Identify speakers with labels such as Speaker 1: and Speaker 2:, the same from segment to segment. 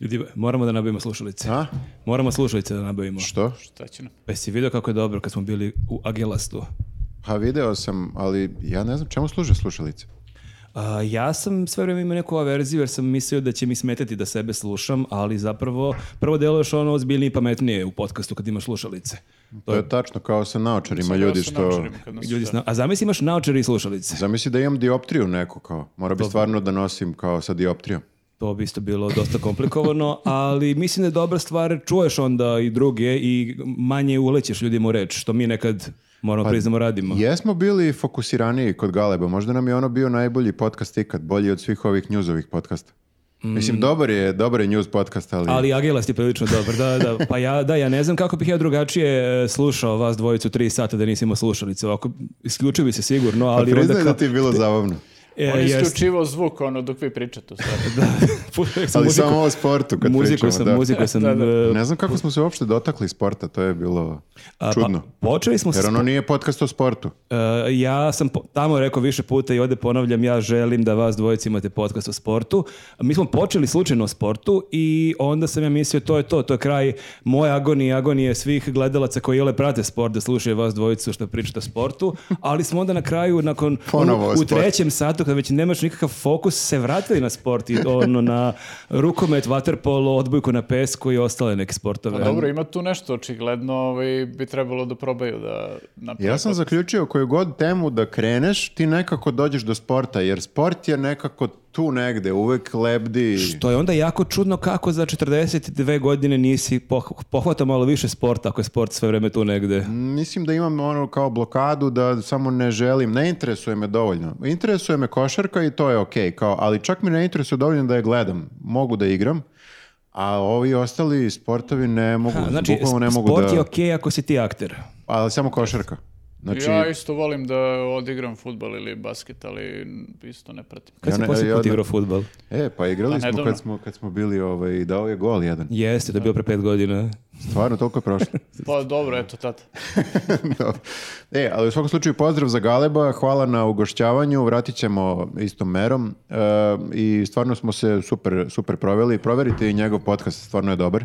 Speaker 1: Gdje- moramo da nabavimo slušalice.
Speaker 2: A?
Speaker 1: Moramo slušalice da nabavimo.
Speaker 2: Što?
Speaker 3: Šta će nam?
Speaker 1: Pa si vidio kako je dobro kad smo bili u Agilastu.
Speaker 2: Ha, video sam, ali ja ne znam čemu služe slušalice.
Speaker 1: A, ja sam sve vrijeme imao neku averziju jer sam mislio da će mi smetati da sebe slušam, ali zapravo prvo deluješ ono ozbiljnije i pametnije u podcastu kad imaš slušalice.
Speaker 2: To je tačno kao sa naočarima Pa ljudi što...
Speaker 1: Ljudi, sna- a zamisli imaš naočare i slušalice.
Speaker 2: Zamisli da imam dioptriju neku kao. Mora bi stvarno da nosim kao sa dioptrijom.
Speaker 1: To bi isto bilo dosta komplikovano, ali mislim da je dobra stvar, čuješ onda i druge i manje ulećeš ljudima u reč, što mi nekad moramo priznamo radimo.
Speaker 2: Jesmo bili fokusiraniji kod Galeba, možda nam je ono bio najbolji podcast ikad, bolji od svih ovih njuzovih podcasta. Mislim, dobar je, dobar je njuz podcast, ali...
Speaker 1: Mm. Ali Agilas je prilično dobar, da, da. Pa ja, da, ja ne znam kako bih ja drugačije e, slušao vas dvojicu tri sata da nisam imao slušalice. Ovako, isključio bi se sigurno, ali
Speaker 2: Pa Priznaj
Speaker 1: onda... kao-
Speaker 2: da ti je bilo zabavno.
Speaker 1: E,
Speaker 3: On je
Speaker 1: jest.
Speaker 3: isključivao zvuk ono dok vi pričate u stvari.
Speaker 1: Puštao sam
Speaker 2: Ali
Speaker 1: muziku.
Speaker 2: samo o sportu kad
Speaker 1: Muziku
Speaker 2: pričamo,
Speaker 1: sam,
Speaker 2: da.
Speaker 1: muziku sam...
Speaker 3: Da, da.
Speaker 1: e,
Speaker 2: Ne znam kako smo se uopšte dotakli sporta, to je bilo
Speaker 1: a, pa,
Speaker 2: čudno.
Speaker 1: počeli smo
Speaker 2: Jer
Speaker 1: s-
Speaker 2: ono nije podcast o sportu.
Speaker 1: E, ja sam po- tamo rekao više puta i ovdje ponavljam, ja želim da vas dvojici imate podcast o sportu. Mi smo počeli slučajno o sportu i onda sam ja mislio to je to, to je kraj moje agonije, i agonije svih gledalaca koji ole prate sport, da slušaju vas dvojicu što pričate o sportu, ali smo onda na kraju, nakon
Speaker 2: Ponovo o
Speaker 1: u, u
Speaker 2: sportu.
Speaker 1: trećem satu, kad već nemaš nikakav fokus, se vratili na sport i ono na rukomet, vaterpolo, odbojku na pesku i ostale neke sportove.
Speaker 3: Pa Dobro, ima tu nešto, očigledno ovaj, bi trebalo da probaju da naprave.
Speaker 2: Ja sam zaključio koju god temu da kreneš, ti nekako dođeš do sporta, jer sport je nekako tu negde, uvek lebdi.
Speaker 1: Što je onda jako čudno kako za 42 godine nisi poh- pohvatao malo više sporta, ako je sport sve vreme tu negde.
Speaker 2: Mm, Mislim da imam ono kao blokadu da samo ne želim, ne interesuje me dovoljno. Interesuje me košarka i to je okej, kao, ali čak mi ne interesuje dovoljno da je gledam. Mogu da igram, a ovi ostali sportovi ne mogu,
Speaker 1: Znači,
Speaker 2: bukvalno ne
Speaker 1: sp-
Speaker 2: mogu
Speaker 1: sport
Speaker 2: da...
Speaker 1: je okej ako si ti akter.
Speaker 2: Ali samo košarka. Znači,
Speaker 3: Ja isto volim da odigram futbal ili basket, ali isto ne pratim.
Speaker 1: Kad
Speaker 2: Ja
Speaker 1: si
Speaker 2: ne-
Speaker 1: posljednji
Speaker 2: ja
Speaker 1: put
Speaker 2: ne-
Speaker 1: igrao fudbal?
Speaker 2: e, pa
Speaker 3: Pa
Speaker 2: igrali smo
Speaker 3: nedavno.
Speaker 2: kad, smo kad smo bili, ovaj, dao je gol jedan.
Speaker 1: Jeste, to je bilo pre pet godina.
Speaker 2: Stvarno, toliko je prošlo.
Speaker 3: Pa dobro, eto tata.
Speaker 2: Dobro. e, ali u svakom slučaju pozdrav za Galeba, hvala na ugošćavanju, vratit ćemo istom merom e, i stvarno smo se super, super proveli. Proverite i njegov podcast, stvarno je dobar.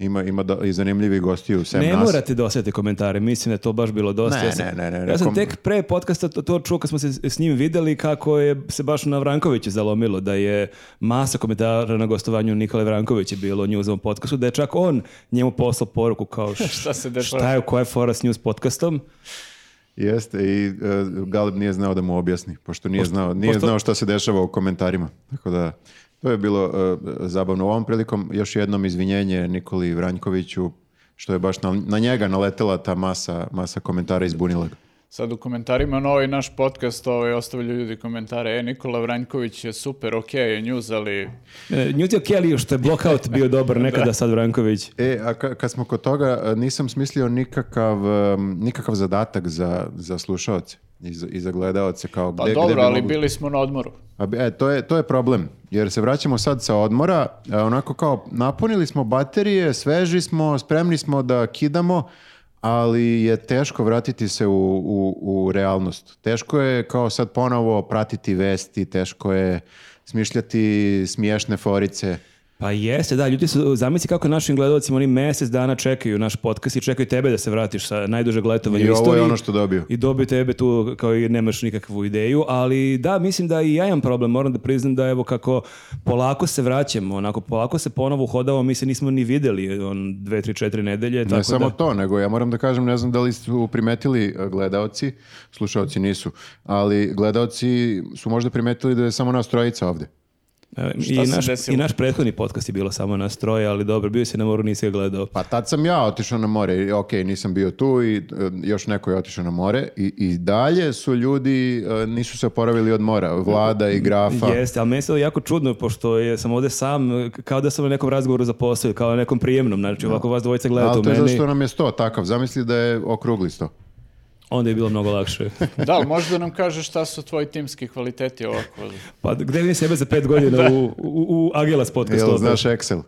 Speaker 2: Ima, ima do- i zanimljivih gostiju, sem
Speaker 1: Ne
Speaker 2: nas.
Speaker 1: morate dosjeti komentare, mislim da je to baš bilo dosta.
Speaker 2: Ne,
Speaker 1: ja sam,
Speaker 2: ne, ne, ne,
Speaker 1: ja sam
Speaker 2: kom-
Speaker 1: tek pre podcasta to, to čuo kad smo se s- s njim videli kako je se baš na Vrankoviću zalomilo, da je masa komentara na gostovanju Nikole Vrankovića bilo u njuzovom podcastu, da je čak on njemu poslao poruku kao
Speaker 3: Šta se dešava?
Speaker 1: šta je, koja je fora s news podcastom.
Speaker 2: Jeste, i e, Galeb nije znao da mu objasni, pošto nije, znao, nije
Speaker 1: pošto-
Speaker 2: znao šta se dešava u komentarima. Tako da, to je bilo e, zabavno. U ovom prilikom još jednom izvinjenje Nikoli Vranjkoviću, što je baš na, na njega naletela ta masa, masa komentara izbunila ga.
Speaker 3: Sad u komentarima na ovaj naš podcast ovaj, ostavljaju ljudi komentare, e, Nikola Vranjković je super, okej je njuz, ali
Speaker 1: E, Newt je Kelly, što je blockout bio dobar nekada sad Vranković.
Speaker 2: E, a ka- kad smo kod toga, e, nisam smislio nikakav, em, nikakav zadatak za, za slušaoce i za, i za gledaoce. Kao
Speaker 3: pa
Speaker 2: gde- gde
Speaker 3: dobro,
Speaker 2: bi
Speaker 3: ali
Speaker 2: mogli-
Speaker 3: bili smo na odmoru.
Speaker 2: A bi- E, to je, to je problem, jer se vraćamo sad sa odmora, e, onako kao napunili smo baterije, sveži smo, spremni smo da kidamo, ali je teško vratiti se u, u, u realnost. Teško je kao sad ponovo pratiti vesti, teško je smišljati smiješne forice.
Speaker 1: Pa jeste, da, ljudi su, zamisli kako našim gledalcima oni mjesec dana čekaju naš podcast i čekaju tebe da se vratiš sa najduže gledovanja
Speaker 2: I
Speaker 1: u
Speaker 2: ovo je
Speaker 1: istoriji.
Speaker 2: ono što dobio.
Speaker 1: I dobiju tebe tu kao i nemaš nikakvu ideju, ali da, mislim da i ja imam problem, moram da priznam da evo kako polako se vraćamo, onako polako se ponovo uhodavamo, mi se nismo ni vidjeli on dve, tri, četiri nedelje, tako
Speaker 2: Ne samo
Speaker 1: da...
Speaker 2: to, nego ja moram da kažem, ne znam da li su primetili e, gledaoci, slušaoci nisu, ali gledaoci su možda primetili da je samo nas trojica ovde.
Speaker 1: E,
Speaker 3: Šta
Speaker 1: I
Speaker 3: se
Speaker 1: naš,
Speaker 3: desilo?
Speaker 1: I naš prethodni podcast je bilo samo nas troje, ali dobro, bio si na moru, nisi ga gledao.
Speaker 2: Pa tad sam ja otišao na more, i ok, nisam bio tu i e, još neko je otišao na more i, i dalje su ljudi, e, nisu se oporavili od mora, vlada i grafa.
Speaker 1: Jeste, ali meni se to jako čudno, pošto je, sam ovdje sam, kao da sam na nekom razgovoru za posao, kao na nekom prijemnom, znači ovako vas dvojica gledate u
Speaker 2: Ali to je
Speaker 1: meni.
Speaker 2: zato što nam je sto takav, zamisli da je okrugli sto.
Speaker 1: onda je bilo mnogo lakše.
Speaker 3: Da, ali možeš da nam kažeš šta su tvoji timski kvaliteti ovako?
Speaker 1: Pa gde vidim sebe za pet godina u, u, u Agelas podcastu?
Speaker 2: Jel znaš Excel?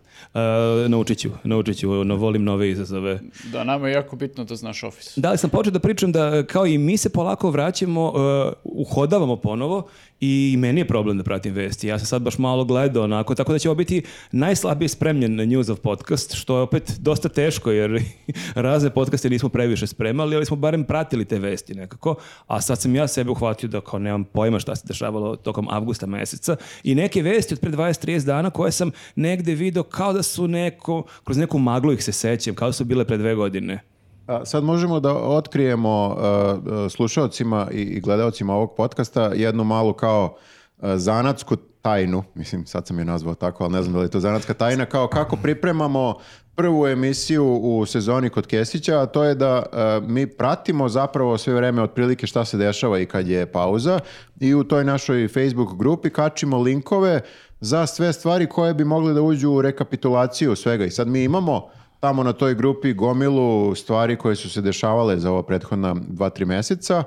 Speaker 1: E, naučit ću, naučit ću, no, volim nove izazove.
Speaker 3: Da, nama je jako bitno da znaš ofis.
Speaker 1: Da, ali sam počeo da pričam da e, kao i mi se polako vraćamo, e, uhodavamo ponovo i meni je problem da pratim vesti. Ja sam sad baš malo gledao onako, tako da će ovo biti najslabije spremljen News of Podcast, što je opet dosta teško jer razne podcaste nismo previše spremali, ali smo barem pratili te vesti nekako, a sad sam ja sebe uhvatio da kao nemam pojma šta se dešavalo tokom avgusta meseca i neke vesti od pre 20-30 dana koje sam negde video kao da su neko, kroz neku maglu ih se sećam, kao da su bile pre dve godine.
Speaker 2: A sad možemo da otkrijemo uh, slušaocima i, i gledaocima ovog podcasta jednu malu kao uh, zanatsku tajnu, mislim sad sam je nazvao tako, ali ne znam da li je to zanatska tajna, kao kako pripremamo prvu emisiju u sezoni kod Kesića, a to je da uh, mi pratimo zapravo sve vreme otprilike šta se dešava i kad je pauza i u toj našoj Facebook grupi kačimo linkove za sve stvari koje bi mogle da uđu u rekapitulaciju svega i sad mi imamo tamo na toj grupi gomilu stvari koje su se dešavale za ova prethodna dva, tri meseca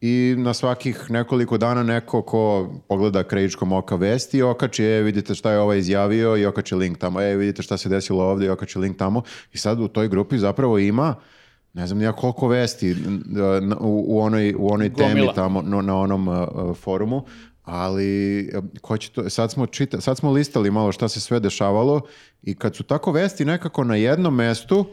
Speaker 2: i na svakih nekoliko dana neko ko pogleda krajičkom oka vesti i okači, e, vidite šta je ovaj izjavio i okači link tamo, e, vidite šta se desilo ovdje i okači link tamo i sad u toj grupi zapravo ima ne znam ja koliko vesti n- n- u, u onoj, u onoj
Speaker 3: Gomila.
Speaker 2: temi tamo no, na onom uh, uh, forumu, ali e, ko će to, sad smo, čita, sad smo listali malo šta se sve dešavalo i kad su tako vesti nekako na jednom mestu,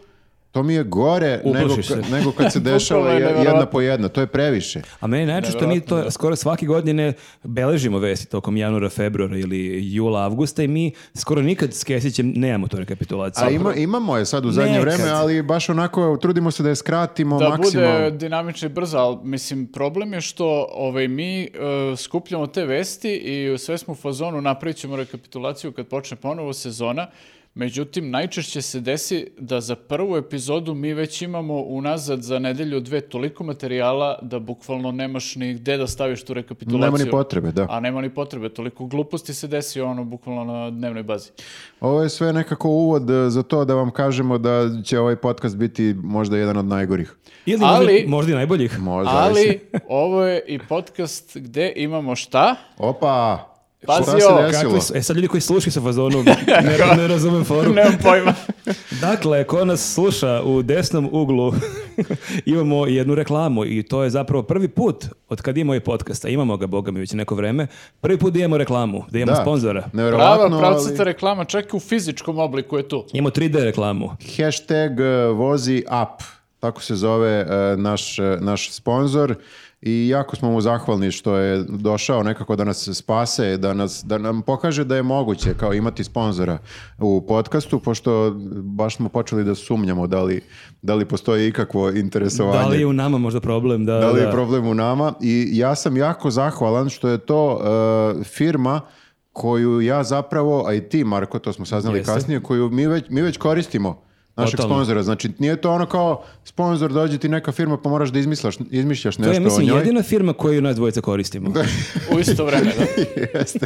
Speaker 2: to mi je gore nego,
Speaker 1: Uplašiš
Speaker 2: ka-
Speaker 1: se.
Speaker 2: nego kad se dešava
Speaker 3: Bukvalno je
Speaker 2: je- jedna
Speaker 3: neverovatno.
Speaker 2: po jedna. To je previše.
Speaker 1: A meni je najjače što mi to skoro svake godine beležimo vesti tokom januara, februara ili jula, avgusta i mi skoro nikad s Kesićem nemamo tu rekapitulaciju.
Speaker 2: A ima, imamo je sad u zadnje
Speaker 1: Nekad.
Speaker 2: vreme, ali baš onako trudimo se da je skratimo
Speaker 3: Da
Speaker 2: maksimalno.
Speaker 3: bude dinamično i brzo, ali mislim, problem je što ovaj, mi e, skupljamo te vesti i sve smo u fazonu, napravit ćemo rekapitulaciju kad počne ponovo sezona, međutim, najčešće se desi da za prvu epizodu mi već imamo unazad za nedelju dve toliko materijala da bukvalno nemaš ni gde da staviš tu rekapitulaciju.
Speaker 2: Nema ni potrebe, da.
Speaker 3: A nema ni potrebe, toliko gluposti se desi ono bukvalno na dnevnoj bazi.
Speaker 2: Ovo je sve nekako uvod e, za to da vam kažemo da će ovaj podcast biti možda jedan od najgorih.
Speaker 1: Ili možda-
Speaker 3: ali-
Speaker 1: možda i najboljih.
Speaker 2: Možda. Pa zavisi.
Speaker 3: Ali ovo je i podcast gde imamo šta?
Speaker 2: Opa!
Speaker 3: Pazi
Speaker 2: šta se
Speaker 3: ovo,
Speaker 2: desilo?
Speaker 1: Kakvi su- e sad ljudi koji slušaju sa fazonom, ne, ne razumem foru.
Speaker 3: Nemam pojma.
Speaker 1: Dakle, ko nas sluša u desnom uglu imamo jednu reklamu i to je zapravo prvi put od kad imamo i podcasta, imamo ga, boga mi, već neko vreme, prvi put da imamo reklamu, da imamo
Speaker 2: Da,
Speaker 1: sponzora.
Speaker 2: Neverovatno,
Speaker 3: Prava
Speaker 2: ali-
Speaker 3: pravcata reklama, čak i u fizičkom obliku je tu.
Speaker 1: Imamo 3D reklamu.
Speaker 2: Hashtag e, vozi up. Tako se zove e, naš, e, naš sponsor i jako smo mu zahvalni što je došao nekako da nas spase, da, nas, da nam pokaže da je moguće kao imati sponzora u podcastu, pošto baš smo počeli da sumnjamo da li, da li postoji ikakvo interesovanje.
Speaker 1: Da li je u nama možda problem? Da,
Speaker 2: Da li je
Speaker 1: da.
Speaker 2: problem u nama? I ja sam jako zahvalan što je to e, firma koju ja zapravo, a i ti Marko, to smo saznali
Speaker 1: Jeste.
Speaker 2: kasnije, koju mi već, mi već koristimo našeg
Speaker 1: Totalno.
Speaker 2: sponzora. Znači, nije to ono kao sponzor dođe ti neka firma pa moraš da izmislaš, izmišljaš
Speaker 1: To
Speaker 2: nešto
Speaker 1: je, mislim,
Speaker 2: o njoj.
Speaker 1: jedina firma koju nas dvojica koristimo.
Speaker 3: U isto vreme, da.
Speaker 2: Jeste.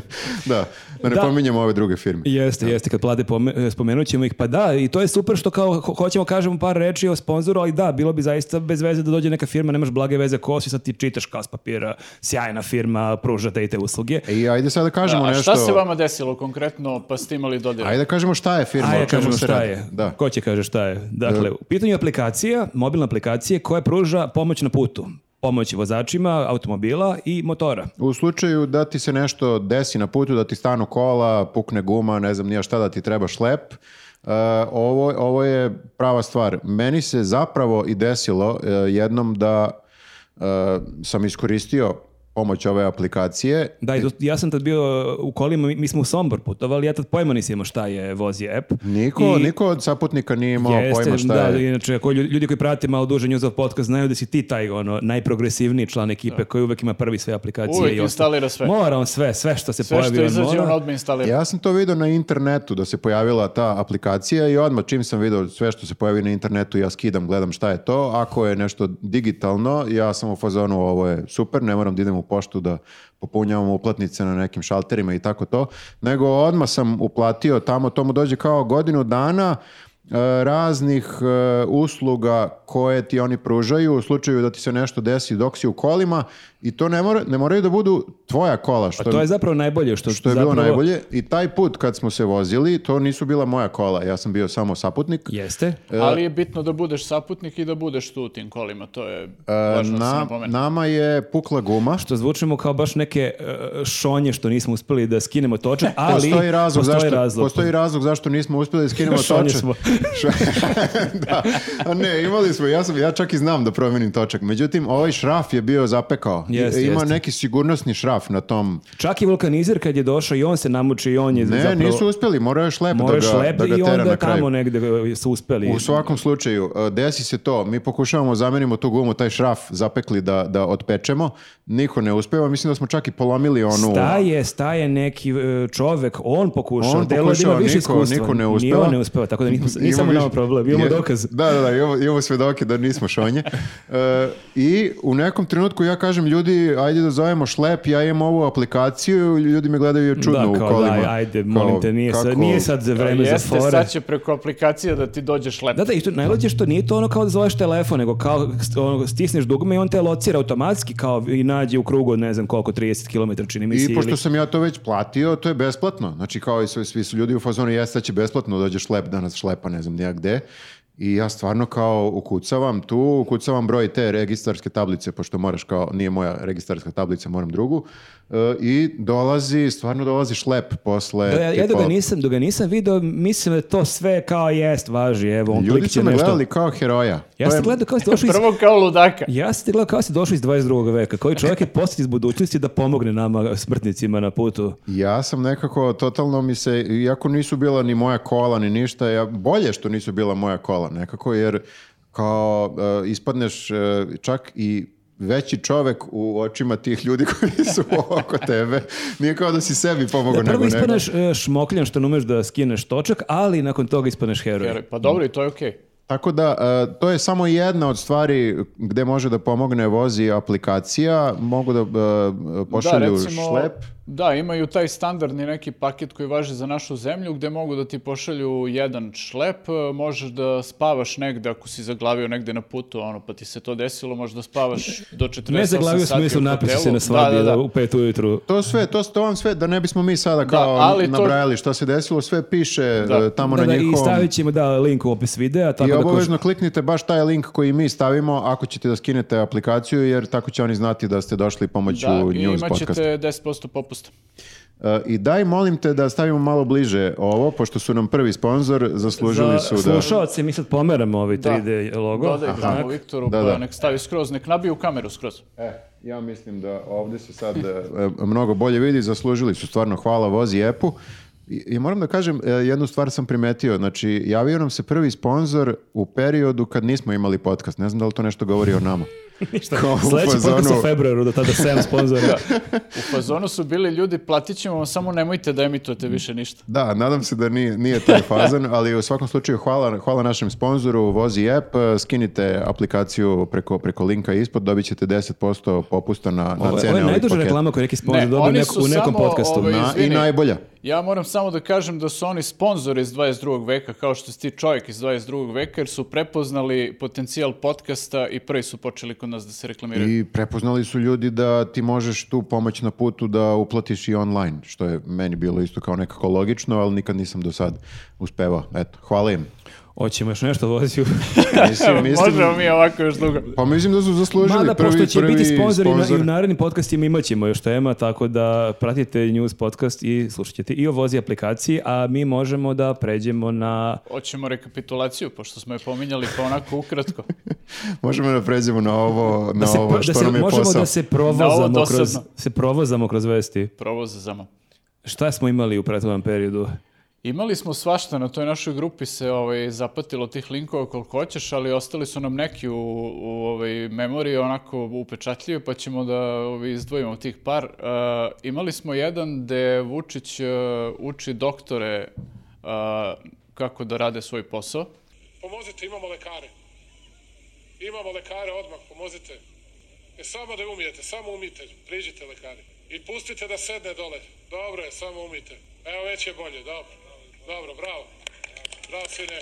Speaker 2: Da, da ne
Speaker 1: Da.
Speaker 2: pominjemo ove druge firme.
Speaker 1: Jeste, jeste, kad plate pome- spomenut ćemo ih, pa da, i to je super što kao ho- hoćemo kažemo par reči o sponzoru, ali da, bilo bi zaista bez veze da dođe neka firma, nemaš blage veze ko si, sad ti čitaš kas papira, sjajna firma, pruža te i te usluge.
Speaker 2: I E, ajde sad da kažemo
Speaker 3: A
Speaker 2: nešto.
Speaker 3: šta se vama desilo konkretno, pa ste imali dodir?
Speaker 2: Ajde da kažemo šta je firma,
Speaker 1: Ajde,
Speaker 2: o čemu
Speaker 1: kažemo
Speaker 2: se
Speaker 1: šta
Speaker 2: radi.
Speaker 1: je.
Speaker 2: Da.
Speaker 1: Ko će kaže šta je? Dakle, u pitanju je aplikacija, mobilna aplikacija koja pruža pomoć na putu. Pomoć vozačima, automobila i motora.
Speaker 2: U slučaju da ti se nešto desi na putu, da ti stanu kola, pukne guma, ne znam nija šta, da ti treba šlep, e, ovo, ovo je prava stvar. Meni se zapravo i desilo e, jednom da e, sam iskoristio pomoć ove aplikacije.
Speaker 1: Da, i to- ja sam tad bio u kolima, mi mi smo u Sombor putovali, ja tad pojma nisam imao šta je vozi app.
Speaker 2: Niko,
Speaker 1: I-
Speaker 2: niko od saputnika nije imao pojma šta
Speaker 1: da,
Speaker 2: je.
Speaker 1: inače, ako ljudi, ljudi koji prate malo duže Newsov podcast znaju da si ti taj ono, najprogresivniji član ekipe koji uvek ima prvi sve aplikacije.
Speaker 3: Uvek
Speaker 1: i ostalo.
Speaker 3: instalira sve.
Speaker 1: Mora on sve, sve što se
Speaker 3: Sve
Speaker 1: pojavi.
Speaker 3: što
Speaker 1: on
Speaker 3: izađe
Speaker 1: mora.
Speaker 3: on odmah instalira.
Speaker 2: Ja sam to vidio na internetu da se pojavila ta aplikacija i odmah čim sam vidio sve što se pojavi na internetu ja skidam, gledam šta je to. Ako je nešto digitalno, ja sam u fazonu ovo je super, ne moram da idem u poštu da popunjavam uplatnice na nekim šalterima i tako to, nego odmah sam uplatio tamo, to mu dođe kao godinu dana e, raznih e, usluga koje ti oni pružaju u slučaju da ti se nešto desi dok si u kolima i to ne, mora, ne moraju da budu tvoja kola, što,
Speaker 1: Pa To je zapravo najbolje što,
Speaker 2: što je
Speaker 1: zapravo,
Speaker 2: bilo najbolje. I taj put kad smo se vozili, to nisu bila moja kola, ja sam bio samo saputnik.
Speaker 1: Jeste.
Speaker 3: Ali je bitno da budeš saputnik i da budeš tu u tim kolima, to je
Speaker 2: E,
Speaker 3: važno da se
Speaker 2: na-
Speaker 3: napomene.
Speaker 2: nama je pukla guma.
Speaker 1: Što zvučimo kao baš neke e, šonje što nismo uspeli da skinemo točan, ali
Speaker 2: postoji razlog
Speaker 1: postoji
Speaker 2: zašto
Speaker 1: razlog.
Speaker 2: postoji razlog zašto nismo uspjeli da skinemo
Speaker 1: Šonje
Speaker 2: točak.
Speaker 1: smo.
Speaker 2: da. A ne, imali smo ja sam ja čak i znam da promenim točak. Međutim ovaj šraf je bio zapekao. I-
Speaker 1: Jeste,
Speaker 2: Ima
Speaker 1: jeste.
Speaker 2: neki sigurnosni šraf na tom.
Speaker 1: Čak i vulkanizer kad je došao i on se namuči i on je
Speaker 2: Ne,
Speaker 1: zapravo...
Speaker 2: nisu uspjeli, morao je šlep da
Speaker 1: Moraš
Speaker 2: ga,
Speaker 1: lep
Speaker 2: da ga
Speaker 1: i
Speaker 2: tera
Speaker 1: onda
Speaker 2: na kraju.
Speaker 1: tamo negde e, su uspeli.
Speaker 2: U svakom slučaju, e, desi se to, mi pokušavamo zamenimo tu gumu, taj šraf zapekli da, da otpečemo, niko ne uspeva, mislim da smo čak i polomili onu...
Speaker 1: Staje, staje neki e, čovek, on pokušao,
Speaker 2: On
Speaker 1: on delo
Speaker 2: pokušao,
Speaker 1: ima više
Speaker 2: niko-
Speaker 1: iskustva.
Speaker 2: niko ne
Speaker 1: Ni
Speaker 2: uspeva.
Speaker 1: on ne uspeva, tako da nismo, nije
Speaker 2: Imamo
Speaker 1: samo
Speaker 2: više-
Speaker 1: nama problem, imamo
Speaker 2: Je-
Speaker 1: dokaz.
Speaker 2: Da, da, da, imamo, imamo svedoke da nismo šonje. E, I u nekom trenutku ja kažem, ljudi, ajde da zovemo šlep, ja imam ovu aplikaciju, ljudi me gledaju čudno
Speaker 1: da,
Speaker 2: u
Speaker 1: kao
Speaker 2: kolima.
Speaker 1: daj, ajde,
Speaker 2: Kao,
Speaker 1: molim te, nije, sad,
Speaker 2: kako-
Speaker 1: nije sad za vreme za
Speaker 3: Jeste,
Speaker 1: fore.
Speaker 3: sad će preko aplikacije da ti dođeš lepo.
Speaker 1: Da, da, i to najluđe što nije to ono kao da zoveš telefon, nego kao st- ono, stisneš dugme i on te locira automatski kao i nađe u krugu od ne znam koliko, 30 km čini mi se.
Speaker 2: I pošto
Speaker 1: ili-
Speaker 2: sam ja to već platio, to je besplatno. Znači kao i svi, svi su ljudi u fazonu, ja sad će besplatno dođe šlep, danas šlepa ne znam nijak gde. I ja stvarno kao ukucavam tu, ukucavam broj te registarske tablice, pošto moraš kao, nije moja registarska tablica, moram drugu. E, I dolazi, stvarno dolazi šlep posle.
Speaker 1: Da, ja, ja da
Speaker 2: tipa,
Speaker 1: ga nisam, dok ga nisam video, mislim da to sve kao jest, važi, evo, on
Speaker 2: Ljudi su
Speaker 1: klikće
Speaker 2: me
Speaker 1: nešto.
Speaker 2: gledali kao heroja.
Speaker 1: Ja
Speaker 2: To je-
Speaker 1: sam gledao kao si došao iz...
Speaker 3: Prvo kao ludaka.
Speaker 1: Ja sam ti gledao kao si došao iz 22. veka, koji čovjek je poslat iz budućnosti da pomogne nama eh, smrtnicima na putu.
Speaker 2: Ja sam nekako, totalno mi se, iako nisu bila ni moja kola, ni ništa, ja, bolje što nisu bila moja kola nekako, jer kao e, ispadneš e, čak i veći čovek u očima tih ljudi koji su oko tebe. Nije kao da si sebi pomogao,
Speaker 1: Prvo
Speaker 2: nego neko.
Speaker 1: ispaneš šmokljan što ne umeš da skineš točak, ali nakon toga ispaneš heroj.
Speaker 3: Jer, pa dobro, i to je okej.
Speaker 2: Tako da, e, to je samo jedna od stvari gde može da pomogne vozi aplikacija, mogu da e, pošalju šlep.
Speaker 3: Da, imaju taj standardni neki paket koji važi za našu zemlju gdje mogu da ti pošalju jedan šlep, e, možeš da spavaš negde ako si zaglavio negde na putu, ono, pa ti se to desilo, možeš da spavaš do 48 sati.
Speaker 1: Ne zaglavio
Speaker 3: u
Speaker 1: smislu, napisa se
Speaker 3: hotelu.
Speaker 1: na svadbi
Speaker 3: Da, da, da.
Speaker 1: u pet ujutru.
Speaker 2: To sve, to, to vam sve, da ne bismo mi sada kao
Speaker 3: ali to-
Speaker 2: nabrajali šta se desilo, sve piše
Speaker 3: Da.
Speaker 2: e, tamo
Speaker 1: Da,
Speaker 2: na
Speaker 1: da, i
Speaker 2: njihovom...
Speaker 1: stavit ćemo da, link u opis videa, tako
Speaker 2: I
Speaker 1: da ko-
Speaker 2: obavezno kliknite baš taj link koji mi stavimo ako ćete da skinete aplikaciju, jer tako će oni znati da ste došli pomoću
Speaker 3: Da, i
Speaker 2: news
Speaker 3: imat
Speaker 2: podcasta.
Speaker 3: ćete 10% popusta.
Speaker 2: E, I daj, molim te da stavimo malo bliže ovo, pošto su nam prvi sponsor, zaslužili
Speaker 3: Za-
Speaker 2: su da...
Speaker 1: Slušaoci, mi sad pomeramo ovaj
Speaker 3: Da.
Speaker 1: 3D logo.
Speaker 3: Dodaj ga
Speaker 2: Aha.
Speaker 3: mu, Viktoru,
Speaker 2: Da,
Speaker 3: pa
Speaker 2: da.
Speaker 3: nek stavi skroz, nek nabiju kameru skroz.
Speaker 2: E, ja mislim da ovdje se sad e, e, mnogo bolje vidi, zaslužili su stvarno hvala vozi epu. I, i moram da kažem, e, jednu stvar sam primetio, znači javio nam se prvi sponsor u periodu kad nismo imali podcast, ne znam da li to nešto govori o nama.
Speaker 1: Ništa.
Speaker 2: Kao u
Speaker 1: Sljedeći podcast
Speaker 2: fazonu-
Speaker 1: u februaru, do tada 7 sponzora.
Speaker 3: U fazonu su bili ljudi, platit ćemo vam, samo nemojte da emitujete
Speaker 2: Mm.
Speaker 3: više ništa.
Speaker 2: Da, nadam se da nije, nije taj fazan, ali u svakom slučaju hvala, hvala našem sponzoru Vozi app, e, skinite aplikaciju preko, preko linka ispod, dobit ćete 10% popusta na, na
Speaker 1: Ovo je-
Speaker 2: cene
Speaker 1: Ovo je
Speaker 2: ovih
Speaker 1: najduža
Speaker 2: paketa.
Speaker 1: reklama koju je neki sponsor
Speaker 3: Ne,
Speaker 1: dobio
Speaker 3: oni
Speaker 1: neko-
Speaker 3: su
Speaker 1: u nekom
Speaker 3: samo,
Speaker 1: podcastu.
Speaker 3: ovaj,
Speaker 2: Na, I
Speaker 3: Izvini.
Speaker 2: najbolja.
Speaker 3: Ja moram samo da kažem da su oni sponzori iz 22. veka, kao što si ti čovjek iz 22. veka, jer su prepoznali potencijal podcasta i prvi su počeli kod nas da se reklamiraju.
Speaker 2: I prepoznali su ljudi da ti možeš tu pomoć na putu da uplatiš i online, što je meni bilo isto kao nekako logično, ali nikad nisam do sad uspevao. Eto, hvala im.
Speaker 1: Hoćemo još nešto voziti.
Speaker 2: Mislim,
Speaker 3: Možemo
Speaker 2: mislim,
Speaker 3: mi ovako još dugo.
Speaker 2: pa mislim da su zaslužili
Speaker 1: Mada,
Speaker 2: prvi,
Speaker 1: pošto će
Speaker 2: prvi
Speaker 1: biti sponzori i na-
Speaker 2: sponzor.
Speaker 1: i u narednim podcastima imat ćemo još tema, tako da pratite News podcast i slušat ćete i o vozi aplikaciji, a mi možemo da pređemo na...
Speaker 3: Hoćemo rekapitulaciju, pošto smo je pominjali pa onako ukratko.
Speaker 2: Možemo da pređemo na ovo, na
Speaker 1: Da se,
Speaker 2: ovo
Speaker 1: da
Speaker 2: što
Speaker 1: se,
Speaker 2: nam je
Speaker 1: možemo
Speaker 2: posao.
Speaker 1: da se provozamo,
Speaker 3: dosadno.
Speaker 1: kroz, se provozamo kroz vesti.
Speaker 3: Provoze za mnom.
Speaker 1: Šta smo imali u prethodnom periodu?
Speaker 3: Imali smo svašta, na toj našoj grupi se ovaj, zapatilo tih linkova koliko hoćeš, ali ostali su nam neki u, u ovaj, memoriji onako upečatljivi, pa ćemo da ovaj, izdvojimo tih par. E, imali smo jedan gde Vučić e, uči doktore e, kako da rade svoj posao.
Speaker 4: Pomozite, imamo lekare. Imamo lekare odmah, pomozite. E, samo da umijete, samo umite, priđite lekari. I pustite da sedne dole. Dobro je, samo umite. Evo, već je bolje, dobro. Dobro, bravo. Bravo, sine.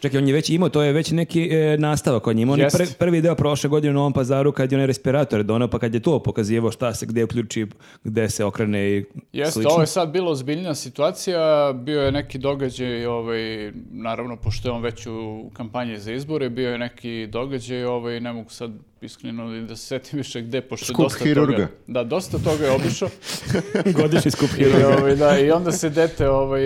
Speaker 1: Čekaj, on je već imao, to je već neki e, nastavak on je imao. On je
Speaker 3: Jest.
Speaker 1: prvi- prvi deo prošle godine u Novom pazaru kad je onaj respirator donao, pa kad je to pokazivao šta se, gde uključi, gde se okrene i
Speaker 3: Jeste,
Speaker 1: slično.
Speaker 3: ovo je sad bila ozbiljna situacija, bio je neki događaj, ovaj, naravno, pošto je on već u kampanji za izbore, bio je neki događaj, ovaj, ne mogu sad iskreno ni da se setim više gde, pošto je
Speaker 2: Skup
Speaker 3: dosta
Speaker 2: hirurga.
Speaker 3: toga. Da, dosta toga je obišao.
Speaker 1: Godišnji skup
Speaker 3: I,
Speaker 1: hirurga.
Speaker 3: ovaj, da, I onda se dete ovaj,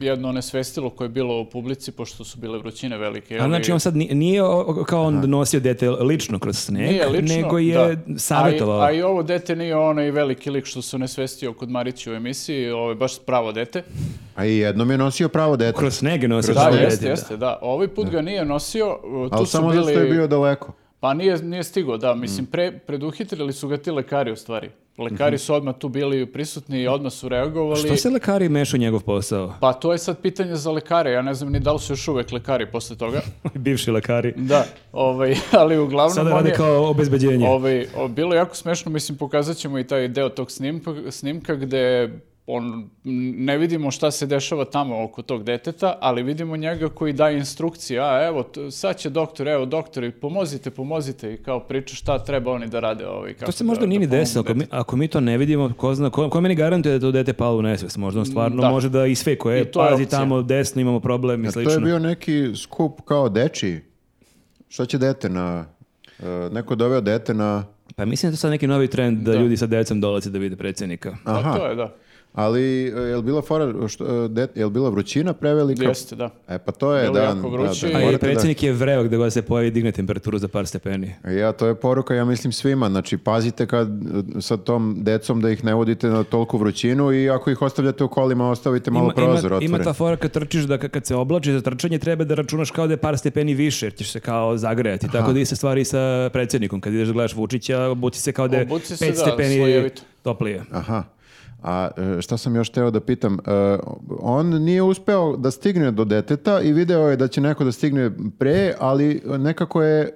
Speaker 3: jedno onesvestilo koje je bilo u publici, pošto su bile vrućine velike.
Speaker 1: A
Speaker 3: ovaj,
Speaker 1: znači on sad ni- nije o- o- kao on nosio dete lično kroz sneg,
Speaker 3: Nije lično,
Speaker 1: nego je
Speaker 3: da.
Speaker 1: savjetovao.
Speaker 3: A i, a i ovo dete nije onaj veliki lik što se nesvestio kod Marića u emisiji, ovo je baš pravo dete.
Speaker 2: A i jednom je nosio pravo dete.
Speaker 1: Kroz sneg je nosio
Speaker 2: Kroz
Speaker 1: svoje
Speaker 2: sneg.
Speaker 3: Da,
Speaker 1: dete,
Speaker 3: jeste,
Speaker 1: da.
Speaker 3: jeste, da. Ovaj put ga nije nosio, uh, tu
Speaker 2: Ali
Speaker 3: su
Speaker 2: samo
Speaker 3: bili...
Speaker 2: zato što je bio daleko.
Speaker 3: Pa nije, nije stigao, da. Mislim, pre, preduhitrili su ga ti lekari u stvari. Lekari su odmah tu bili prisutni i odmah su reagovali.
Speaker 1: Što se lekari mešu u njegov posao?
Speaker 3: Pa to je sad pitanje za lekare. Ja ne znam ni da li su još uvek lekari posle toga.
Speaker 1: Bivši lekari.
Speaker 3: Da, ovaj, ali uglavnom...
Speaker 1: Sada
Speaker 3: on
Speaker 1: rade
Speaker 3: je-
Speaker 1: kao obezbeđenje.
Speaker 3: Ovaj, o, bilo je jako smešno, mislim, pokazat ćemo i taj deo tog snimka, snimka gde on, m, ne vidimo šta se dešava tamo oko tog deteta, ali vidimo njega koji daje instrukcije, a evo, t- sad će doktor, evo doktori, pomozite, pomozite i kao priča šta treba oni da rade. Ovaj, kako
Speaker 1: To se
Speaker 3: da-
Speaker 1: možda
Speaker 3: da
Speaker 1: nije ni
Speaker 3: pomognu
Speaker 1: desilo. Ako mi,
Speaker 3: detetu.
Speaker 1: ako mi to ne vidimo, ko, zna, ko, ko meni garantuje da je to dete palo u nesvest? Možda on stvarno
Speaker 3: Da.
Speaker 1: može da isfekuje.
Speaker 3: I to je
Speaker 1: pazi
Speaker 3: opcija.
Speaker 1: tamo desno, imamo problem i
Speaker 2: To
Speaker 1: slično.
Speaker 2: je bio neki skup kao dečiji. Šta će dete na... e, neko doveo dete na...
Speaker 1: Pa mislim da je to sad neki novi trend da, ljudi sa decom dolaze da vide predsjednika.
Speaker 3: Pa
Speaker 2: Aha.
Speaker 3: to je, da,
Speaker 2: Ali e, je li bila fora, što, e, det- je li bila vrućina prevelika?
Speaker 3: jeste, da.
Speaker 2: E pa to je,
Speaker 3: Bilo
Speaker 2: da.
Speaker 3: jako
Speaker 2: da,
Speaker 3: vruće
Speaker 2: da,
Speaker 3: i-
Speaker 1: A i
Speaker 2: morate da-
Speaker 1: predsjednik je vreo gdje god se pojavi digne temperaturu za par stepeni.
Speaker 2: Ja, to je poruka, ja mislim svima. Znači, pazite kad, e, sa tom decom da ih ne vodite na tolku vrućinu i ako ih ostavljate u kolima, ostavite malo prozor
Speaker 1: ima,
Speaker 2: otvoren.
Speaker 1: ta fora kad trčiš da ka- kad se oblači za trčanje treba da računaš kao da je par stepeni više jer ćeš se kao zagrejati. Tako da iste stvari i sa predsjednikom. Kad ideš da gledaš Vučića, obuci se kao da je
Speaker 3: Obuci se,
Speaker 1: pet
Speaker 3: da,
Speaker 1: stepeni
Speaker 3: slojevito.
Speaker 1: toplije.
Speaker 2: Aha. A e, šta sam još teo da pitam? E, On nije uspeo da stigne do deteta i video je da će neko da stigne pre, ali nekako je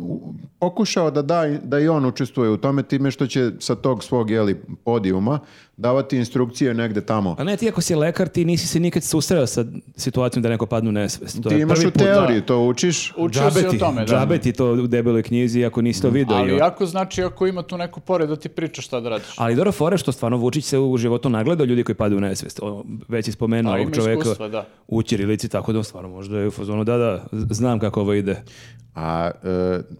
Speaker 2: u- pokušao da da, da i on učestvuje u tome time što će sa tog svog jeli, podijuma davati instrukcije negde tamo.
Speaker 1: A ne, ti ako si lekar, ti nisi se nikad susreo sa situacijom da neko padne u nesvest. To
Speaker 2: Ti
Speaker 1: je
Speaker 2: imaš
Speaker 1: prvi
Speaker 2: u
Speaker 1: put.
Speaker 2: teoriji, to učiš.
Speaker 3: Učio si o
Speaker 1: Džabe ti-
Speaker 3: tome, da.
Speaker 1: džabe ti to u debeloj knjizi ako nisi to
Speaker 2: Mm.
Speaker 1: video.
Speaker 3: Ali
Speaker 1: Jo.
Speaker 3: jako znači ako ima tu neko pored da ti priča šta da radiš.
Speaker 1: Ali dobro fore što stvarno Vučić se u životu nagleda ljudi koji padaju u nesvest. O, već je spomenuo
Speaker 3: A,
Speaker 1: ovog
Speaker 3: ima
Speaker 1: čoveka
Speaker 3: iskustva, da.
Speaker 1: u Ćirilici, tako da on stvarno možda je u fazonu, da, da, z- znam kako ovo ide.
Speaker 2: A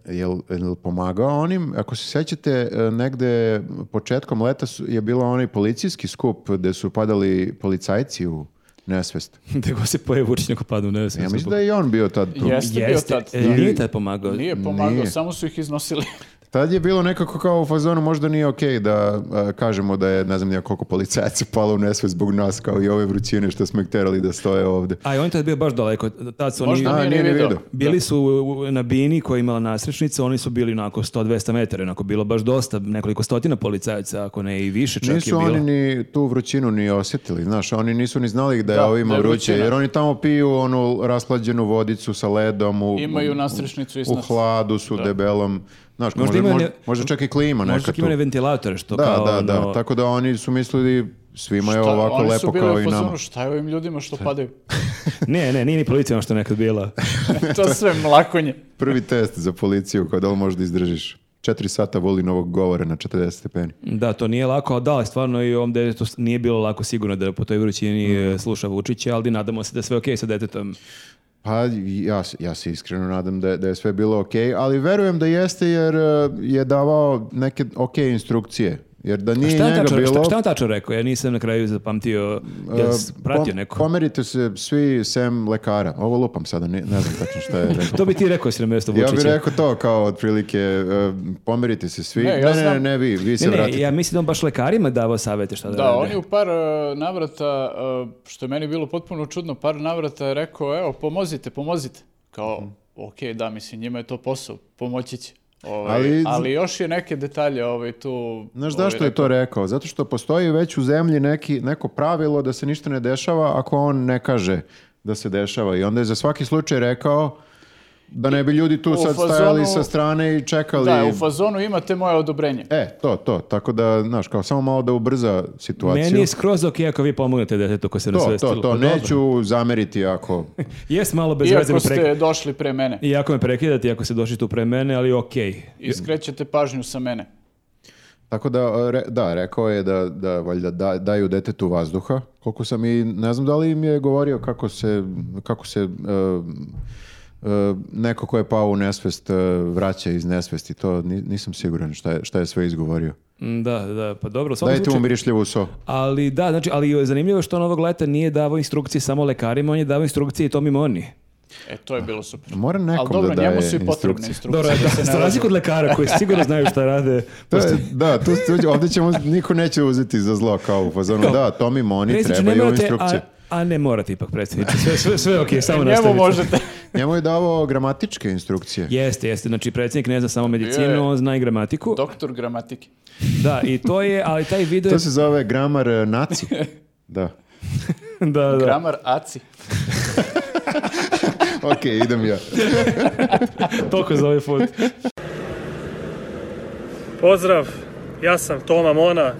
Speaker 2: e, jel, jel pomagao onim, ako se sjećate, e, negde početkom leta su- je bilo onaj policijski skup gde su padali policajci u nesvest.
Speaker 1: Da go se pojavi Vučić neko padne u nesvest.
Speaker 2: Ja mislim da je i on bio tad tu.
Speaker 3: Jeste bio
Speaker 1: Jeste,
Speaker 3: tad.
Speaker 1: e,
Speaker 3: Da.
Speaker 1: nije tad pomagao.
Speaker 3: Nije pomagao,
Speaker 2: Nije.
Speaker 3: samo su ih iznosili.
Speaker 2: Tad je bilo nekako kao u fazonu, možda nije okej da e, kažemo da je, ne znam nija koliko policajaca palo u nesvest zbog nas, kao i ove vrućine što smo ih terali da stoje ovde.
Speaker 1: A i on je tad bio baš daleko. Tad su oni...
Speaker 3: Možda
Speaker 2: A,
Speaker 3: nije, ni video.
Speaker 1: Bili su u- na Bini koja je imala nasrečnicu, oni su bili onako 100-200 metara, onako bilo baš dosta, nekoliko stotina policajaca, ako ne i više čak je
Speaker 2: Nisu
Speaker 1: bilo.
Speaker 2: oni ni tu vrućinu ni osjetili, znaš, oni nisu ni znali da je
Speaker 3: Da,
Speaker 2: ovima
Speaker 3: da je
Speaker 2: vruće,
Speaker 3: vrućina.
Speaker 2: jer oni tamo piju onu rashlađenu vodicu sa ledom, u,
Speaker 3: Imaju nastrešnicu
Speaker 2: u
Speaker 3: iznad.
Speaker 2: hladu su, debelom, znaš,
Speaker 1: Možda
Speaker 2: možda,
Speaker 1: imaju
Speaker 2: možda,
Speaker 1: ne-
Speaker 2: možda čak i klima
Speaker 1: Možda
Speaker 2: neka
Speaker 1: čak
Speaker 2: tu.
Speaker 1: imaju one ventilatore, što
Speaker 2: Da,
Speaker 1: kao...
Speaker 2: da, da,
Speaker 1: ono,
Speaker 2: tako da oni su mislili svima je
Speaker 3: Šta,
Speaker 2: ovako
Speaker 3: oni su
Speaker 2: lepo
Speaker 3: bili
Speaker 2: kao
Speaker 3: u
Speaker 2: i
Speaker 3: fazonu,
Speaker 2: nama.
Speaker 3: Šta je ovim ljudima što padaju?
Speaker 1: Ne, ne, nije ni policija ono što je nekad bila.
Speaker 3: to sve mlakonje.
Speaker 2: Prvi test za policiju, kao da li možda izdržiš. Četiri sata volinovog govora na 40 stepeni.
Speaker 1: Da, to nije lako, ali da, ali stvarno i ovom detetu s- nije bilo lako sigurno da po toj vrućini
Speaker 2: Mm.
Speaker 1: e, sluša Vučića, ali nadamo se da je sve okej sa detetom.
Speaker 2: Pa ja, se- ja se iskreno nadam da je, da je sve bilo ok, ali verujem da jeste jer eh, je davao neke ok instrukcije. Jer da
Speaker 1: A
Speaker 2: nije
Speaker 1: Šta je on
Speaker 2: njega
Speaker 1: tačno,
Speaker 2: bilo...
Speaker 1: šta, šta je on tačno rekao? Ja nisam na kraju zapamtio, ja
Speaker 2: eh,
Speaker 1: sam pratio
Speaker 2: pom-
Speaker 1: neko.
Speaker 2: Pomerite se svi sem lekara. Ovo lupam sada, ne, ne znam tačno šta je rekao.
Speaker 1: To bi ti rekao si na mjesto
Speaker 2: ja
Speaker 1: Vučića.
Speaker 2: bih rekao to kao otprilike eh, pomerite se svi.
Speaker 3: Ne,
Speaker 2: Ne,
Speaker 3: ja
Speaker 2: ne, ne,
Speaker 3: znam-
Speaker 2: ne, vi, vi se
Speaker 1: Ne, ne,
Speaker 2: vratite.
Speaker 1: ja mislim da on baš lekarima davao savete šta da,
Speaker 3: Da,
Speaker 1: rade.
Speaker 3: on je u par e, navrata, e, što je meni bilo potpuno čudno, par navrata je rekao, evo, pomozite, pomozite. Kao,
Speaker 2: Mhm.
Speaker 3: ok, da, mislim, njima je to posao, pomoći će. Ovaj,
Speaker 2: Ali-
Speaker 3: ali, još je neke detalje ovaj, tu...
Speaker 2: Znaš
Speaker 3: ovaj,
Speaker 2: zašto je to rekao? Zato što postoji već u zemlji neki, neko pravilo da se ništa ne dešava ako on ne kaže da se dešava. I onda je za svaki slučaj rekao Da ne bi ljudi tu
Speaker 3: U
Speaker 2: sad
Speaker 3: fazonu-
Speaker 2: stajali sa strane i čekali.
Speaker 3: Da, u fazonu imate moje odobrenje.
Speaker 2: E, to, to. Tako da, znaš, kao samo malo da ubrza situaciju.
Speaker 1: Meni je skroz ok ako vi pomognete detetu ko se
Speaker 2: To,
Speaker 1: nasvestilo. Pa
Speaker 2: to, to.
Speaker 1: dobro.
Speaker 2: Neću zameriti ako...
Speaker 1: Jes malo bez veze
Speaker 3: Iako
Speaker 1: me
Speaker 3: ste
Speaker 1: prekid-
Speaker 3: došli pre mene
Speaker 1: I ako me prekidate, iako se došli tu pre mene, ali ok.
Speaker 3: i skrećete pažnju sa mene.
Speaker 2: Tako da, e, re- da, rekao je da, da valjda da, daju detetu vazduha. Koliko sam i, ne znam da li im je govorio kako se, kako se e, e, neko ko je pao u nesvest e, vraća iz nesvesti. To ni- nisam siguran šta je, šta je sve izgovorio.
Speaker 1: Mm, Da, da, pa dobro. u svakom
Speaker 2: Dajte mu
Speaker 1: slučaju-
Speaker 2: mirišljivu so.
Speaker 1: Ali da, znači, ali zanimljivo je što on ovog leta nije davao instrukcije samo lekarima, on je davao instrukcije i Tomi Moni.
Speaker 3: E, to je bilo super.
Speaker 2: Mora
Speaker 3: Ali
Speaker 2: nekom
Speaker 3: dobro,
Speaker 2: da daje
Speaker 3: njemu su i potrebne
Speaker 2: instrukcije.
Speaker 3: instrukcije.
Speaker 1: Dobro,
Speaker 3: da se
Speaker 1: da,
Speaker 3: ne
Speaker 1: za razliku od lekara koji sigurno znaju šta rade.
Speaker 2: To
Speaker 1: pošto-
Speaker 2: je- da, tu, tu, ovdje ćemo, niko neće uzeti za zlo kao u fazonu. Da, Tomi Moni
Speaker 1: Predsjedniče, ne
Speaker 2: trebaju
Speaker 1: morate, a,
Speaker 2: instrukcije.
Speaker 1: a ne morate ipak, predsjedniče. Sve, sve, sve ok, samo
Speaker 3: razumije. E, Njemu
Speaker 1: nastavite.
Speaker 3: možete.
Speaker 2: Njemu je davao gramatičke instrukcije.
Speaker 1: Jeste, jeste. Znači, predsjednik ne zna samo
Speaker 3: Je.
Speaker 1: medicinu, on zna i gramatiku.
Speaker 3: Doktor gramatike.
Speaker 1: Da, i to je, ali taj video...
Speaker 2: To se zove gramar e, naci. Da.
Speaker 1: da, da.
Speaker 3: Gramar Aci.
Speaker 2: Ok, idem ja.
Speaker 1: Toliko za ovaj put.
Speaker 5: Pozdrav, ja sam Toma Mona,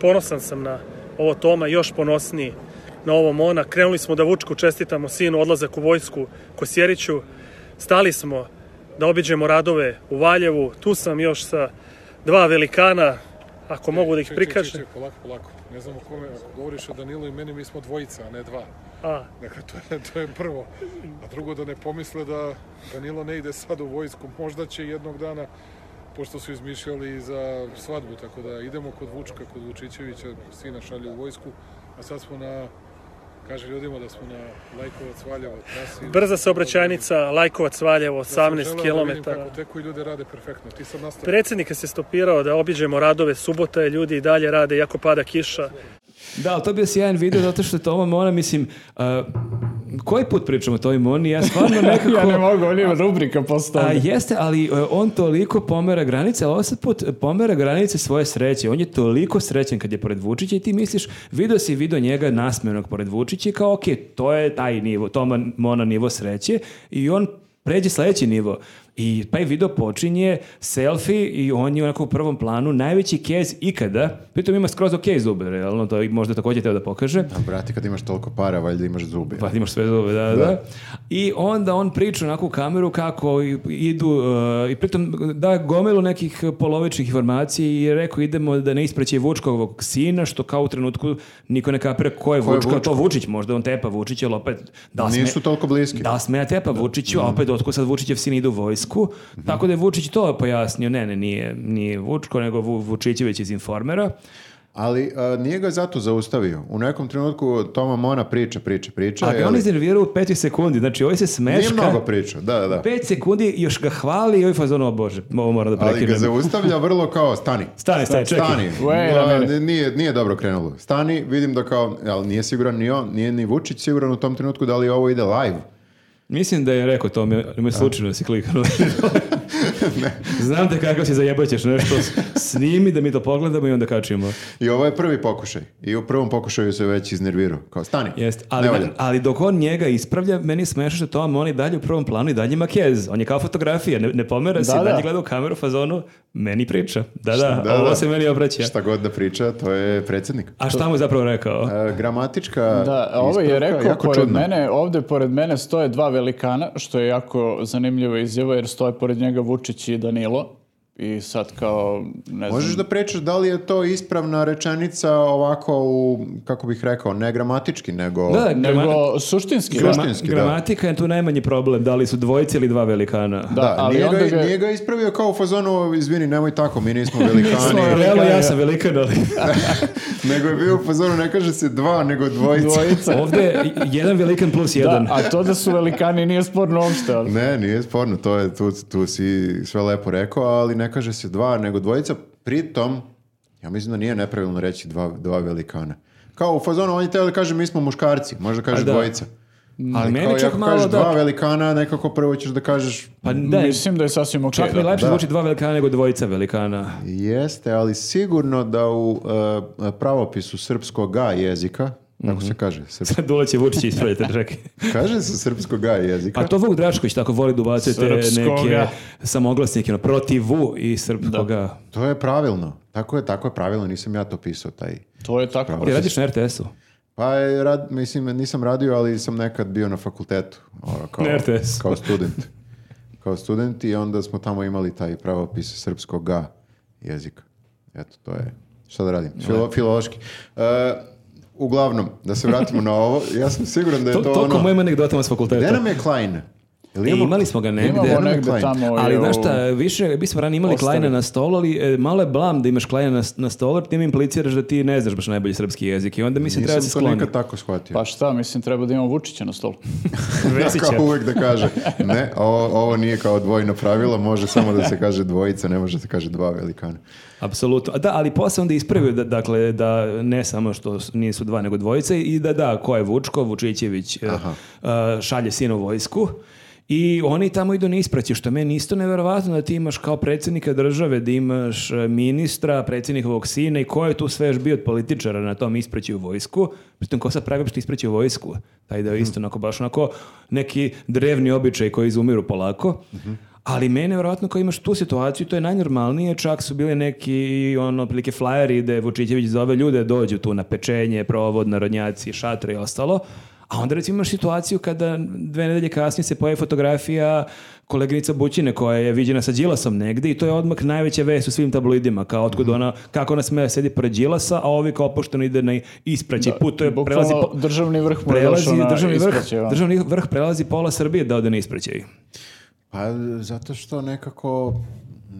Speaker 5: ponosan sam na ovo Toma, još ponosniji na ovo Mona. Krenuli smo da Vučku čestitamo sinu odlazak u vojsku Kosjeriću. Stali smo da obiđemo radove u Valjevu. Tu sam još sa dva velikana, ako mogu da ih
Speaker 4: Čekaj, čekaj,
Speaker 5: prikažem.
Speaker 4: čekaj, polako, polako. Ne znam o kome, ako govoriš o Danilu i meni, mi smo dvojica, a ne dva.
Speaker 5: A,
Speaker 4: Dakle, to je, to je prvo. A drugo, da ne pomisle da Danilo ne ide sad u vojsku. Možda će jednog dana, pošto su izmišljali i za svadbu, tako da idemo kod Vučka, kod Vučićevića, sina šalje u vojsku, a sad smo na, kaže ljudima da smo na Lajkovac, Valjevo, trasi.
Speaker 5: brza saobraćajnica Lajkovac Valjevo,
Speaker 4: Ja sam
Speaker 5: 18
Speaker 4: želeo da vidim
Speaker 5: km.
Speaker 4: Kako teku i ljude rade perfektno. Ti sad nastavi.
Speaker 5: Predsjednik se stopirao da obiđemo radove, subota je, ljudi i dalje rade, jako pada kiša.
Speaker 1: Da, ali to je bio sjajan video zato što je Toma Mona, mislim... a, koji put pričamo o Tomi Moni? Ja stvarno nekako...
Speaker 3: Ja ne mogu, on ima rubrika postao.
Speaker 1: A jeste, ali e, on toliko pomera granice, ali ovaj sad put pomera granice svoje sreće. On je toliko srećen kad je pored Vučića i ti misliš, video si video njega nasmenog pored Vučića i kao, ok, to je taj nivo, Toma Mona nivo sreće i on pređe sledeći nivo. I taj video počinje selfie i on je onako u prvom planu najveći kez ikada. Pritom ima skroz ok zube, realno, to je možda također teo da pokaže.
Speaker 2: A brate, kad imaš toliko para, valjda imaš zubi.
Speaker 1: Pa imaš sve zove, da, da, da. I onda on priča onako u kameru kako i- idu, uh, i pritom da gomilu nekih polovičnih informacija i rekao idemo da ne ispreće Vučkovog sina, što kao u trenutku niko ne kapira ko je
Speaker 2: je
Speaker 1: Vučko,
Speaker 2: Vučko?
Speaker 1: to Vučić možda, on tepa Vučić, ali opet da sme-
Speaker 2: Nisu toliko bliski. Mhm.
Speaker 1: Da, smeja tepa Vučiću, a opet otko sad Vučićev sin ide u vojsku, tako da je Vučić to pojasnio, ne, ne, nije, nije Vučko, nego Vu- Vučićević iz Informera.
Speaker 2: Ali a, nije ga zato zaustavio. U nekom trenutku Toma Mona priča, priča, priča.
Speaker 1: A ga je on
Speaker 2: ali-
Speaker 1: iznervirao u peti sekundi, znači ovaj se smeška.
Speaker 2: Nije mnogo priča, da, da, da.
Speaker 1: 5 sekundi još ga hvali i ovaj fazon, o bože, ovo moram da
Speaker 2: Ali ga
Speaker 1: prekinem.
Speaker 2: zaustavlja vrlo kao stani.
Speaker 1: Stani, stani, čekaj.
Speaker 2: Stani.
Speaker 3: Wait a
Speaker 2: A,
Speaker 3: minute.
Speaker 2: nije, nije dobro krenulo. Stani, vidim da kao, ali nije siguran ni on, nije ni Vučić siguran u tom trenutku da li ovo ide live.
Speaker 1: Mislim da je rekao to, me, me slučajno da si kliknuo. Znam te kakav si zajebaćeš nešto, s- snimi da mi to pogledamo i onda kačimo.
Speaker 2: I ovo je prvi pokušaj. I u prvom pokušaju se već iznervirao. Kao, stani,
Speaker 1: Jest,
Speaker 2: ne
Speaker 1: ali,
Speaker 2: valja.
Speaker 1: ali dok on njega ispravlja, meni je smešno što Tom on i dalje u prvom planu i dalje ima kez. On je kao fotografija, ne, ne pomera se,
Speaker 3: Da, da.
Speaker 1: dalje gleda u kameru u fazonu, meni priča. Da, da,
Speaker 2: Da,
Speaker 1: ovo
Speaker 2: da.
Speaker 1: se meni obraća.
Speaker 2: Šta god da priča, to je predsjednik.
Speaker 1: A šta mu je zapravo rekao?
Speaker 2: E, gramatička
Speaker 3: Da, ovo je
Speaker 2: ispravka
Speaker 3: rekao,
Speaker 2: jako
Speaker 3: pored
Speaker 2: čudna.
Speaker 3: mene, ovdje pored mene stoje dva velikana, što je jako zanimljiva izjava, jer stoje pored njega Vučić i Danilo. I sad kao, ne znam,
Speaker 2: Možeš da pričaš da li je to ispravna rečenica ovako u, kako bih rekao, ne gramatički, nego...
Speaker 1: da, grama-
Speaker 3: nego suštinski.
Speaker 2: Gra-
Speaker 3: da.
Speaker 2: suštinski, da.
Speaker 1: gramatika je tu najmanji problem, da li su dvojice ili dva velikana.
Speaker 2: Da,
Speaker 3: Da, ali
Speaker 2: nije,
Speaker 3: onda
Speaker 2: ga,
Speaker 3: ga-
Speaker 2: nije ga ispravio kao u fazonu, izvini, nemoj tako, mi nismo velikani.
Speaker 3: Nismo.
Speaker 1: Realno ja
Speaker 3: Velikan,
Speaker 1: sam velikan, ali
Speaker 2: nego je bio u fazonu, ne kaže se dva, nego dvojica.
Speaker 3: Dvojica.
Speaker 1: ovde jedan velikan plus jedan.
Speaker 3: Da, a to da su velikani nije sporno uopšte, ali...
Speaker 2: Ne, nije sporno, to je, tu, tu si sve lepo rekao, ali ne kaže se dva, nego dvojica. Pritom, ja mislim da nije nepravilno reći dva, dva velikana. Kao u fazonu, on je teo da kaže mi smo muškarci, možda kaže
Speaker 1: A da.
Speaker 2: dvojica.
Speaker 1: ali
Speaker 2: Kao
Speaker 1: meni
Speaker 2: i
Speaker 1: čak
Speaker 2: ako
Speaker 1: malo
Speaker 2: kažeš dva
Speaker 1: da...
Speaker 2: velikana, nekako prvo ćeš da kažeš
Speaker 1: Pa da,
Speaker 3: Mislim da je sasvim okej.
Speaker 1: čak mi
Speaker 3: da.
Speaker 1: lepše
Speaker 2: Da.
Speaker 1: zvuči dva velikana nego dvojica velikana.
Speaker 2: Jeste, ali sigurno da u e, pravopisu srpskog jezika Tako
Speaker 1: Mhm.
Speaker 2: se kaže. Srp...
Speaker 1: Sad Dule će Vučić ispraviti, čekaj.
Speaker 2: Kaže se srpskog A jezika.
Speaker 1: A to Vuk Drašković tako voli da ubacuje te neke
Speaker 3: Srpskoga.
Speaker 1: samoglasnike, ono, protivu i srpskoga.
Speaker 2: To je pravilno. Tako je, tako je pravilno, nisam ja to pisao taj.
Speaker 3: To je tako.
Speaker 1: Ti radiš na RTS-u?
Speaker 2: Pa je rad, mislim, nisam radio, ali sam nekad bio na fakultetu. Ono, kao,
Speaker 1: Na RTS.
Speaker 2: Kao student. Kao student i onda smo tamo imali taj pravopis srpskog G jezika. Eto, to je. Šta da radim? Filo, filološki. E, uglavnom, da se vratimo na ovo, ja sam siguran da je
Speaker 1: To,
Speaker 2: to,
Speaker 1: to
Speaker 2: ono...
Speaker 1: mojim mojim anegdotama s fakulteta.
Speaker 2: Gde nam je Klein? Jel
Speaker 1: E,
Speaker 2: imamo-
Speaker 1: imali smo ga negde.
Speaker 3: Imamo
Speaker 2: Klein.
Speaker 3: negde tamo.
Speaker 1: Ali
Speaker 3: je,
Speaker 1: znaš
Speaker 3: u-
Speaker 1: šta, više, mi smo ranije imali
Speaker 3: Ostavi.
Speaker 1: Kleina na stolu, ali e, malo je blam da imaš Kleina na, na stolu, jer ti mi impliciraš da ti ne znaš baš najbolji srpski jezik i onda mi se treba da se
Speaker 2: Nisam to
Speaker 1: skloni.
Speaker 2: nikad tako shvatio.
Speaker 3: Pa šta, mislim, treba da imamo Vučića na stolu.
Speaker 1: Vesića.
Speaker 2: Kao uvek da kaže, ne, ovo, ovo nije kao dvojno pravilo, može samo da se kaže dvojica, ne može da se kaže dva velikana.
Speaker 1: Apsolutno. A Da, ali posle onda ispravio da, dakle, da ne samo što s- nisu dva nego dvojice i da da, ko je Vučko, Vučićević e, e, šalje sinu vojsku i oni tamo idu na ispraće, što je meni isto neverovatno da ti imaš kao predsjednika države, da imaš e, ministra, predsjednikovog sina i ko je tu sve još bio od političara na tom ispraću u vojsku. Pritom, ko sad pravi uopšte ispraće u vojsku? Taj deo isto, onako, baš onako neki drevni običaj koji izumiru polako. Ali mene, vjerojatno, kao imaš tu situaciju, to je najnormalnije, čak su bili neki, ono, otprilike flajeri da je Vučićević zove ljude, dođu tu na pečenje, provod, narodnjaci, šatre i ostalo. A onda recimo imaš situaciju kada dve nedelje kasnije se pojavi fotografija koleginica Bućine koja je viđena sa Đilasom negdje i to je odmah najveća vest u svim tabloidima, kao otkud
Speaker 3: Mhm.
Speaker 1: ona, kako ona sme da sedi pored Đilasa, a ovi kao opušteno ide na ispraći, putuje, prelazi,
Speaker 3: Bukvalno
Speaker 1: po-
Speaker 3: državni vrh mu je
Speaker 1: prelazi
Speaker 3: došao na
Speaker 1: državni, vrh,
Speaker 3: ispraćaj, ono.
Speaker 1: državni vrh prelazi pola Srbije da ode na ispraćaj.
Speaker 2: Pa zato što nekako,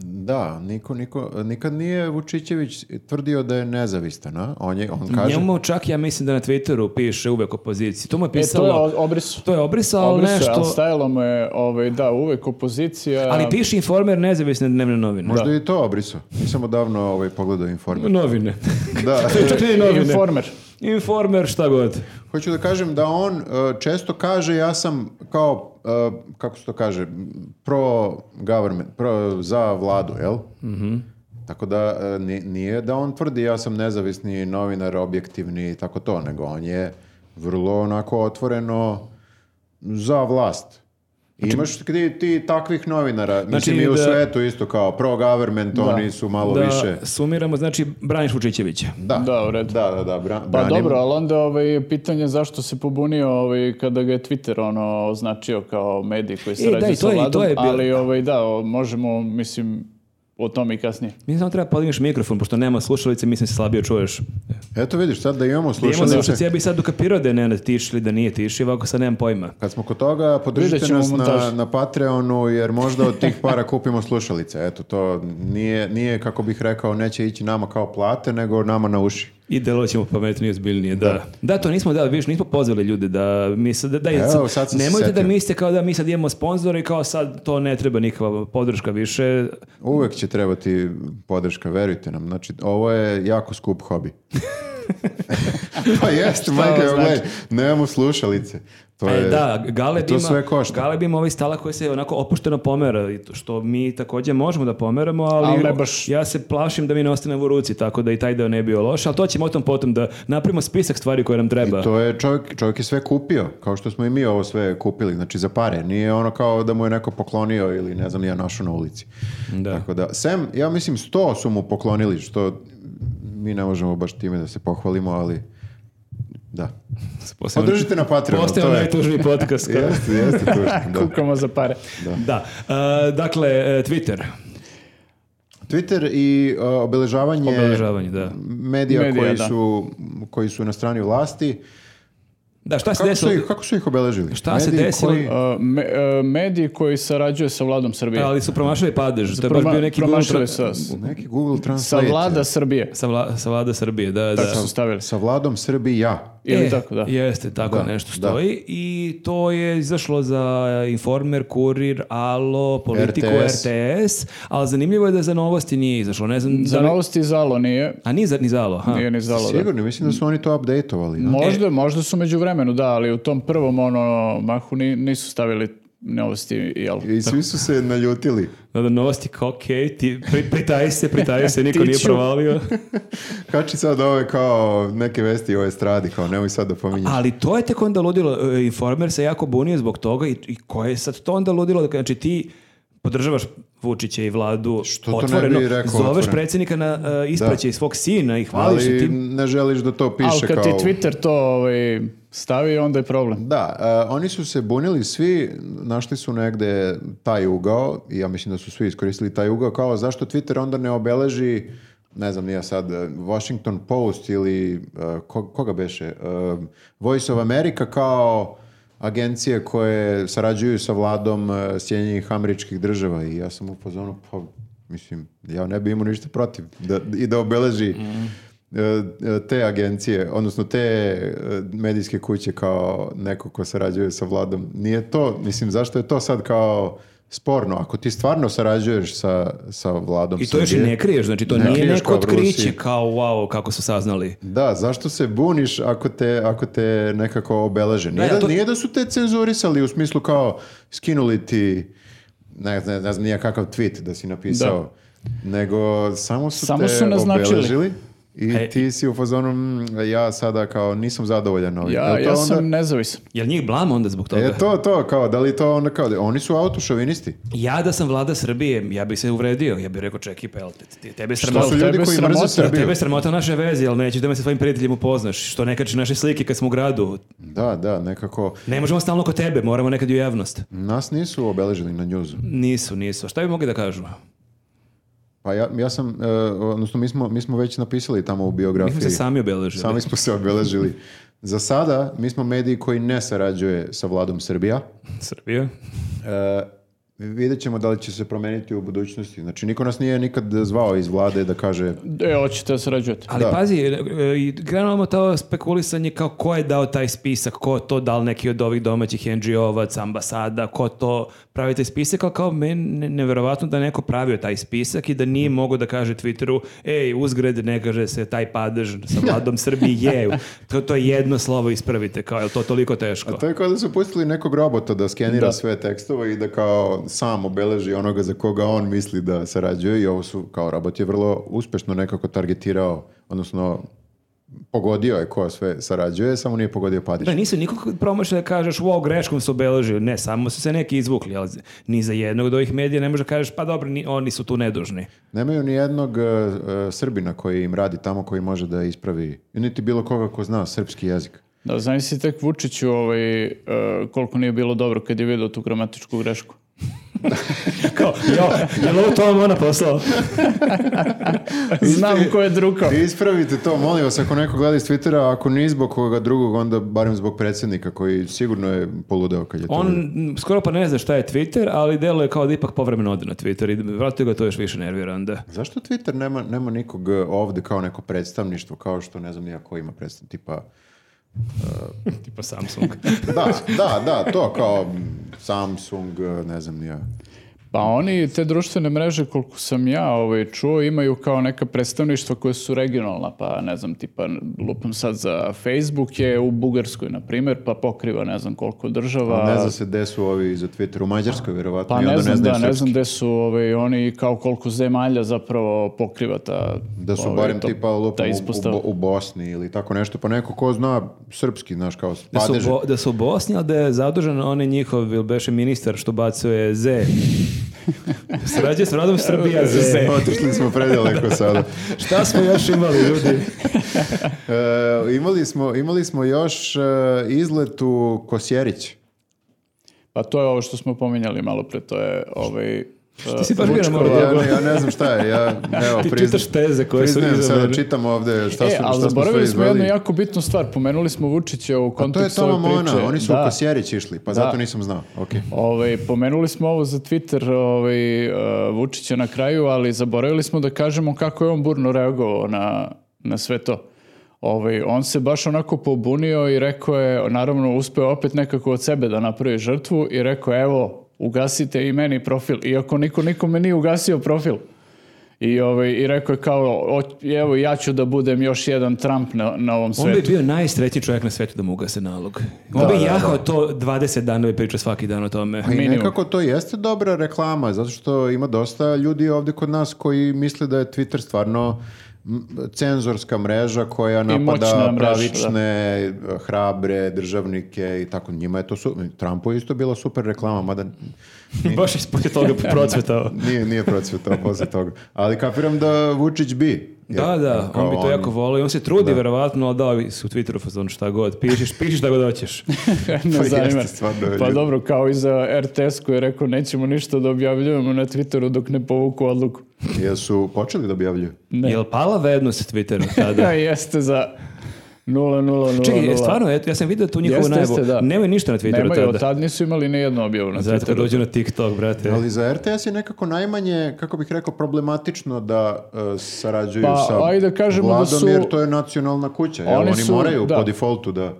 Speaker 2: da, niko, niko, nikad nije Vučićević tvrdio da je nezavistan, a? On, je, on kaže,
Speaker 1: Njemu čak, ja mislim da na Twitteru piše uvek opoziciji. To mu je
Speaker 3: E, to je
Speaker 1: pisalo...
Speaker 3: o- obris.
Speaker 1: to je obrisao,
Speaker 3: Obris,
Speaker 1: nešto...
Speaker 3: ali stajalo mu je, ovaj, da, uvek opozicija.
Speaker 1: Ali piše informer nezavisne dnevne novine.
Speaker 2: možda je i to obriso. Nisam odavno ovaj, pogledao informer.
Speaker 1: Novine.
Speaker 2: Da,
Speaker 1: Čak ne i novine.
Speaker 3: Informer.
Speaker 1: Informer, šta god.
Speaker 2: hoću da kažem da on e, često kaže ja sam kao, e, kako se to kaže, pro government, pro, za vladu, jel? Tako da e, ni- nije da on tvrdi ja sam nezavisni novinar, objektivni i tako to, nego on je vrlo onako otvoreno za vlast. Imaš gdje ti takvih novinara, mislim i u
Speaker 1: da-
Speaker 2: svetu isto kao pro government, oni su malo
Speaker 1: da
Speaker 2: više.
Speaker 1: sumiramo, znači, Braniš Vučićevića.
Speaker 2: Da,
Speaker 3: Da, u redu.
Speaker 2: da, da, da, bra-
Speaker 3: Pa
Speaker 2: branim.
Speaker 3: dobro, ali onda ovaj, pitanje zašto se pobunio ovaj, kada ga je Twitter ono, označio kao medij koji
Speaker 1: E,
Speaker 3: se
Speaker 1: da,
Speaker 3: rađe
Speaker 1: i
Speaker 3: sa
Speaker 1: to je- i
Speaker 3: vladom,
Speaker 1: to je bilo-
Speaker 3: ali ovaj, da, o, možemo, mislim, o tome i kasnije.
Speaker 1: Mi samo treba podigneš mikrofon, pošto nema slušalice, mislim se slabije čuješ.
Speaker 2: Eto vidiš, sad da imamo
Speaker 1: Da imamo
Speaker 2: slušalice.
Speaker 1: slušalice, ja bih sad dokapirao da je Nenad tiš ili da nije tiš, i ovako sad nemam pojma.
Speaker 2: Kad smo kod toga,
Speaker 3: Vidjet
Speaker 2: podržite
Speaker 3: ćemo
Speaker 2: nas na,
Speaker 3: montažu.
Speaker 2: na Patreonu, jer možda od tih para kupimo slušalice. Eto, to nije, nije, kako bih rekao, neće ići nama kao plate, nego nama na uši.
Speaker 1: I delo ćemo pametnije, ozbiljnije, da. da. to nismo, da, vidiš, nismo pozvali ljude da mi sad, da, da
Speaker 2: Evo, sad sam se
Speaker 1: nemojte da
Speaker 2: setio.
Speaker 1: mislite kao da mi sad imamo sponzore i kao sad to ne treba nikakva podrška više.
Speaker 2: Uvek će trebati podrška, verujte nam. Znači, ovo je jako skup hobi. pa jeste, majke,
Speaker 3: ovo znači?
Speaker 2: evo, gledaj, nemamo slušalice. To
Speaker 1: E,
Speaker 2: je,
Speaker 1: da, Galeb
Speaker 2: to
Speaker 1: ima,
Speaker 2: sve košta.
Speaker 1: Galeb ima ovaj stala koji se onako opušteno pomera, i to- što mi također možemo da pomeramo, ali,
Speaker 3: Ali ne baš.
Speaker 1: ja se plašim da mi ne ostane u ruci, tako da i taj deo ne bi bio loš, ali to ćemo o tom potom da napravimo spisak stvari koje nam treba.
Speaker 2: To je čovjek, čovjek je sve kupio, kao što smo i mi ovo sve kupili, znači za pare. Nije ono kao da mu je neko poklonio ili ne znam, ja našao na ulici.
Speaker 1: Da.
Speaker 2: Tako da, sem, ja mislim, sto su mu poklonili, što mi ne možemo baš time da se pohvalimo, ali da.
Speaker 1: Posebno-
Speaker 2: Podržite na Patreonu,
Speaker 1: Postao
Speaker 2: Pa to je.
Speaker 1: najtužniji podcast. kao-
Speaker 2: Jeste, jeste, tužno, da.
Speaker 3: Kukamo za pare.
Speaker 1: Da. E, dakle, e, Twitter.
Speaker 2: Twitter i uh, obeležavanje,
Speaker 1: Obeležavanje, da.
Speaker 2: medija,
Speaker 3: Medija,
Speaker 2: koji,
Speaker 3: da.
Speaker 2: su, koji su na strani vlasti.
Speaker 1: Da, šta se
Speaker 2: Kako su
Speaker 1: desilo?
Speaker 2: ih, kako su ih obeležili?
Speaker 1: Šta se desilo?
Speaker 3: Uh, me, e, medij koji sarađuje sa vladom Srbije.
Speaker 1: E, Ali su promašali padež. To je baš
Speaker 3: Proma-
Speaker 1: bio neki Google
Speaker 3: promašili
Speaker 1: tra-
Speaker 3: sa, s-
Speaker 2: Neki Google
Speaker 3: sa
Speaker 2: Translate.
Speaker 3: vlada Srbije.
Speaker 1: sa, vla- sa vlada Srbije, da, da.
Speaker 3: Tako su stavili.
Speaker 2: Sa vladom Srbija.
Speaker 3: Ili
Speaker 1: E,
Speaker 3: tako, da.
Speaker 1: Jeste, tako
Speaker 2: Da,
Speaker 1: nešto
Speaker 2: da.
Speaker 1: stoji. I to je izašlo za Informer, Kurir, Alo, Politiku, RTS,
Speaker 2: RTS.
Speaker 1: ali zanimljivo je da za novosti nije izašlo. Ne znam,
Speaker 3: Za
Speaker 1: da li-
Speaker 3: novosti zalo nije.
Speaker 1: A E- ni za, ni za Alo, ha?
Speaker 3: Nije ni zalo, da.
Speaker 2: Sigurno, mislim da su oni to updateovali. Da?
Speaker 3: Možda, možda su među vremenu, da, ali u tom prvom ono, mahu ni- nisu stavili novosti, jel?
Speaker 2: I svi su se naljutili.
Speaker 1: Da, da, novosti kao, okej, ti pri, pritaji se, pritaji se, niko nije
Speaker 3: Tiču.
Speaker 1: provalio.
Speaker 2: Kači sad ove kao neke vesti o estradi, kao nemoj sad da pominješ.
Speaker 1: Ali to je tek onda ludilo. E, Informer se jako bunio zbog toga i, i koje je sad to onda ludilo? Dakle, Znači ti podržavaš Vučića i vladu
Speaker 2: Što to ne
Speaker 1: otvoreno,
Speaker 2: bi rekao
Speaker 1: zoveš
Speaker 2: otvoreno?
Speaker 1: predsjednika na e, ispraćaj svog sina i hvališ se
Speaker 2: Ali
Speaker 1: tim.
Speaker 2: ne želiš da to piše
Speaker 3: Ali kad
Speaker 2: kao...
Speaker 3: ti Twitter to ovaj, stavi, onda je problem.
Speaker 2: Da, e, oni su se bunili svi, našli su negde taj ugao, i ja mislim da su svi iskoristili taj ugao, kao zašto Twitter onda ne obeleži, ne znam, nije sad, e, Washington Post ili, e, ko- koga beše, E, Voice of America kao agencije koje sarađuju sa vladom e, Sjedinjenih američkih država i ja sam u fazonu, pa mislim, ja ne bi imao ništa protiv da, i da obeleži e, te agencije, odnosno te e, medijske kuće kao neko ko sarađuje sa vladom. Nije to, mislim, zašto je to sad kao sporno? Ako ti stvarno sarađuješ sa, sa vladom
Speaker 1: I to još i
Speaker 2: Srbije-
Speaker 1: ne kriješ, znači to
Speaker 2: Ne
Speaker 1: nije
Speaker 2: kriješ
Speaker 1: neko
Speaker 2: kao Bruce
Speaker 1: otkriće
Speaker 2: Lee.
Speaker 1: kao wow kako su saznali.
Speaker 2: Da, zašto se buniš ako te, ako te nekako obeleže? Nije,
Speaker 1: Da,
Speaker 2: da,
Speaker 1: ja to-
Speaker 2: nije da su te cenzurisali u smislu kao skinuli ti ne, ne, ne znam nije kakav tweet da si napisao, nego samo su
Speaker 3: Samo
Speaker 2: te
Speaker 3: su naznačili.
Speaker 2: obeležili i
Speaker 1: E.
Speaker 2: ti si u fazonu "Mm, ja sada kao nisam zadovoljan ovim.
Speaker 3: Ja,
Speaker 2: Jel to
Speaker 3: ja sam
Speaker 2: onda-
Speaker 3: nezavisan.
Speaker 1: Jel njih blam onda zbog toga?
Speaker 2: E to, to, kao, da li to onda kao, oni su autošovinisti.
Speaker 1: Ja da sam vlada Srbije, ja bi se uvredio. Ja bih rekao, čekaj, pa jel te, te- tebe je
Speaker 2: To
Speaker 1: sramota.
Speaker 2: su
Speaker 3: tebe
Speaker 2: ljudi koji mrze
Speaker 3: sramota,
Speaker 2: Srbiju.
Speaker 1: Tebe je sramota naše veze, jel nećeš da me sa svojim prijateljem upoznaš? Što ne kačeš naše slike kad smo u gradu?
Speaker 2: Da, da, nekako.
Speaker 1: Ne možemo stalno kod tebe, moramo nekad i u javnost.
Speaker 2: Nas nisu obeležili na njuzu.
Speaker 1: Nisu, nisu. Šta bi mogli da kažu?
Speaker 2: Pa ja, ja sam, e, odnosno mi smo, mi smo već napisali tamo u
Speaker 1: Mi
Speaker 2: biografiji.
Speaker 1: smo se sami obeležili.
Speaker 2: Sami smo se obeležili. Za sada mi smo mediji koji ne sarađuje sa vladom Srbija.
Speaker 1: Srbija.
Speaker 2: E, vidjet ćemo da li će se promeniti u budućnosti. Znači, niko nas nije nikad zvao iz vlade da kaže
Speaker 3: E, hoćete da sarađujete.
Speaker 1: Ali
Speaker 2: Da.
Speaker 1: pazi, e, i granulamo to spekulisanje kao ko je dao taj spisak, ko to da li neki od ovih domaćih NGO-vaca, ambasada, ko to pravi taj spisak, ali kao meni je neverovatno da je neko pravio taj spisak i da nije mogao da kaže Twitteru, ej, uzgred, ne kaže se taj padež sa vladom Srbije, je. To, to je jedno slovo ispravite, kao je li to toliko teško?
Speaker 2: To je kao da su pustili nekog robota da skenira sve tekstove i da kao sam obeleži onoga za koga on misli da sarađuje i ovo su, kao robot je vrlo uspešno nekako targetirao, odnosno pogodio je ko sve sarađuje, samo nije pogodio Padiš.
Speaker 1: Da, nisu nikog promašili da kažeš, wow, greškom su obeležili. Ne, samo su se neki izvukli, ali ni za jednog od ovih medija ne može da kažeš, pa dobro, ni, oni su tu nedužni.
Speaker 2: Nemaju ni jednog e, e, Srbina koji im radi tamo koji može da ispravi, niti bilo koga ko zna srpski jezik.
Speaker 3: Da, znam si tek Vučiću ovaj, e, koliko nije bilo dobro kad je vidio tu gramatičku grešku.
Speaker 1: Kao, jo, jel ovo to vam ona poslao?
Speaker 3: Znam ko je drukao.
Speaker 2: Ispravite to, molim vas, ako neko gleda iz Twittera, ako ni zbog koga drugog, onda barem zbog predsjednika koji sigurno je poludeo kad je to
Speaker 1: On
Speaker 2: vidio.
Speaker 1: m, skoro pa ne zna šta je Twitter, ali deluje kao da ipak povremeno ode na Twitter i vratio ga to još više nervira onda.
Speaker 2: Zašto Twitter nema, nema nikog e, ovde kao neko predstavništvo, kao što ne znam nijako ima predstavništvo, tipa...
Speaker 1: Tipa Samsung.
Speaker 2: Da, da, da, to kao mm, Samsung, e, ne znam nija.
Speaker 3: Pa oni te društvene mreže, koliko sam ja ovaj, čuo, imaju kao neka predstavništva koja su regionalna, pa ne znam, tipa lupam sad za Facebook je u Bugarskoj, na primjer, pa pokriva ne znam koliko država.
Speaker 2: Ne zna se gde su ovi za Twitter, u Mađarskoj vjerovatno,
Speaker 3: Pa
Speaker 2: i onda
Speaker 3: ne znam,
Speaker 2: znaju
Speaker 3: da, ne
Speaker 2: srpski.
Speaker 3: znam gde su ovaj, oni i kao koliko zemalja zapravo pokriva ta...
Speaker 2: Da su
Speaker 1: Pa,
Speaker 3: ovaj,
Speaker 2: barem
Speaker 3: to-
Speaker 2: tipa ono, lupom
Speaker 3: ta
Speaker 2: u-
Speaker 3: ispostava.
Speaker 2: u, Bo- u Bosni ili tako nešto, pa neko ko zna srpski, znaš, kao
Speaker 1: Da su,
Speaker 2: padeže.
Speaker 1: bo, da su u Bosni, ali da je zadužen onaj njihov, ili beše ministar što bacuje Z. Srađuje s vladom Srbija Z.
Speaker 2: Otišli smo predaleko sada.
Speaker 1: Šta smo još imali, ljudi?
Speaker 2: E, imali, smo, imali smo još e, izlet u Kosjerić.
Speaker 3: Pa to je ovo što smo pominjali malo pre, to je ovaj...
Speaker 1: Ti si baš bio na moru
Speaker 2: Vučkova,
Speaker 1: Dijago.
Speaker 2: ja, ja ne znam šta je, ja evo,
Speaker 1: Ti
Speaker 2: prizna-
Speaker 1: čitaš teze koje su
Speaker 2: priznajem
Speaker 1: izabrane.
Speaker 2: sada, čitam ovde šta,
Speaker 3: E,
Speaker 2: su, šta
Speaker 3: ali
Speaker 2: smo sve
Speaker 3: zaboravili smo jednu
Speaker 2: izveli.
Speaker 3: jako bitnu stvar, pomenuli smo Vučića u
Speaker 2: Pa to je
Speaker 3: kontekstu
Speaker 2: Toma
Speaker 3: ove priče.
Speaker 2: Mona, oni su u
Speaker 3: Da.
Speaker 2: Kosjerić išli, pa zato nisam znao. Okay.
Speaker 3: Ovaj, pomenuli smo ovo za Twitter ovaj, e, Vučića na kraju, ali zaboravili smo da kažemo kako je on burno reagovao na, na sve to. Ovaj, on se baš onako pobunio i rekao je, naravno uspeo opet nekako od sebe da napravi žrtvu i rekao evo, ugasite i meni profil, iako niko nikome nije ugasio profil. I, ovaj, I rekao je kao, "O, evo ja ću da budem još jedan Trump na, na ovom
Speaker 1: On bi
Speaker 3: svetu.
Speaker 1: bio najsrećniji čovjek na svetu da mu ugase nalog. On bi jahao to 20 dana i pričao svaki dan o tome.
Speaker 2: Pa i
Speaker 3: Minimum.
Speaker 2: nekako to jeste dobra reklama, zato što ima dosta ljudi ovdje kod nas koji misle da je Twitter stvarno m, cenzorska mreža koja
Speaker 3: moćna
Speaker 2: napada
Speaker 3: mreža,
Speaker 2: pravične, hrabre državnike i tako. Njima je to su... Trumpu je isto bila super reklama, mada
Speaker 1: Baš je poslije toga procvetao.
Speaker 2: nije, nije procvjetao posle toga. Ali kapiram da Vučić bi.
Speaker 1: Da,
Speaker 2: Jer,
Speaker 1: da,
Speaker 2: kao
Speaker 1: on bi to jako volio. On se trudi, verovatno, ali dao su u Twitteru fazon šta god. Pišiš, pišiš da god hoćeš.
Speaker 3: Ne
Speaker 2: Pa jeste,
Speaker 3: zanima.
Speaker 2: stvarno je
Speaker 3: Pa
Speaker 2: ljud-
Speaker 3: dobro, kao i za RTS koji je rekao nećemo ništa da objavljujemo na Twitteru dok ne povuku odluku.
Speaker 2: Jesu počeli da objavljuju?
Speaker 3: Ne.
Speaker 1: Jel pala vrednost Twittera tada?
Speaker 3: Da, jeste za 0,000.
Speaker 1: Čekaj, stvarno, eto, ja sam vidio tu njihovu
Speaker 3: Jeste,
Speaker 1: najavu.
Speaker 3: jeste, da.
Speaker 1: Nemaju ništa na Twitteru
Speaker 3: Nemaju, od
Speaker 1: tada.
Speaker 3: tad nisu imali ni jednu objavu na
Speaker 1: Zato kad
Speaker 3: Twitteru.
Speaker 1: dođu na TikTok, brate.
Speaker 3: E.
Speaker 2: Ali za RTS je nekako najmanje, kako bih rekao, problematično da e, sarađuju
Speaker 3: Pa,
Speaker 2: sa
Speaker 3: ajde kažemo da
Speaker 2: vladom,
Speaker 3: su-
Speaker 2: jer to je nacionalna kuća. jel?
Speaker 3: Oni
Speaker 2: Oni,
Speaker 3: su-
Speaker 2: moraju
Speaker 3: da.
Speaker 2: po defaultu da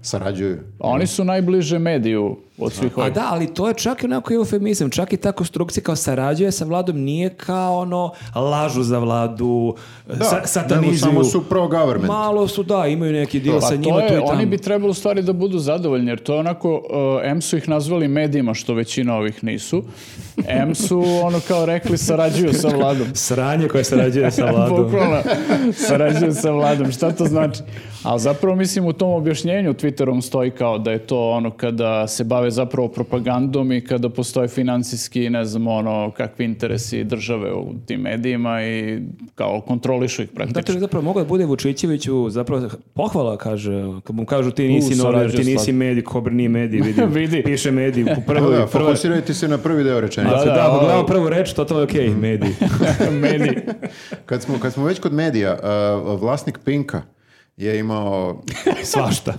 Speaker 2: sarađuju.
Speaker 3: Oni su najbliže mediju od svih
Speaker 1: A
Speaker 3: ovih.
Speaker 1: da, ali to je čak i onako eufemizam, čak i ta konstrukcija kao sarađuje sa vladom nije kao ono lažu za vladu, sa, satanizuju.
Speaker 2: nego samo su pro-government.
Speaker 1: Malo su, da, imaju neki dio
Speaker 2: Pa
Speaker 1: sa
Speaker 3: To
Speaker 1: njima
Speaker 3: je-
Speaker 1: tu i tamo.
Speaker 3: oni bi trebali u stvari da budu zadovoljni, jer to je onako, uh, em su ih nazvali medijima, što većina ovih nisu, em su ono kao rekli sarađuju sa vladom.
Speaker 1: Sranje koje sarađuje sa vladom.
Speaker 3: Bukvalno, sarađuju sa vladom, šta to znači? Ali zapravo mislim u tom objašnjenju Twitterom stoji kao da je to ono kada se bave zapravo propagandom i kada postoje financijski, ne znam, ono, kakvi interesi države u tim medijima i kao kontrolišu ih praktično.
Speaker 2: Dakle,
Speaker 1: Zato je zapravo mogao da bude Vučićeviću zapravo pohvala, kaže, kad mu kažu ti
Speaker 3: U,
Speaker 1: nisi novinar, ti
Speaker 3: sarađuje s
Speaker 1: nisi medij, kobr nije medij, vidi,
Speaker 3: Vidi.
Speaker 1: piše medij, u
Speaker 2: Da,
Speaker 1: prvoj,
Speaker 2: da,
Speaker 1: prvoj,
Speaker 2: fokusirajte se na prvi deo rečenice.
Speaker 1: da,
Speaker 3: Da, da, Mm.
Speaker 1: ako
Speaker 3: ovo-
Speaker 1: gledamo prvu reč, to to je okej, medij.
Speaker 3: Mediji.
Speaker 2: Kad smo, kad smo već kod medija, e, vlasnik Pinka je imao
Speaker 1: Svašta.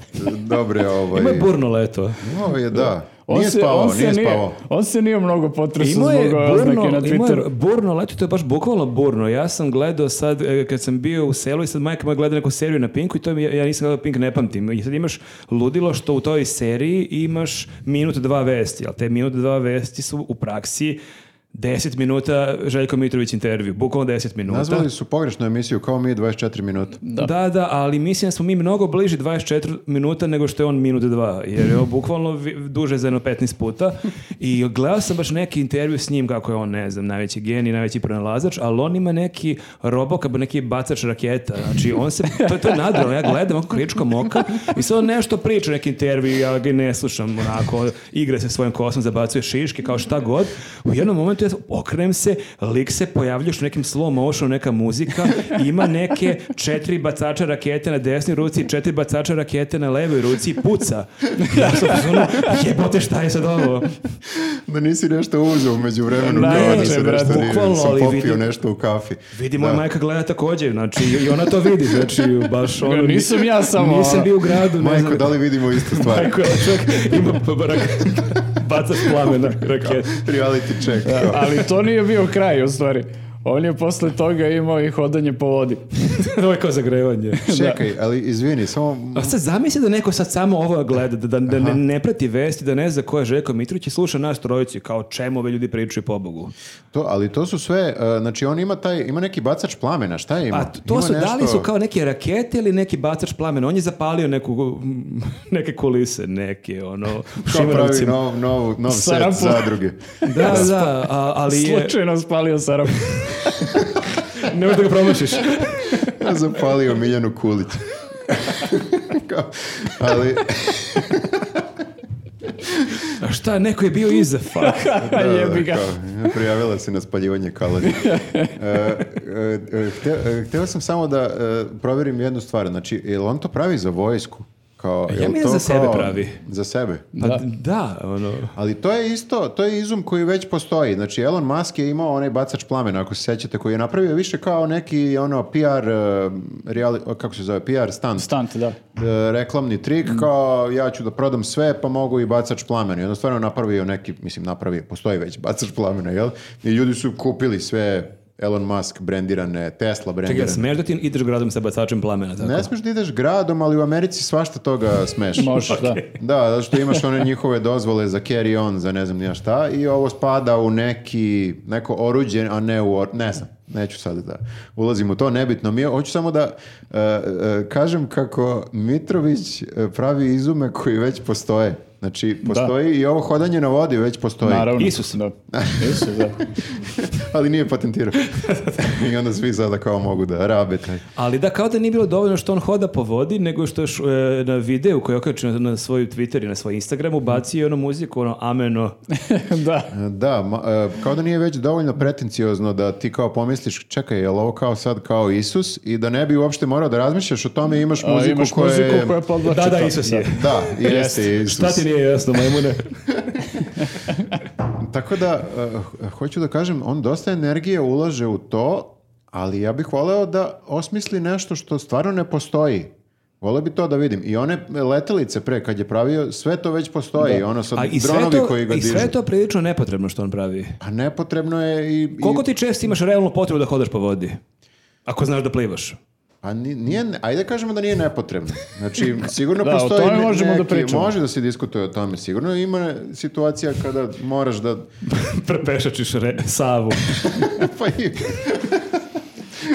Speaker 2: dobre
Speaker 3: Pa
Speaker 2: ovaj...
Speaker 1: Ima je burno leto.
Speaker 2: Imao je, da. Nije spavao, nije spavao.
Speaker 3: on se nije mnogo potresao
Speaker 1: Imao
Speaker 3: zbog
Speaker 1: je
Speaker 3: ove oznake
Speaker 1: burno, imao
Speaker 3: na
Speaker 1: je
Speaker 3: Twitteru.
Speaker 1: burno leto, to je baš bukvalno burno. Ja sam gledao sad, e, kad sam bio u selu i sad majka moja gleda neku seriju na Pinku i to mi, je- ja nisam gledao Pink, ne pamtim. I sad imaš ludilo što u toj seriji imaš minut dva vesti, ali te minut dva vesti su u praksi 10 minuta Željko Mitrović intervju, bukvalno 10 minuta.
Speaker 2: Nazvali su pogrešnu emisiju, kao mi 24 minuta.
Speaker 1: Da. da, ali mislim da smo mi mnogo bliži 24 minuta nego što je on minut dva, jer je on bukvalno vi- duže za jedno 15 puta i gledao sam baš neki intervju s njim kako je on, ne znam, najveći genij, najveći pronalazač, ali on ima neki robokab, neki bacač raketa, znači on se, to, to je nadrealno, ja gledam ovako kričkom oka i sad on nešto priča, neki intervju, ja ga ne slušam, onako, igra se svojim kosom, zabacuje šiške, kao šta god, u jednom momentu ja okrenem se, lik se pojavlja što u nekim slow motionu, neka muzika, ima neke četiri bacača rakete na desnoj ruci, i četiri bacača rakete na levoj ruci i puca. Ja sam u fazonu, jebote šta je sad ovo?
Speaker 2: Da nisi nešto uzeo umeđu vremenu,
Speaker 1: Da,
Speaker 2: kao da
Speaker 1: ne,
Speaker 2: se
Speaker 1: brate,
Speaker 2: nešto nije,
Speaker 1: bukvalno,
Speaker 2: sam
Speaker 1: ali
Speaker 2: popio
Speaker 1: vidim-
Speaker 2: nešto u kafi.
Speaker 1: Vidi, moja majka gleda također, znači i ona to vidi, znači baš ono...
Speaker 3: Nisam ja samo,
Speaker 1: Nisam
Speaker 3: ono.
Speaker 1: bio u gradu, ne
Speaker 2: Majko,
Speaker 1: znam.
Speaker 2: da li vidimo istu stvar?
Speaker 1: Majko, evo, čovjek ima pa- rak- bacaš plamena rakete.
Speaker 2: Reality check. kao.
Speaker 3: Ali to nije bio kraj, u stvari. On je posle toga imao i hodanje po vodi.
Speaker 1: Ovo je kao zagrevanje.
Speaker 2: Čekaj, ali izvini, samo...
Speaker 1: A Pa sad zamisli da neko sad samo ovo gleda, da, da, da ne, ne prati vesti, da ne zna ko je Željko Mitrović i sluša nas trojicu i kao čemu ovi ljudi pričaju pobogu.
Speaker 2: To, ali to su sve, uh, znači on ima taj, ima neki bacač plamena, šta je ima?
Speaker 1: A Pa to
Speaker 2: Ima
Speaker 1: su, da li
Speaker 2: nešto-
Speaker 1: su kao neke rakete ili neki bacač plamena? On je zapalio neku, mm, neke kulise, neke ono, u
Speaker 2: Kao pravi
Speaker 1: Šimanovcima.
Speaker 2: nov, nov, nov set
Speaker 3: Sarapu.
Speaker 2: zadruge.
Speaker 1: Da, pa, da, a- ali je,
Speaker 3: Slučajno spalio sarapu.
Speaker 1: nemoj da ga promašiš.
Speaker 2: Ja zapalio Miljanu Kulić. Kao, ali,
Speaker 1: A šta, neko je bio iza, fuck.
Speaker 2: da, da,
Speaker 3: Pa Jebi ga.
Speaker 2: kao, prijavila se na spaljivanje kalorija. E, e, e, hte- e, hteo sam samo da e, proverim jednu stvar, znači, jel on to pravi za vojsku? Kao, jel
Speaker 1: mislim
Speaker 2: to
Speaker 1: za sebe
Speaker 2: kao-
Speaker 1: pravi.
Speaker 2: Za sebe?
Speaker 1: Pa da, ono,
Speaker 2: Ali to je isto, to je izum koji već postoji. Znači, Elon Musk je imao onaj bacač plamena, ako se sećate, koji je napravio više kao neki ono PR, e, reali- kako se zove, PR stand,
Speaker 3: Stant, da.
Speaker 2: e, reklamni trik, kao ja ću da prodam sve, pa mogu i bacač plamena. I onda stvarno napravio neki, mislim napravio, postoji već bacač plamena, jel? I ljudi su kupili sve Elon Musk brendirane, Tesla
Speaker 1: čekaj,
Speaker 2: brendirane.
Speaker 1: smeš da ti ideš gradom sa bacačem plamena, tako?
Speaker 2: Ne smiješ da ideš gradom, ali u Americi svašta toga smeš.
Speaker 3: Može, da.
Speaker 2: Da, zato što imaš one njihove dozvole za carry on, za ne znam ni ja šta, i ovo spada u neki, neko oruđe, a ne u, or- ne znam. neću sad da ulazim u to, nebitno mi je. Hoću samo da e, e, kažem kako Mitrović e, pravi izume koji već postoje. Znači, postoji i ovo hodanje na vodi već postoji.
Speaker 3: Naravno.
Speaker 1: Isus.
Speaker 3: Da. Isus, da.
Speaker 2: Ali nije patentirao. I onda svi sada kao mogu da rabe taj.
Speaker 1: Ali da, kao da nije bilo dovoljno što on hoda po vodi, nego što je š- e, na videu koji je okačio na, na svoju Twitter i na svoj Instagram ubacio i onu muziku, ono ameno.
Speaker 3: da.
Speaker 2: Da, ma- e, kao da nije već dovoljno pretenciozno da ti kao pomisliš, čekaj, je ovo kao sad kao Isus i da ne bi uopšte morao da razmišljaš o tome, imaš
Speaker 3: A,
Speaker 2: muziku
Speaker 3: imaš
Speaker 2: koja
Speaker 3: muziku
Speaker 2: je-
Speaker 3: koja podlači
Speaker 1: Da, da,
Speaker 3: to.
Speaker 1: Isus je.
Speaker 2: Da, jeste Isus.
Speaker 1: Šta ti nije jasno, majmune?
Speaker 2: Tako da, eh, hoću da kažem, on dosta energije ulaže u to, ali ja bih voleo da osmisli nešto što stvarno ne postoji. Voleo bi to da vidim. I one letelice pre kad je pravio, sve to već postoji. Ono sad
Speaker 1: A i sve,
Speaker 2: dronovi
Speaker 1: to,
Speaker 2: koji ga
Speaker 1: i sve
Speaker 2: dižu.
Speaker 1: to prilično nepotrebno što on pravi.
Speaker 2: A nepotrebno je i... i-
Speaker 1: Koliko ti često imaš realnu potrebu da hodaš po vodi? Ako znaš da plivaš.
Speaker 2: A Pa ni- nije, ajde kažemo da nije nepotrebno. Znači, sigurno
Speaker 3: Da, o
Speaker 2: postoji
Speaker 3: tome
Speaker 2: ne-
Speaker 3: možemo da
Speaker 2: neki-
Speaker 3: pričamo.
Speaker 2: Može da se diskutuje o tome, sigurno. Ima situacija kada moraš da...
Speaker 1: Prepešačiš re, Savu.
Speaker 2: pa i-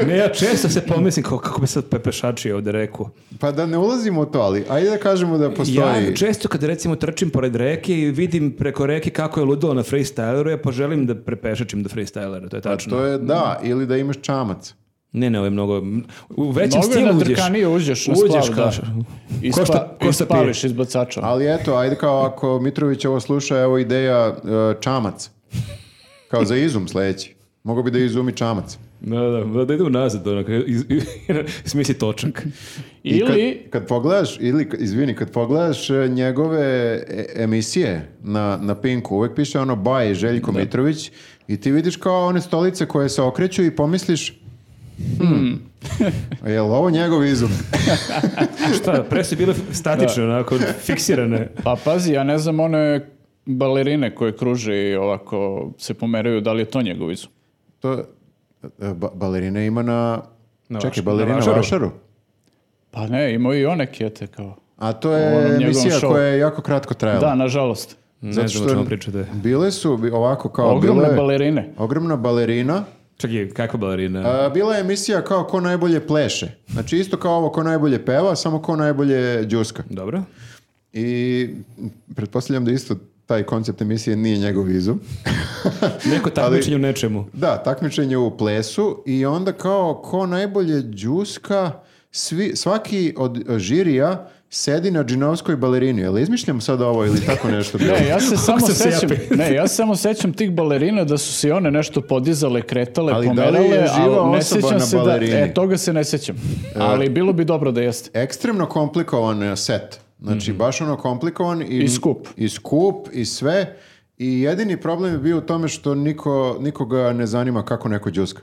Speaker 1: Ne, ja često se pomislim kao kako bi sad prepešačio ovde reku.
Speaker 2: pa da ne ulazimo u to, ali ajde da kažemo da postoji...
Speaker 1: Ja često kad recimo trčim pored reke i vidim preko reke kako je ludilo na freestyleru, ja poželim da prepešačim do freestylera, to je
Speaker 2: Pa
Speaker 1: tačno.
Speaker 2: to je, da, ili da imaš čamac.
Speaker 1: Ne, ne, ovo je mnogo... U većem
Speaker 3: Mnogo je
Speaker 1: stilu Znači, uđeš.
Speaker 3: nadrkanije, uđeš na
Speaker 1: Uđeš,
Speaker 3: splav,
Speaker 1: kažeš.
Speaker 3: da. Ispa,
Speaker 1: Ko šta- ko šta pije?
Speaker 3: ispališ iz bacača.
Speaker 2: Ali eto, ajde kao ako Mitrović ovo sluša, evo ideja e, čamac. Kao za izum sledeći. Mogu bi da izumi čamac.
Speaker 1: Da, da, da idu nazad, onako, iz- smisli točak.
Speaker 2: I kad-
Speaker 3: Ili,
Speaker 2: Kad, pogledaš, ili, izvini, kad pogledaš e, njegove e, emisije na, na Pinku, uvek piše ono Baj Željko Mitrović i ti vidiš kao one stolice koje se okreću i pomisliš
Speaker 3: Hmm."
Speaker 2: hmm, jel ovo njegov izum?
Speaker 1: Šta, pre su bile statične, onako, fiksirane.
Speaker 3: pa pazi, ja ne znam one balerine koje kruže i ovako se pomeraju, da li je to njegov izum?
Speaker 2: To, e, ba- balerina ima na...
Speaker 1: Na
Speaker 2: čekaj,
Speaker 1: Vaš-
Speaker 2: balerina
Speaker 1: na Vašaru?
Speaker 2: Vašaru?
Speaker 3: Pa ne, imao je i one kjete kao.
Speaker 2: A to
Speaker 3: U onom
Speaker 2: je
Speaker 3: njegovom
Speaker 2: emisija
Speaker 3: šovu.
Speaker 2: koja je jako kratko trajala.
Speaker 3: Da, nažalost.
Speaker 1: Ne znam o čemu pričate.
Speaker 2: Bile su bi- ovako kao...
Speaker 3: Ogromne
Speaker 2: bilo je-
Speaker 3: balerine.
Speaker 2: Ogromna balerina.
Speaker 1: Čekaj, kakva balerina?
Speaker 2: A, bila je emisija kao ko najbolje pleše. Znači isto kao ovo ko najbolje peva, samo ko najbolje džuska.
Speaker 1: Dobro.
Speaker 2: I pretpostavljam da isto taj koncept emisije nije njegov izum.
Speaker 1: Neko takmičenje u nečemu.
Speaker 2: Da, takmičenje u plesu i onda kao ko najbolje džuska, svi, svaki od e, žirija sedi na džinovskoj balerini. Jel izmišljam sad ovo ili tako nešto? bilo?
Speaker 3: Ne, ja se samo
Speaker 1: sam se
Speaker 3: sećam,
Speaker 1: japi.
Speaker 3: ne, ja se samo sećam tih balerina da su se i one nešto podizale, kretale,
Speaker 2: Ali da li je
Speaker 3: pomerale,
Speaker 2: živa
Speaker 3: ali ne
Speaker 2: osoba
Speaker 3: sećam
Speaker 2: na
Speaker 3: se da,
Speaker 2: balerini? E.
Speaker 3: e, toga se ne sećam. Ali bilo bi dobro da jeste.
Speaker 2: ekstremno komplikovan e, set. Znači,
Speaker 1: Mhm.
Speaker 2: baš ono komplikovan. I,
Speaker 3: I skup.
Speaker 2: I skup, i sve. I jedini problem je bio u tome što niko, nikoga ne zanima kako neko džuska.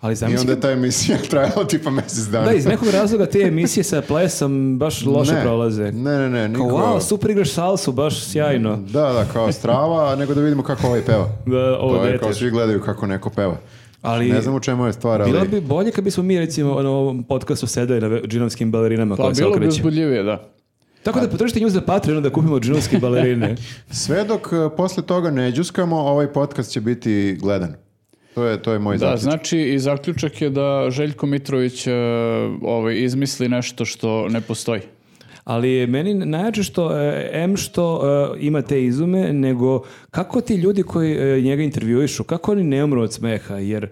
Speaker 1: Ali
Speaker 2: I
Speaker 1: zamisli
Speaker 2: onda je ta emisija trajala tipa mjesec dana.
Speaker 1: Da, iz nekog razloga te emisije sa plesom baš loše
Speaker 2: Ne,
Speaker 1: prolaze.
Speaker 2: Ne, ne, ne.
Speaker 1: Kao,
Speaker 2: Niko,
Speaker 1: wow, super igraš salsu, baš sjajno.
Speaker 2: Da, da, kao strava, a nego da vidimo kako ovaj peva.
Speaker 1: Da, ovo
Speaker 2: to je
Speaker 1: dete.
Speaker 2: kao svi gledaju kako neko peva.
Speaker 1: Ali-
Speaker 2: ne znam u čemu je stvar, ali...
Speaker 1: Bilo bi bolje kad bismo mi recimo na ovom podcastu sedali na ve- džinovskim balerinama
Speaker 3: Pa
Speaker 1: koje se
Speaker 3: bilo bi
Speaker 1: okreću.
Speaker 3: uzbudljivije, da.
Speaker 1: Tako da potrošite nju za Patreon da kupimo džinovske balerine.
Speaker 2: Sve dok e, posle toga ne džuskamo, ovaj podcast će biti gledan. To je, to je moj
Speaker 3: Da,
Speaker 2: zaključak.
Speaker 3: znači i zaključak je da Željko Mitrović e, ovaj, izmisli nešto što ne postoji.
Speaker 1: Ali je meni najjače što, e, em što e, ima te izume, nego kako ti ljudi koji e, njega intervjuišu, kako oni ne umru od smeha, jer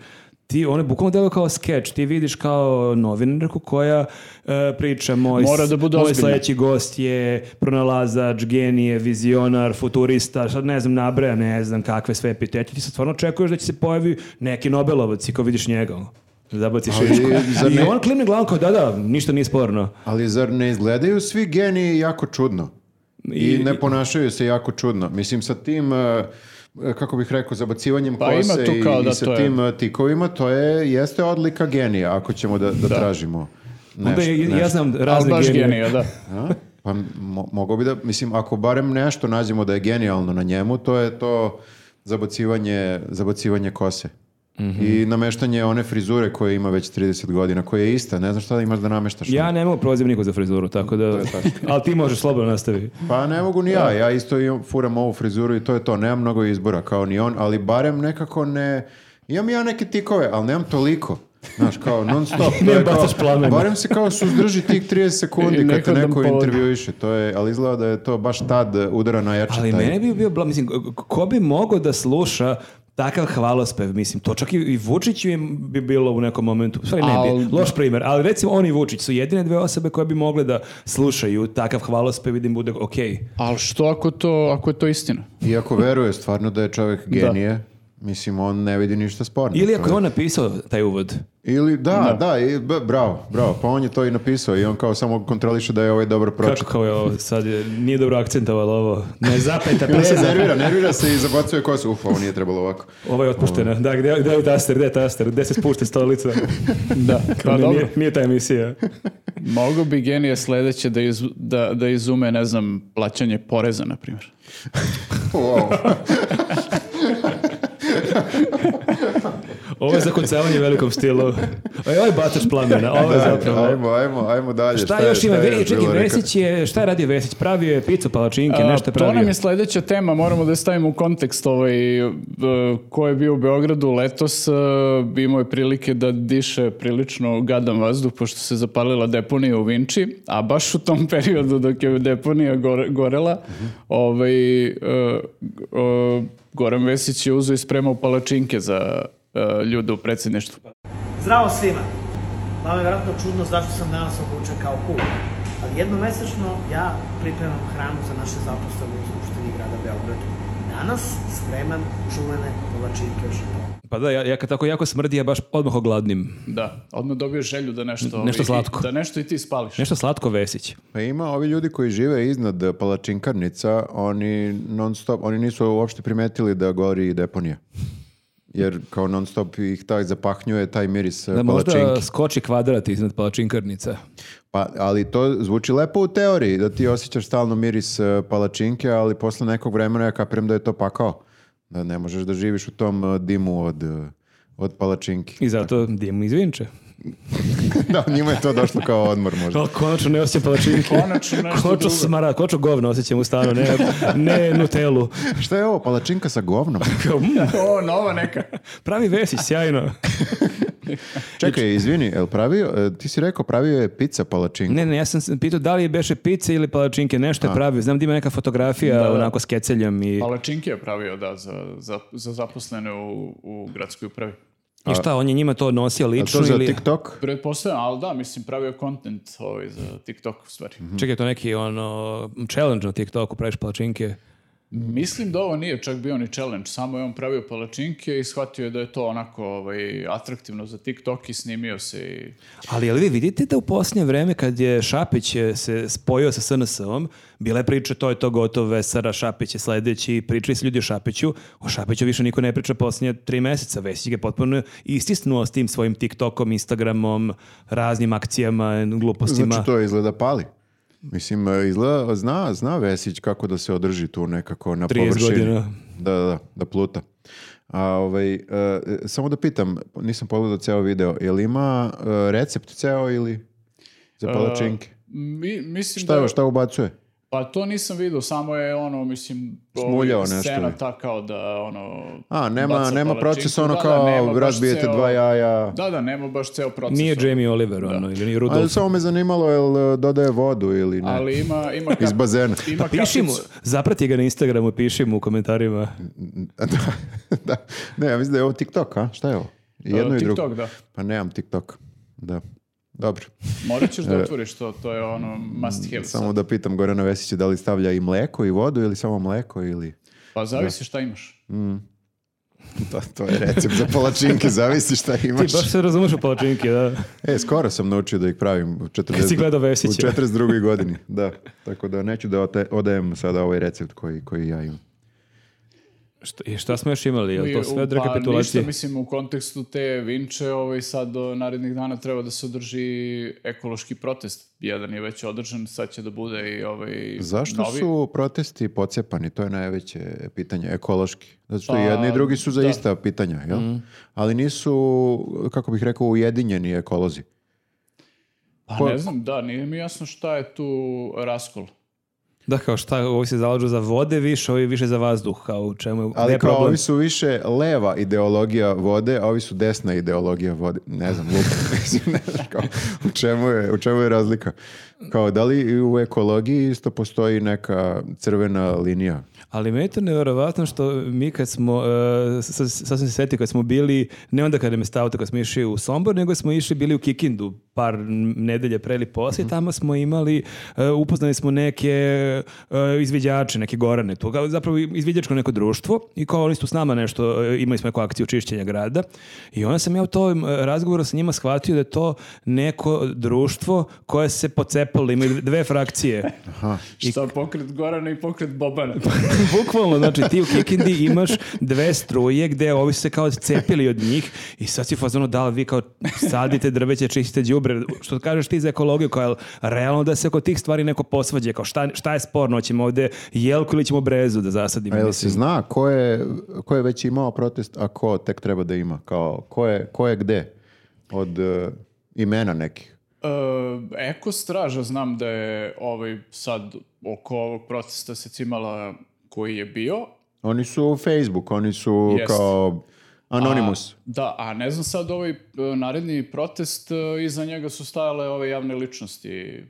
Speaker 1: ti, one bukvalno delo kao skeč, ti vidiš kao novinarku koja e, priča moj, s-
Speaker 3: Mora da bude
Speaker 1: moj
Speaker 3: ozbiljna."
Speaker 1: sledeći gost je pronalazač, genije, vizionar, futurista, sad ne znam, nabraja, ne znam kakve sve epitete, ti se stvarno očekuješ da će se pojavi neki Nobelovac i kao vidiš njega, ono, zabaciš
Speaker 2: Ali,
Speaker 1: ličku.
Speaker 2: zar
Speaker 1: I
Speaker 2: ne-
Speaker 1: on klimne glavom kao da, da, ništa nije sporno.
Speaker 2: Ali zar ne izgledaju svi geniji jako čudno? I,
Speaker 1: I-
Speaker 2: ne ponašaju se jako čudno. Mislim, sa tim, e, kako bih rekao, zabacivanjem
Speaker 3: Pa ima
Speaker 2: kose
Speaker 3: tu kao
Speaker 2: i,
Speaker 3: da
Speaker 2: i sa
Speaker 3: to je.
Speaker 2: tim e, tikovima, to je, jeste odlika genija, ako ćemo da, da, tražimo
Speaker 3: Pa
Speaker 2: nešto.
Speaker 1: Onda ja- ja,
Speaker 2: nešto.
Speaker 1: znam
Speaker 3: Ali
Speaker 1: razne
Speaker 3: baš
Speaker 1: genije.
Speaker 3: genija, da.
Speaker 2: A? Pa mo- mogao bi da, mislim, ako barem nešto nađemo da je genijalno na njemu, to je to zabacivanje, zabacivanje kose.
Speaker 3: Mhm.
Speaker 2: I nameštanje one frizure koje ima već 30 godina, koja je ista, ne znam šta da imaš da nameštaš.
Speaker 1: Ja ne mogu prolazim nikog za frizuru, tako da... ali ti možeš slobodno nastavi.
Speaker 2: Pa ne mogu ni ja, ja isto imam, furam ovu frizuru i to je to, nemam mnogo izbora kao ni on, ali barem nekako ne Imam ja neke tikove, ali nemam toliko. Znaš, kao non stop. to
Speaker 6: Ne
Speaker 2: je
Speaker 6: bacaš
Speaker 2: kao,
Speaker 6: plamenom.
Speaker 2: barem se kao suzdrži tih 30
Speaker 6: I
Speaker 2: sekundi kad te
Speaker 6: nehodan
Speaker 2: neko
Speaker 6: povod.
Speaker 2: intervjuiše. To je, ali izgleda da je to baš tad eh, udara najjače.
Speaker 1: Ali
Speaker 2: taj-
Speaker 1: mene bi bio, bla- mislim, ko bi mogao da sluša takav hvalospev, mislim, to čak i, i Vučiću je bi bilo u nekom momentu, u stvari ne
Speaker 3: Al-
Speaker 1: bi, loš primjer, ali recimo on i Vučić su jedine dve osobe koje bi mogle da slušaju takav hvalospev i da im bude okej.
Speaker 3: Ali što ako, to, ako je to istina?
Speaker 2: Iako veruje stvarno da je čovjek genije, mislim, on ne vidi ništa sporno.
Speaker 1: Ili ako je
Speaker 2: To je-
Speaker 1: on napisao taj uvod.
Speaker 2: Ili, da, da, i, b- bravo, bravo. Pa on je to i napisao i on kao samo kontroliše da je ovaj dobro
Speaker 1: Kako
Speaker 2: pročitao.
Speaker 1: kao je ovo, sad je, nije dobro akcentovalo ovo.
Speaker 6: Ne zapeta
Speaker 2: I onda Pa
Speaker 1: E,
Speaker 2: se
Speaker 6: preza.
Speaker 2: nervira, nervira se i zabacuje kosu. Uf, ovo nije trebalo ovako.
Speaker 1: Ovo Ovaj je otpušteno. Da, gde, gde je taster, gde je taster, gde se spušta stolica.
Speaker 6: Da.
Speaker 1: Ne,
Speaker 3: dobro.
Speaker 1: nije, nije ta emisija.
Speaker 3: Mogu bi genije sledeće da, iz, da, da izume, ne znam, plaćanje poreza, na primjer.
Speaker 2: Wow.
Speaker 1: Ovo je zakucavanje u velikom stilu. E, Ovo je batač plamena, ovo je zapravo...
Speaker 2: ajmo, ajmo, ajmo dalje.
Speaker 1: Šta,
Speaker 2: je-
Speaker 1: još ima?
Speaker 2: je
Speaker 1: Ve,
Speaker 2: još
Speaker 1: čekaj,
Speaker 2: bilo rekao?
Speaker 1: Vesić je, šta je radio Vesić? Pravio je picu, palačinke, nešto je
Speaker 3: A, To nam
Speaker 1: pravio.
Speaker 3: je sljedeća tema, moramo da je stavimo u kontekst ovaj, e, ko je bio u Beogradu letos, e, imao je prilike da diše prilično gadan vazduh pošto se zapalila deponija u Vinči, a baš u tom periodu dok je deponija gore- gorela, ovaj, e, g- e, Goran Vesić je uzeo i spremao palačinke za e, ljude u predsjedništvu.
Speaker 7: Zdravo svima! Vama je vjerojatno čudno zašto sam danas obučen kao kuk, ali jednomesečno ja pripremam hranu za naše zaposlene u Skupštini grada Beogradu. Danas spremam čuvene polačinke od šampona.
Speaker 1: Pa da, ja, ja kad tako jako smrdi, ja baš odmah ogladnim.
Speaker 3: Da, odmah dobio želju da nešto... ovaj,
Speaker 1: Nešto
Speaker 3: i-
Speaker 1: slatko.
Speaker 3: Da nešto i ti spališ.
Speaker 1: Nešto slatko Vesić.
Speaker 2: Pa ima ovi ljudi koji žive iznad eh, palačinkarnica, oni non stop, oni nisu uopšte primetili da gori deponija. Jer kao non stop ih taj zapahnjuje taj miris eh,
Speaker 1: Da možda
Speaker 2: palačinki.
Speaker 1: skoči kvadrat iznad palačinkarnica.
Speaker 2: Pa, ali to zvuči lepo u teoriji, da ti osjećaš stalno miris eh, palačinke, ali posle nekog vremena ja kapiram da je to pakao. Da ne možeš da živiš u tom eh, dimu od, eh, od palačinki.
Speaker 1: I zato dim iz Vinče.
Speaker 2: da, njima je to došlo kao odmor možda.
Speaker 1: O, Pa konačno ne osjećam palačinke.
Speaker 3: Konačno nešto drugo.
Speaker 1: Konačno smara, konačno govno osjećam u stanu, ne, ne nutelu.
Speaker 2: Šta je ovo, palačinka sa govnom?
Speaker 1: Kao, mm,
Speaker 3: O, nova neka.
Speaker 1: pravi Vesić, sjajno.
Speaker 2: Čekaj, izvini, el pravio, eh, ti si rekao pravio je pizza palačinka.
Speaker 1: Ne, ne, ja sam se pitao da li je beše pice ili palačinke, nešto je pravio. Znam da ima neka fotografija onako s keceljem i,
Speaker 3: Palačinke je pravio, da, za, za, za zaposlene u, u gradskoj upravi.
Speaker 1: i šta, on je njima to nosio
Speaker 2: A
Speaker 1: lično
Speaker 2: to za
Speaker 1: ili...
Speaker 2: TikTok?
Speaker 3: Pretpostavljam, ali da, mislim, pravio kontent ovaj za TikTok u stvari.
Speaker 1: Čekaj, to neki ono, challenge na TikToku, praviš palačinke.
Speaker 3: Mislim da ovo nije čak bio ni challenge, samo je on pravio palačinke i shvatio je da je to onako ovaj, atraktivno za TikTok i snimio se i...
Speaker 1: Ali jel vi vidite da u posljednje vreme kad je Šapić e, se spojio sa SNS-om, bila je priča to je to gotovo, Vesara, Šapić je sledeći, pričali su ljudi o Šapiću, o Šapiću više niko ne priča posljednje tri meseca, Vesić ga je potpuno istisnuo s tim svojim TikTokom, Instagramom, raznim akcijama, glupostima.
Speaker 2: Znači to izgleda pali. Mislim, e, izgleda, zna, zna Vesić kako da se održi tu nekako na
Speaker 1: 30
Speaker 2: površini.
Speaker 1: godina.
Speaker 2: Da, da, da, da pluta. A, ovaj, e, e, samo da pitam, nisam pogledao ceo video, je li ima e, recept ceo ili za
Speaker 1: E,
Speaker 2: palačinke?
Speaker 3: Mi, mislim
Speaker 2: šta,
Speaker 3: da...
Speaker 2: je, šta ubacuje?
Speaker 3: Pa to nisam vidio, samo je ono, mislim, ovaj,
Speaker 2: Smuljao nešto
Speaker 3: scena
Speaker 2: je.
Speaker 3: ta kao da ono...
Speaker 2: A, nema,
Speaker 3: baca
Speaker 2: nema
Speaker 3: palačinku.
Speaker 2: proces ono
Speaker 3: Da, da,
Speaker 2: kao
Speaker 3: nema baš
Speaker 2: razbijete
Speaker 3: ceo-
Speaker 2: dva jaja.
Speaker 3: Da, da, nema baš ceo proces.
Speaker 1: Nije
Speaker 3: ono.
Speaker 1: Jamie Oliver, ono, ili nije Rudolf.
Speaker 2: Ali samo me zanimalo, jel e, dodaje vodu ili ne?
Speaker 3: Ali ima... ima
Speaker 2: Iz
Speaker 3: kap-
Speaker 2: bazena.
Speaker 3: Ima
Speaker 1: Pa Piši mu,
Speaker 3: kapicu.
Speaker 1: zaprati ga na Instagramu, piši mu u komentarima.
Speaker 2: da, da. Ne, ja mislim da je ovo TikTok, a? Šta je ovo? I Jedno
Speaker 3: E,
Speaker 2: i drugo.
Speaker 3: TikTok, da.
Speaker 2: Pa nemam TikTok. Da. Dobro.
Speaker 3: Morat ćeš da otvoriš to, to je ono must have.
Speaker 2: E. Samo
Speaker 3: sad.
Speaker 2: da pitam Gorana Vesića da li stavlja i mleko i vodu ili samo mleko ili...
Speaker 3: Pa zavisi šta imaš.
Speaker 2: To, to je recept za palačinke, zavisi šta
Speaker 1: Ti
Speaker 2: imaš.
Speaker 1: baš se razumeš u palačinke, da.
Speaker 2: E, skoro sam naučio da ih pravim u, 40,
Speaker 1: Kad si gledao
Speaker 2: u
Speaker 1: Vesića.
Speaker 2: 42. godini. Da, tako da neću da ote- odajem sada ovaj recept koji, koji ja imam.
Speaker 1: Šta, I šta smo još imali? Jel to
Speaker 3: I,
Speaker 1: sve od
Speaker 3: Pa ništa,
Speaker 1: rekapitulacije?
Speaker 3: mislim, u kontekstu te vinče, ovaj, sad do narednih dana treba da se održi ekološki protest. Jedan je već održan, sad će da bude i ovaj
Speaker 2: Zašto
Speaker 3: novi.
Speaker 2: su protesti pocepani? To je najveće pitanje, ekološki. Zato što
Speaker 3: Pa,
Speaker 2: i jedni i drugi su za
Speaker 3: da. Mhm.
Speaker 2: ista pitanja, jel? Ali nisu, kako bih rekao, ujedinjeni ekolozi.
Speaker 3: Pa
Speaker 2: Ko-
Speaker 3: ne znam, da, nije mi jasno šta je tu raskol.
Speaker 1: Da, kao šta, ovi se zalažu za vode više, ovi više za vazduh, kao u čemu
Speaker 2: Ali
Speaker 1: je
Speaker 2: kao
Speaker 1: problem.
Speaker 2: ovi su više leva ideologija vode, a ovi su desna ideologija vode. Ne znam, lupa. Mislim, ne znam kao, u, čemu je, u čemu je razlika. Kao, da li i u ekologiji isto postoji neka crvena linija?
Speaker 1: Ali meni je to nevjerovatno što mi kad smo, uh, sasvim se sjetio kad smo bili, ne onda kada me stavite, kad smo išli u Sombor, nego smo išli bili u Kikindu par n- nedelje pre ili poslije, tamo smo imali, e, upoznali smo neke e, izviđače, neke gorane tu, kao zapravo izviđačko neko društvo i kao oni su s nama nešto, e, imali smo neku akciju čišćenja grada i onda sam ja u tom e, razgovoru sa njima shvatio da je to neko društvo koje se pocepalo, imaju dve frakcije.
Speaker 3: Šta pokret Gorana i pokret Bobana.
Speaker 1: Bukvalno, znači ti u Kikindi imaš dve struje gde ovi su se kao cepili od njih i sad si u fazonu da li vi kao sadite drveće, čistite đubre, što kažeš ti za ekologiju koja je realno da se oko tih stvari neko posvađe, kao šta, šta je sporno, ćemo ovde jelku ili ćemo brezu da zasadimo.
Speaker 2: A jel se
Speaker 1: mislim.
Speaker 2: zna ko je, ko je već imao protest, a ko tek treba da ima? Kao, ko je, ko je gde? Od e, imena nekih.
Speaker 3: E, Eko straža znam da je ovaj sad oko ovog protesta se cimala koji je bio.
Speaker 2: Oni su Facebook, oni su
Speaker 3: Jest.
Speaker 2: kao Anonymous.
Speaker 3: A, da, a ne znam sad ovaj e, naredni protest, e, iza njega su stajale ove javne ličnosti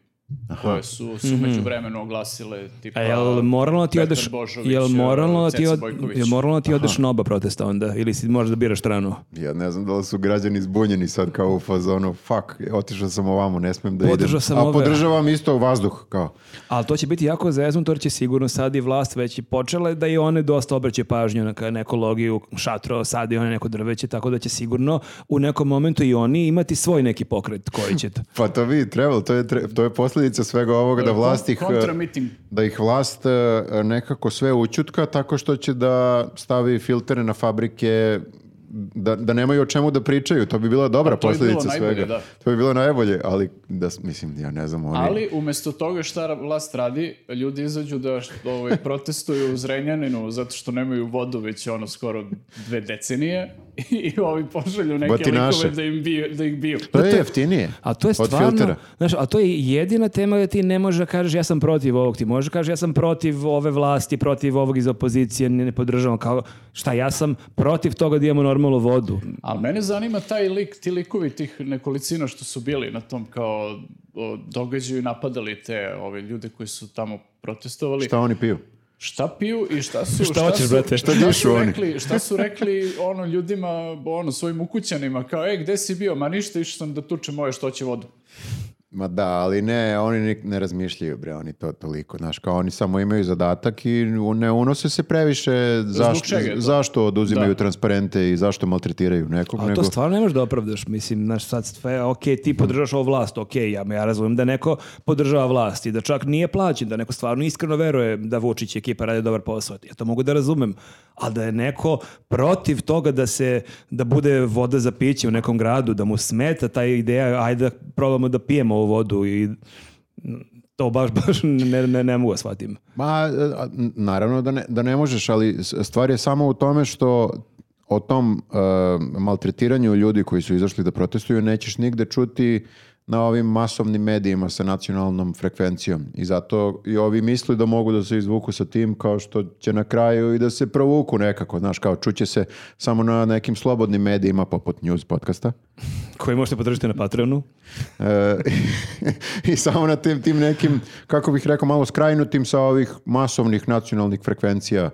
Speaker 3: koje su se umeđu vremenu oglasile tipa...
Speaker 1: Mhm. A jel moralno ti
Speaker 3: Petar
Speaker 1: odeš,
Speaker 3: Božović,
Speaker 1: jel moralno
Speaker 3: e,
Speaker 1: ti,
Speaker 3: Ceca
Speaker 1: od,
Speaker 3: Bojković.
Speaker 1: jel moralno ti odeš na oba protesta onda ili si možeš da biraš stranu?
Speaker 2: Ja ne znam da li su građani zbunjeni sad kao u fazonu, fuck, otišao sam ovamo, ne smem da
Speaker 1: Podržao
Speaker 2: idem.
Speaker 1: sam
Speaker 2: A
Speaker 1: ove.
Speaker 2: podržavam isto vazduh, kao.
Speaker 1: Ali to će biti jako zeznuto jer će sigurno sad i vlast već i počele da i one dosta obraćaju pažnju na ka- na ekologiju, šatro, sad i one neko drveće, tako da će sigurno u nekom momentu i oni imati svoj neki pokret koji će to.
Speaker 2: Pa to bi trebalo, to je, tre- to je posljedica svega ovoga da
Speaker 3: Kon-
Speaker 2: vlast ih...
Speaker 3: kontra miting.
Speaker 2: Da ih vlast e, nekako sve učutka tako što će da stavi filtere na fabrike, da, da nemaju o čemu da pričaju. To bi bila dobra
Speaker 3: to bi bilo
Speaker 2: posljedica
Speaker 3: najbolje,
Speaker 2: svega.
Speaker 3: da.
Speaker 2: To bi bilo najbolje, ali da, s- mislim, ja ne znam, oni...
Speaker 3: Ali umjesto toga šta ra- vlast radi, ljudi izađu da št- ovaj, protestuju u Zrenjaninu zato što nemaju vodu već ono skoro dve decenije i ovi pošalju neke
Speaker 2: Batinaše.
Speaker 3: likove da, im biju, da ih biju.
Speaker 2: To je jeftinije.
Speaker 1: A to je
Speaker 2: od
Speaker 1: stvarno,
Speaker 2: filtera.
Speaker 1: znaš, a to je jedina tema gdje ti ne možeš da kažeš ja sam protiv ovog, ti možeš da kažeš ja sam protiv ove vlasti, protiv ovog iz opozicije, ne, ne podržavam kao šta ja sam protiv toga da imamo normalnu vodu.
Speaker 3: Ali mene zanima taj lik, ti likovi tih nekolicina što su bili na tom kao o, događaju i napadali te ove ljude koji su tamo protestovali.
Speaker 2: Šta oni piju?
Speaker 3: Šta piju i šta su...
Speaker 1: Šta hoćeš,
Speaker 3: su-
Speaker 1: brate? Šta
Speaker 2: dišu
Speaker 3: su
Speaker 2: oni?
Speaker 3: Rekli, šta su rekli ono ljudima, ono, svojim ukućanima, kao, e, gde si bio? Ma ništa, išao sam da tučem moje što će vodu.
Speaker 2: Ma da, ali ne, oni ni- ne razmišljaju, bre, oni to toliko, znaš, kao oni samo imaju zadatak i u- ne unose se previše zašto,
Speaker 3: čega je to?
Speaker 2: zašto oduzimaju
Speaker 3: Da.
Speaker 2: transparente i zašto maltretiraju nekog,
Speaker 1: A
Speaker 2: nego...
Speaker 1: to stvarno ne možeš da opravdaš, mislim, znaš, sad sve, ok, ti podržaš ovu vlast, ok, ja, ja razumijem da neko podržava vlast i da čak nije plaćen, da neko stvarno iskreno veruje da Vučić i ekipa rade dobar posao, ja to mogu da razumem, ali da je neko protiv toga da se, da bude voda za piće u nekom gradu, da mu smeta ta ideja, ajde da probamo da pijemo ovu vodu i to baš, baš ne, ne, ne mogu da shvatim.
Speaker 2: Ma, e, a, n- naravno da ne, da ne možeš, ali s- stvar je samo u tome što o tom e, maltretiranju ljudi koji su izašli da protestuju nećeš nigde čuti na ovim masovnim medijima sa nacionalnom frekvencijom i zato i ovi misle da mogu da se izvuku sa tim kao što će na kraju i da se provuku nekako, znaš, kao čuće se samo na nekim slobodnim medijima poput news podcasta.
Speaker 1: Koji možete podržati na Patreonu?
Speaker 2: E, I samo na tim, tim nekim, kako bih rekao, malo skrajnutim sa ovih masovnih nacionalnih frekvencija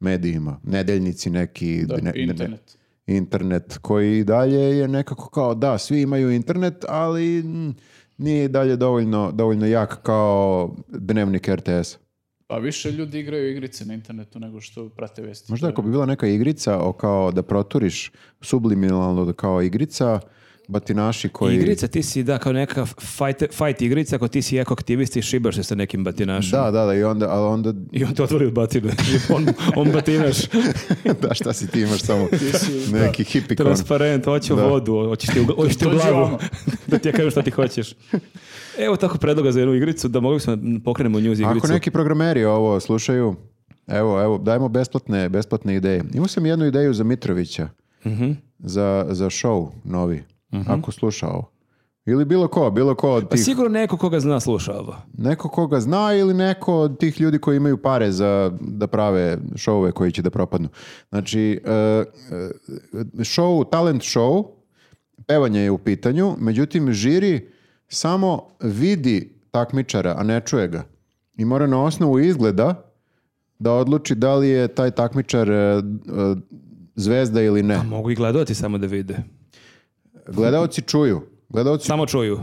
Speaker 2: medijima. Nedeljnici neki...
Speaker 3: Da, internet.
Speaker 2: internet, koji i dalje je nekako kao, da, svi imaju internet, ali mm, nije i dalje dovoljno, dovoljno jak kao dnevnik RTS.
Speaker 3: Pa više ljudi igraju igrice na internetu nego što prate vesti.
Speaker 2: Možda ako bi bila neka igrica o kao da proturiš subliminalno da kao igrica, batinaši koji...
Speaker 1: Igrica, ti si, da, kao neka fight, fight igrica, ako ti si ekoaktivist i šibaš se sa nekim batinašom.
Speaker 2: Da, da, da, i onda, ali onda,
Speaker 1: I on te otvori od batine. on, on batinaš.
Speaker 2: da, šta si ti imaš samo neki hipikon.
Speaker 1: Transparent, hoću
Speaker 2: Da.
Speaker 1: vodu, hoćeš ti u, gla- hoćeš ti u
Speaker 3: Dođi
Speaker 1: glavu.
Speaker 3: ovamo.
Speaker 1: da ti ja kažem šta ti hoćeš. Evo tako predloga za jednu igricu, da mogli smo da pokrenemo news igricu.
Speaker 2: Ako neki programeri ovo slušaju, evo, evo, dajmo besplatne, besplatne ideje. Imao sam jednu ideju za Mitrovića, za, za show novi, ako sluša ovo. Ili bilo ko, bilo ko od
Speaker 1: Pa
Speaker 2: tih,
Speaker 1: sigurno neko koga zna sluša ovo.
Speaker 2: neko koga zna ili neko od tih ljudi koji imaju pare za da prave šouve koji će da propadnu. Znači, e, e, show, talent show, pevanje je u pitanju, međutim, žiri samo vidi takmičara, a ne čuje ga. I mora na osnovu izgleda da odluči da li je taj takmičar e, e, zvezda ili ne.
Speaker 1: Mogu i gledati samo da vide.
Speaker 2: Gledaoci čuju. Gledaoci
Speaker 1: Samo čuju.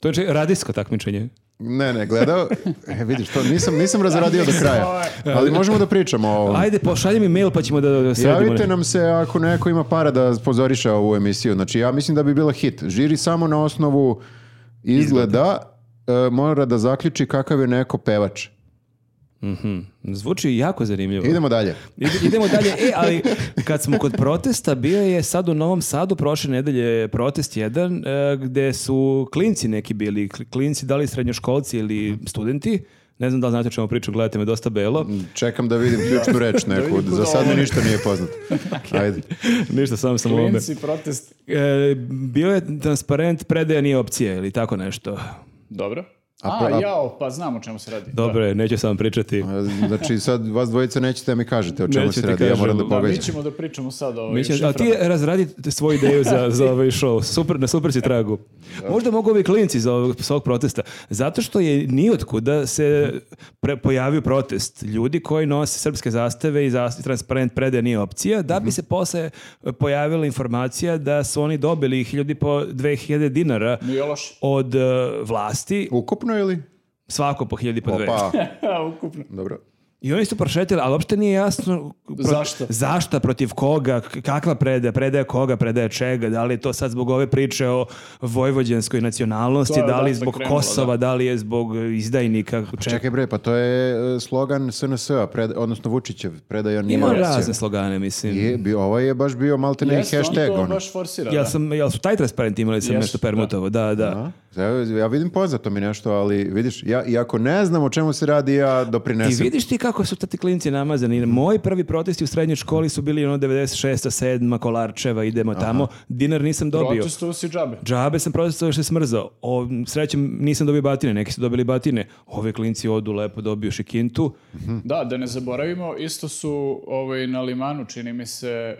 Speaker 1: To je radijsko takmičenje.
Speaker 2: Ne, ne, gledao. E, vidiš, to nisam, nisam razradio do kraja. Ali možemo da pričamo o ovom.
Speaker 1: Ajde, pošalji mi mail pa ćemo da- da sredimo.
Speaker 2: Javite nam se ako neko ima para da pozoriše ovu emisiju. Znači, ja mislim da bi bila hit. Žiri samo na osnovu izgleda e, mora da zaključi kakav je neko pevač.
Speaker 1: Zvuči jako zanimljivo.
Speaker 2: Idemo dalje.
Speaker 1: Ide- Idemo dalje. E, ali kad smo kod protesta, bio je sad u Novom Sadu prošle nedelje protest jedan e, gde su klinci neki bili, kl- klinci da li srednjoškolci ili studenti, ne znam da li znate o čemu pričam, gledate me dosta belo.
Speaker 2: Mhm. Čekam da vidim ključnu reč neku. Za sad mi ništa nije poznato. Ajde.
Speaker 1: Ništa, sam sam ovome.
Speaker 3: Klinci, protest.
Speaker 1: E, bio je transparent predaja nije opcije ili tako nešto.
Speaker 3: Dobro.
Speaker 2: A
Speaker 3: A,
Speaker 2: pro- a-
Speaker 3: jao, pa znam o čemu se radi.
Speaker 1: Dobro je, neću sam pričati.
Speaker 2: E, Znači, sad vas dvojica nećete da mi kažete o čemu
Speaker 1: Neću
Speaker 2: se
Speaker 1: ti
Speaker 2: radi. Ja
Speaker 1: kažem.
Speaker 2: moram da
Speaker 1: Da,
Speaker 3: Da, mi
Speaker 2: pogađam.
Speaker 3: ćemo da pričamo sad o ovim
Speaker 1: Mi ćemo- a Pa ti
Speaker 3: šiframa.
Speaker 1: razradi svoju ideju za, za ovaj show. Super, na super si tragu. Možda mogu ovi klinci za ovog, s ovog protesta. Zato što je nijotkuda se pre- pojavio protest. Ljudi koji nose srpske zastave i zas- transparent prede nije opcija, da bi se posle pojavila informacija da su oni dobili hiljadi po 2000 dinara
Speaker 3: Miloš.
Speaker 1: od e, vlasti,
Speaker 2: Ukupno ili?
Speaker 1: svako po hiljadi po dve.
Speaker 2: Opa,
Speaker 3: A, ukupno.
Speaker 2: dobro.
Speaker 1: I oni su prošetili, ali uopšte nije jasno pro-
Speaker 3: Zašto?
Speaker 1: zašta, protiv koga, k- kakva predaja, predaja koga, predaja čega, da li je to sad zbog ove priče o vojvođanskoj nacionalnosti,
Speaker 3: To je
Speaker 1: da li
Speaker 3: odatle
Speaker 1: zbog
Speaker 3: krenulo,
Speaker 1: Kosova, da. li je zbog e, izdajnika, čega.
Speaker 2: Čekaj bre, pa to je e, slogan SNS-a, pred, odnosno Vučićev, predaja nije
Speaker 1: Ima
Speaker 2: opcija.
Speaker 1: razne slogane, mislim.
Speaker 2: Je, bio, ovaj je baš bio malte ne
Speaker 3: Jeste, on
Speaker 2: hashtag.
Speaker 3: to
Speaker 2: ono.
Speaker 3: baš forsira.
Speaker 1: Jel,
Speaker 3: da.
Speaker 1: sam, jel su taj transparent imali sam
Speaker 3: Jesu,
Speaker 1: nešto permutovo? Da, da.
Speaker 2: A? Ja- Ja vidim poznato mi nešto, ali vidiš, ja, i ako ne znam o čemu se radi, ja
Speaker 1: I
Speaker 2: doprinesem.
Speaker 1: vidiš ti kako su tati klinci namazani. Moji prvi protesti u srednjoj školi su bili ono 96. 7. Kolarčeva, idemo tamo. Dinar nisam dobio.
Speaker 3: Protestovu si džabe.
Speaker 1: Džabe sam protestovao što je smrzao. O, srećem nisam dobio batine, neki su dobili batine. Ove klinci odu lepo dobio šikintu.
Speaker 3: Da, da ne zaboravimo, isto su ovaj, na limanu, čini mi se, e,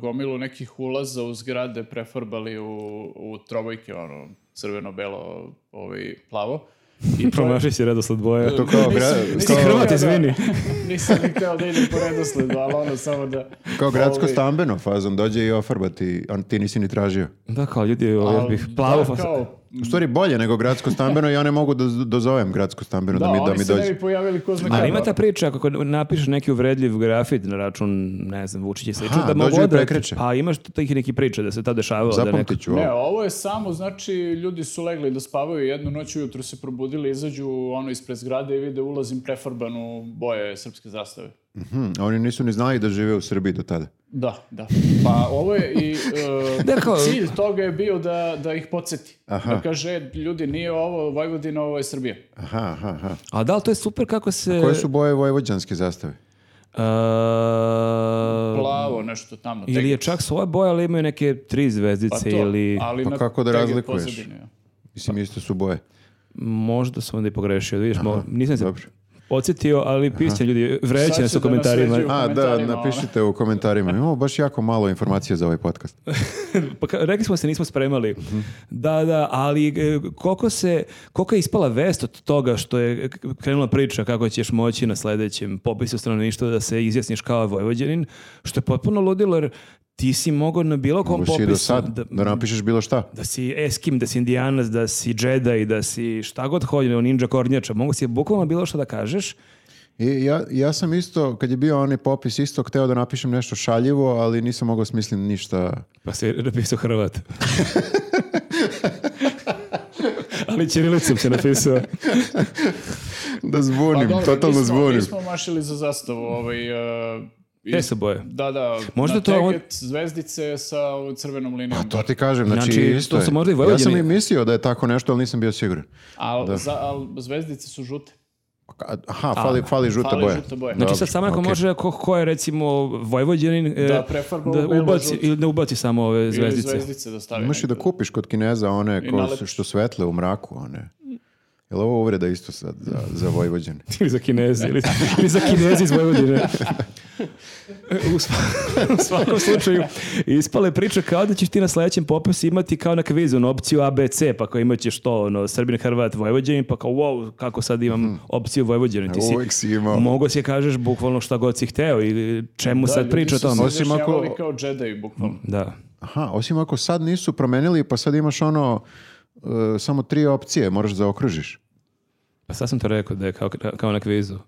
Speaker 3: gomilu nekih ulaza u zgrade prefarbali u, u trobojke, ono, crveno, belo, ovaj, plavo. I to je-
Speaker 1: Promaši si redosled boja.
Speaker 2: To kao, gra,
Speaker 3: Nisam- nisam
Speaker 1: Ti
Speaker 2: kao,
Speaker 1: Hrvat,
Speaker 3: htio da-
Speaker 1: izvini.
Speaker 3: Nisam ni htio da idem po redosledu, ali ono samo da...
Speaker 2: kao gradsko
Speaker 3: ovaj,
Speaker 2: stambeno fazom, dođe i ofarbati, a ti nisi ni tražio.
Speaker 1: Da, kao ljudi, ovo, ja
Speaker 3: ali
Speaker 1: bih plavo...
Speaker 3: Da, kao,
Speaker 2: U stvari bolje nego gradsko stambeno, ja ne mogu da z- dozovem gradsko stambeno da,
Speaker 3: da,
Speaker 2: mi, da
Speaker 3: oni
Speaker 2: mi
Speaker 3: se
Speaker 2: dođe.
Speaker 3: ne bi pojavili ko zna
Speaker 1: Ali
Speaker 3: kada.
Speaker 1: ima ta priča, ako napišeš neki uvredljiv grafit na račun, ne znam, Vučića i slično,
Speaker 2: Aha,
Speaker 1: da mogu
Speaker 2: dođu i
Speaker 1: odati.
Speaker 2: prekreče.
Speaker 1: Pa imaš tu tih neki priča da se ta dešavalo. Da neko...
Speaker 2: Zapamtit ću ovo.
Speaker 3: Ne, ovo je samo, znači, ljudi su legli da spavaju jednu noć, ujutru se probudili, izađu ono ispred zgrade i vide ulazim prefarbanu boje srpske zastave.
Speaker 2: Hm, a oni nisu ni znali da žive u Srbiji do tada.
Speaker 3: Da, da. Pa ovo je i e,
Speaker 1: Da, kao-
Speaker 3: cilj toga je bio da, da ih podsjeti. Da kaže, "E, ljudi, nije ovo Vojvodina, ovo je Srbija.
Speaker 1: E,
Speaker 2: Aha, aha, aha.
Speaker 1: A da, ali to je super kako se...
Speaker 2: Koje su boje vojvođanske zastave?
Speaker 1: A,
Speaker 3: Plavo, nešto tamo.
Speaker 1: Ili je čak svoja boja, ali imaju neke tri zvezdice ili...
Speaker 3: ali
Speaker 2: Pa
Speaker 3: na
Speaker 2: kako da
Speaker 3: tege
Speaker 2: razlikuješ?
Speaker 3: pozadine, ja.
Speaker 2: Mislim, isto su boje.
Speaker 1: Možda sam onda i pogrešio, da vidiš, mo- nisam se
Speaker 2: dobro.
Speaker 1: podsjetio, ali pišće ljudi,
Speaker 3: Sad
Speaker 1: vrećene
Speaker 3: će
Speaker 1: su
Speaker 3: da nas
Speaker 1: komentarima.
Speaker 3: vređaju.
Speaker 2: A, da,
Speaker 3: komentarima,
Speaker 2: napišite u komentarima. Imamo baš jako malo informacija za ovaj podcast.
Speaker 1: Pa ka- rekli smo da se nismo spremali.
Speaker 2: Mhm.
Speaker 1: Da, da, ali e, koliko se, koliko je ispala vest od toga što je k- krenula priča kako ćeš moći na sledećem popisu stanovništva da se izjasniš kao Vojvođanin, što je potpuno ludilo jer ti si mogao na bilo kom
Speaker 2: Možeš i do
Speaker 1: popisu
Speaker 2: sad da,
Speaker 1: da,
Speaker 2: napišeš bilo šta.
Speaker 1: da si Eskim, da si Indijanac, da si Jedi, da si šta god hođe, o ninja kornjača, mogu si bukvalno bilo što da kažeš
Speaker 2: I ja, ja sam isto, kad je bio onaj popis, isto hteo da napišem nešto šaljivo, ali nisam mogao smislim ništa.
Speaker 1: Pa si napisao Hrvat. Ali Čirilicom se napisao.
Speaker 2: Da
Speaker 3: Pa
Speaker 2: zvonim,
Speaker 3: dobro, nismo, Nismo mašili za zastavu. Ovaj, e,
Speaker 1: Te
Speaker 3: iz-
Speaker 1: su boje. Znači,
Speaker 3: Da, da.
Speaker 1: Možda
Speaker 3: na
Speaker 1: to on-
Speaker 3: teget zvezdice sa ovom crvenom linijom.
Speaker 2: To ti kažem, znači,
Speaker 1: Znači,
Speaker 2: isto
Speaker 1: to
Speaker 2: je.
Speaker 1: su možda i
Speaker 2: Ja sam
Speaker 1: Vojvođani.
Speaker 2: i mislio da je tako nešto, ali nisam bio siguran.
Speaker 3: Al, za, al zvezdice su žute.
Speaker 2: Aha, fali, fali žuta
Speaker 3: Fali
Speaker 2: boja.
Speaker 3: žuta boja.
Speaker 2: Dobro,
Speaker 3: Znači,
Speaker 1: Znači sad samo ako
Speaker 2: okej.
Speaker 1: može, ko, ko je recimo Vojvođanin, e,
Speaker 3: Da, prefarba
Speaker 1: da
Speaker 3: u belo
Speaker 1: ubaci,
Speaker 3: žuto.
Speaker 1: ili ne ubaci samo ove
Speaker 3: Ili
Speaker 1: zvezdice.
Speaker 3: zvezdice da stavi.
Speaker 2: Imaš i da
Speaker 3: negde.
Speaker 2: kupiš kod Kineza one ko su,
Speaker 3: nalepiš.
Speaker 2: što svetle u mraku, one. Je li ovo uvreda isto sad za, za Vojvođane?
Speaker 1: ili za Kinezi, ili, ili za Kinezi iz Vojvodine. U, sva- u svakom slučaju, ispala je priča kao da ćeš ti na sledećem popisu imati kao na kvizu, ono, opciju ABC, pa kao imat ćeš to, ono, Srbin, Hrvat, Vojvođanin, pa kao, wow, kako sad
Speaker 3: Mhm.
Speaker 1: imam opciju Vojvođanin. Ti si,
Speaker 2: Uvek si imao.
Speaker 1: Mogo si je kažeš bukvalno šta god si hteo i čemu
Speaker 3: Da,
Speaker 1: sad
Speaker 3: ljudi
Speaker 1: priča o
Speaker 3: su se
Speaker 1: tome.
Speaker 2: Osim ako-
Speaker 3: izjašnjavali kao Jedi, bukvalno.
Speaker 1: Da.
Speaker 2: Aha, osim ako sad nisu promenili, pa sad imaš ono, e, samo tri opcije, moraš da zaokružiš.
Speaker 1: Pa sad sam to rekao da je kao, kao na kvizu.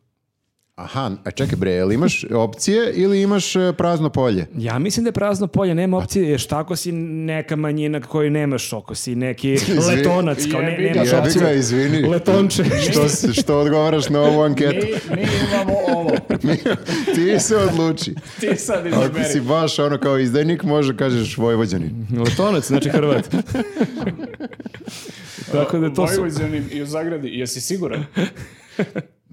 Speaker 2: Aha, a čekaj bre, jel imaš opcije ili imaš e, prazno polje?
Speaker 1: Ja mislim da je prazno polje, nema opcije, jer šta ako si neka manjina koju nemaš, ako si neki letonac, kao ne,
Speaker 3: Jebi ga,
Speaker 1: nemaš
Speaker 3: jebi
Speaker 1: opciju.
Speaker 2: ga, izvini.
Speaker 1: Letonče.
Speaker 2: Što, s- što odgovaraš na ovu anketu?
Speaker 3: Mi, mi imamo ovo.
Speaker 2: Ti se odluči.
Speaker 3: Ti sad
Speaker 2: Ako si
Speaker 3: izaberi.
Speaker 2: baš ono kao izdajnik, može kažeš Vojvođanin.
Speaker 1: Letonac, znači Hrvat. Tako da to su...
Speaker 3: Vojvođanin i u zagradi. Jesi siguran?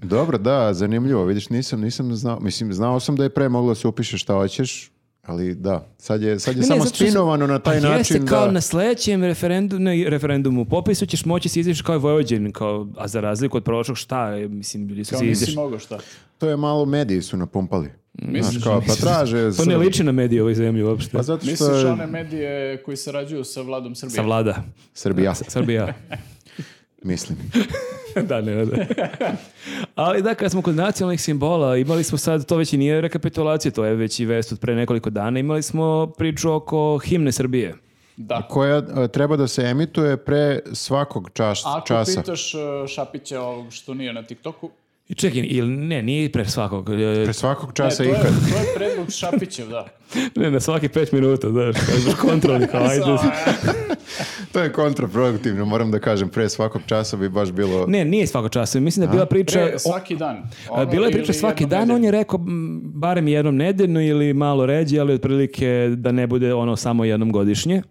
Speaker 2: Dobro, da, zanimljivo. Vidiš, nisam, nisam znao. Mislim, znao sam da je pre moglo da se upiše šta hoćeš, ali da, sad je, sad je
Speaker 1: Ne, ne,
Speaker 2: samo
Speaker 1: zato što su-
Speaker 2: spinovano na taj
Speaker 1: Pa
Speaker 2: način
Speaker 1: Jeste kao
Speaker 2: da...
Speaker 1: na sledećem referendumu, ne, referendumu popisu ćeš moći se izaći kao i Vojvođanin, kao, a za razliku od prošlog šta, je, mislim, ljudi su
Speaker 3: Kao
Speaker 1: se
Speaker 3: nisi
Speaker 1: izašli.
Speaker 3: mogao šta.
Speaker 2: To je malo mediji su napumpali. Znaš,
Speaker 3: Misliš,
Speaker 2: kao, pa traže...
Speaker 1: To ne liči na medije u ovoj zemlji uopšte.
Speaker 2: Pa zato što
Speaker 3: misliš
Speaker 2: je
Speaker 3: one medije koji sarađuju sa vladom Srbije?
Speaker 1: Sa vlada.
Speaker 2: Srbija,
Speaker 1: Srbija.
Speaker 2: mislim.
Speaker 1: da, ne, da. Ali da, kad smo kod nacionalnih simbola, imali smo sad, to već i nije rekapitulacija, to je već i vest od pre nekoliko dana, imali smo priču oko himne Srbije.
Speaker 3: Da.
Speaker 2: Koja e, treba da se emituje pre svakog čas,
Speaker 3: Ako
Speaker 2: časa.
Speaker 3: pitaš uh, Šapića ovog što nije na TikToku,
Speaker 1: I čekaj, ili ne, nije pre svakog, e,
Speaker 2: Pre svakog
Speaker 3: e,
Speaker 2: časa
Speaker 3: to, je,
Speaker 2: ikad.
Speaker 3: to je predlog Šapićev, da.
Speaker 1: ne, na svaki pet minuta, znaš, kao kontrolni, kao ajde.
Speaker 2: To je kontraproduktivno, moram da kažem. Pre svakog časa bi baš bilo...
Speaker 1: Ne, nije svako časa, mislim da je bila priča...
Speaker 3: Pre,
Speaker 1: o-
Speaker 3: svaki dan. Ono,
Speaker 1: a, Bila je priča svaki dan, on je rekao m, barem jednom nedeljno ili malo ređe, ali otprilike da ne bude ono samo jednom godišnje.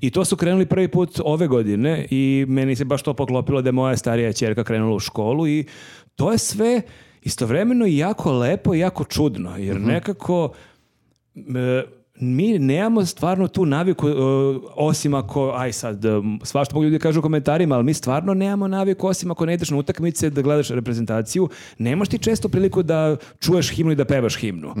Speaker 1: I to su krenuli prvi put ove godine i meni se baš to poklopilo da je moja starija ćerka krenula u školu i to je sve istovremeno i jako lepo i jako čudno, jer nekako e, mi nemamo stvarno tu naviku, e, osim ako, aj sad, e, svašta mogu ljudi kažu u komentarima, ali mi stvarno nemamo naviku, osim ako ne ideš na utakmice, da gledaš reprezentaciju, nemaš ti često priliku da čuješ himnu i da pevaš himnu.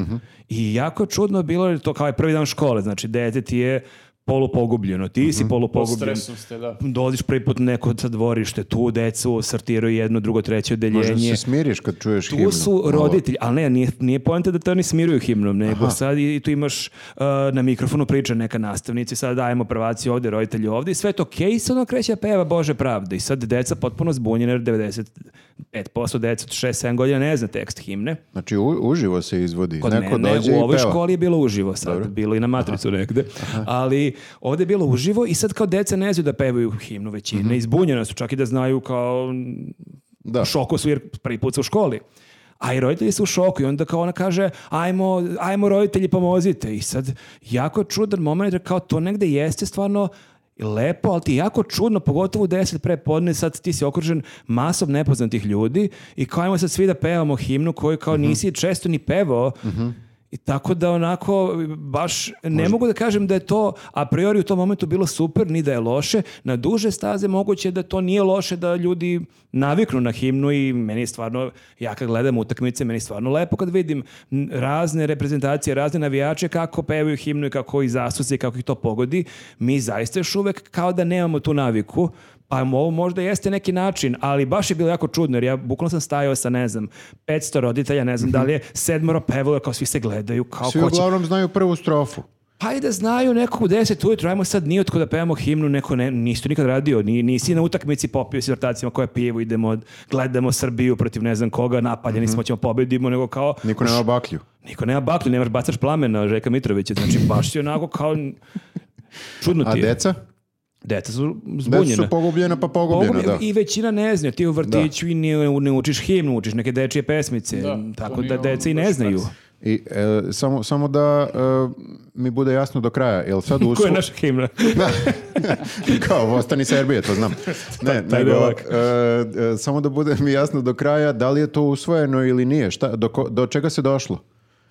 Speaker 1: I jako je čudno bilo, jer to kao je prvi dan škole, znači dete ti je polupogubljeno, ti si
Speaker 3: Po
Speaker 1: polupogubljen.
Speaker 3: stresu ste, da.
Speaker 1: Dolaziš prvi put u neko sa dvorište, tu decu sortiraju jedno, drugo, treće odeljenje.
Speaker 2: Možda se smiriš kad čuješ
Speaker 1: Tu
Speaker 2: himnu.
Speaker 1: su
Speaker 2: malo.
Speaker 1: roditelji, ali ne, nije, nije poenta da te oni smiruju himnom, nego sad i, i tu imaš uh, na mikrofonu priča neka nastavnici, sad dajemo prvaci ovdje, roditelji ovdje i sve je to okej, i sad ono kreće da peva Bože pravde i sad deca potpuno zbunjena jer 95% deca od 6-7 godina ne zna tekst himne.
Speaker 2: Znači, u- uživo se izvodi.
Speaker 1: Kod
Speaker 2: Neko
Speaker 1: mene
Speaker 2: dođe
Speaker 1: u ovoj
Speaker 2: i peva.
Speaker 1: školi je bilo uživo sad, bilo i na matricu negde, ali ovdje je bilo uživo i sad kao deca ne znaju da pevaju himnu većine,
Speaker 2: Mhm.
Speaker 1: izbunjena su čak i da znaju kao
Speaker 2: Da.
Speaker 1: u šoku su jer prvi put su u školi. A i roditelji su u šoku i onda kao ona kaže ajmo, ajmo roditelji pomozite. I sad jako je čudan moment jer kao to negde jeste stvarno lepo, ali ti je jako čudno, pogotovo u 10 pre podne, sad ti si okružen masom nepoznatih ljudi i kao ajmo sad svi da pevamo himnu koju kao nisi često ni pevao. I tako da onako baš ne mogu da kažem da je to a priori u tom momentu bilo super ni da je loše. Na duže staze moguće je da to nije loše da ljudi naviknu na himnu i meni je stvarno, ja kad gledam utakmice, meni je stvarno lepo kad vidim n- razne reprezentacije, razne navijače kako pevaju himnu i kako ih zasuse i kako ih to pogodi. Mi zaista još uvek kao da nemamo tu naviku. Pa ovo možda jeste neki način, ali baš je bilo jako čudno, jer ja bukvalno sam stajao sa, ne znam, 500 roditelja, ne znam da li je sedmoro pevalo, kao svi se gledaju, kao
Speaker 2: Mhm. Svi
Speaker 1: ko će...
Speaker 2: uglavnom znaju prvu strofu.
Speaker 1: Hajde znaju nekog u 10 ujutro, ajmo sad nije otko da pevamo himnu, neko ne, nisi to nikad radio, ni, nisi na utakmici popio s vrtacima koje pivo, idemo, gledamo Srbiju protiv ne znam koga,
Speaker 2: Mhm.
Speaker 1: napaljeni smo, ćemo pobedimo, nego kao...
Speaker 2: Niko nema baklju.
Speaker 1: Niko nema baklju, nemaš bacaš plamena Žeka Mitrovića, znači baš si onako kao... Čudno
Speaker 2: A
Speaker 1: ti je.
Speaker 2: deca?
Speaker 1: Deca su zbunjena.
Speaker 2: Deca su pogubljena pa pogubljena,
Speaker 1: Pogubljena-
Speaker 2: da.
Speaker 1: I većina ne zna, ti u vrtiću i ne, ne učiš himnu, učiš neke dečije pesmice,
Speaker 3: Da,
Speaker 1: tako da
Speaker 3: to nije ono
Speaker 1: deca i
Speaker 3: baš
Speaker 1: ne znaju.
Speaker 3: praksa.
Speaker 2: I, e, samo, samo da e, mi bude jasno do kraja. Jel sad u
Speaker 1: Ko je
Speaker 2: svu-
Speaker 1: naša himna?
Speaker 2: Da. Kao, ostani Srbije, to znam. Ne,
Speaker 1: taj
Speaker 2: nego,
Speaker 1: delak.
Speaker 2: e, e, samo da bude mi jasno do kraja, da li je to usvojeno ili nije, šta, do, ko- do čega se došlo?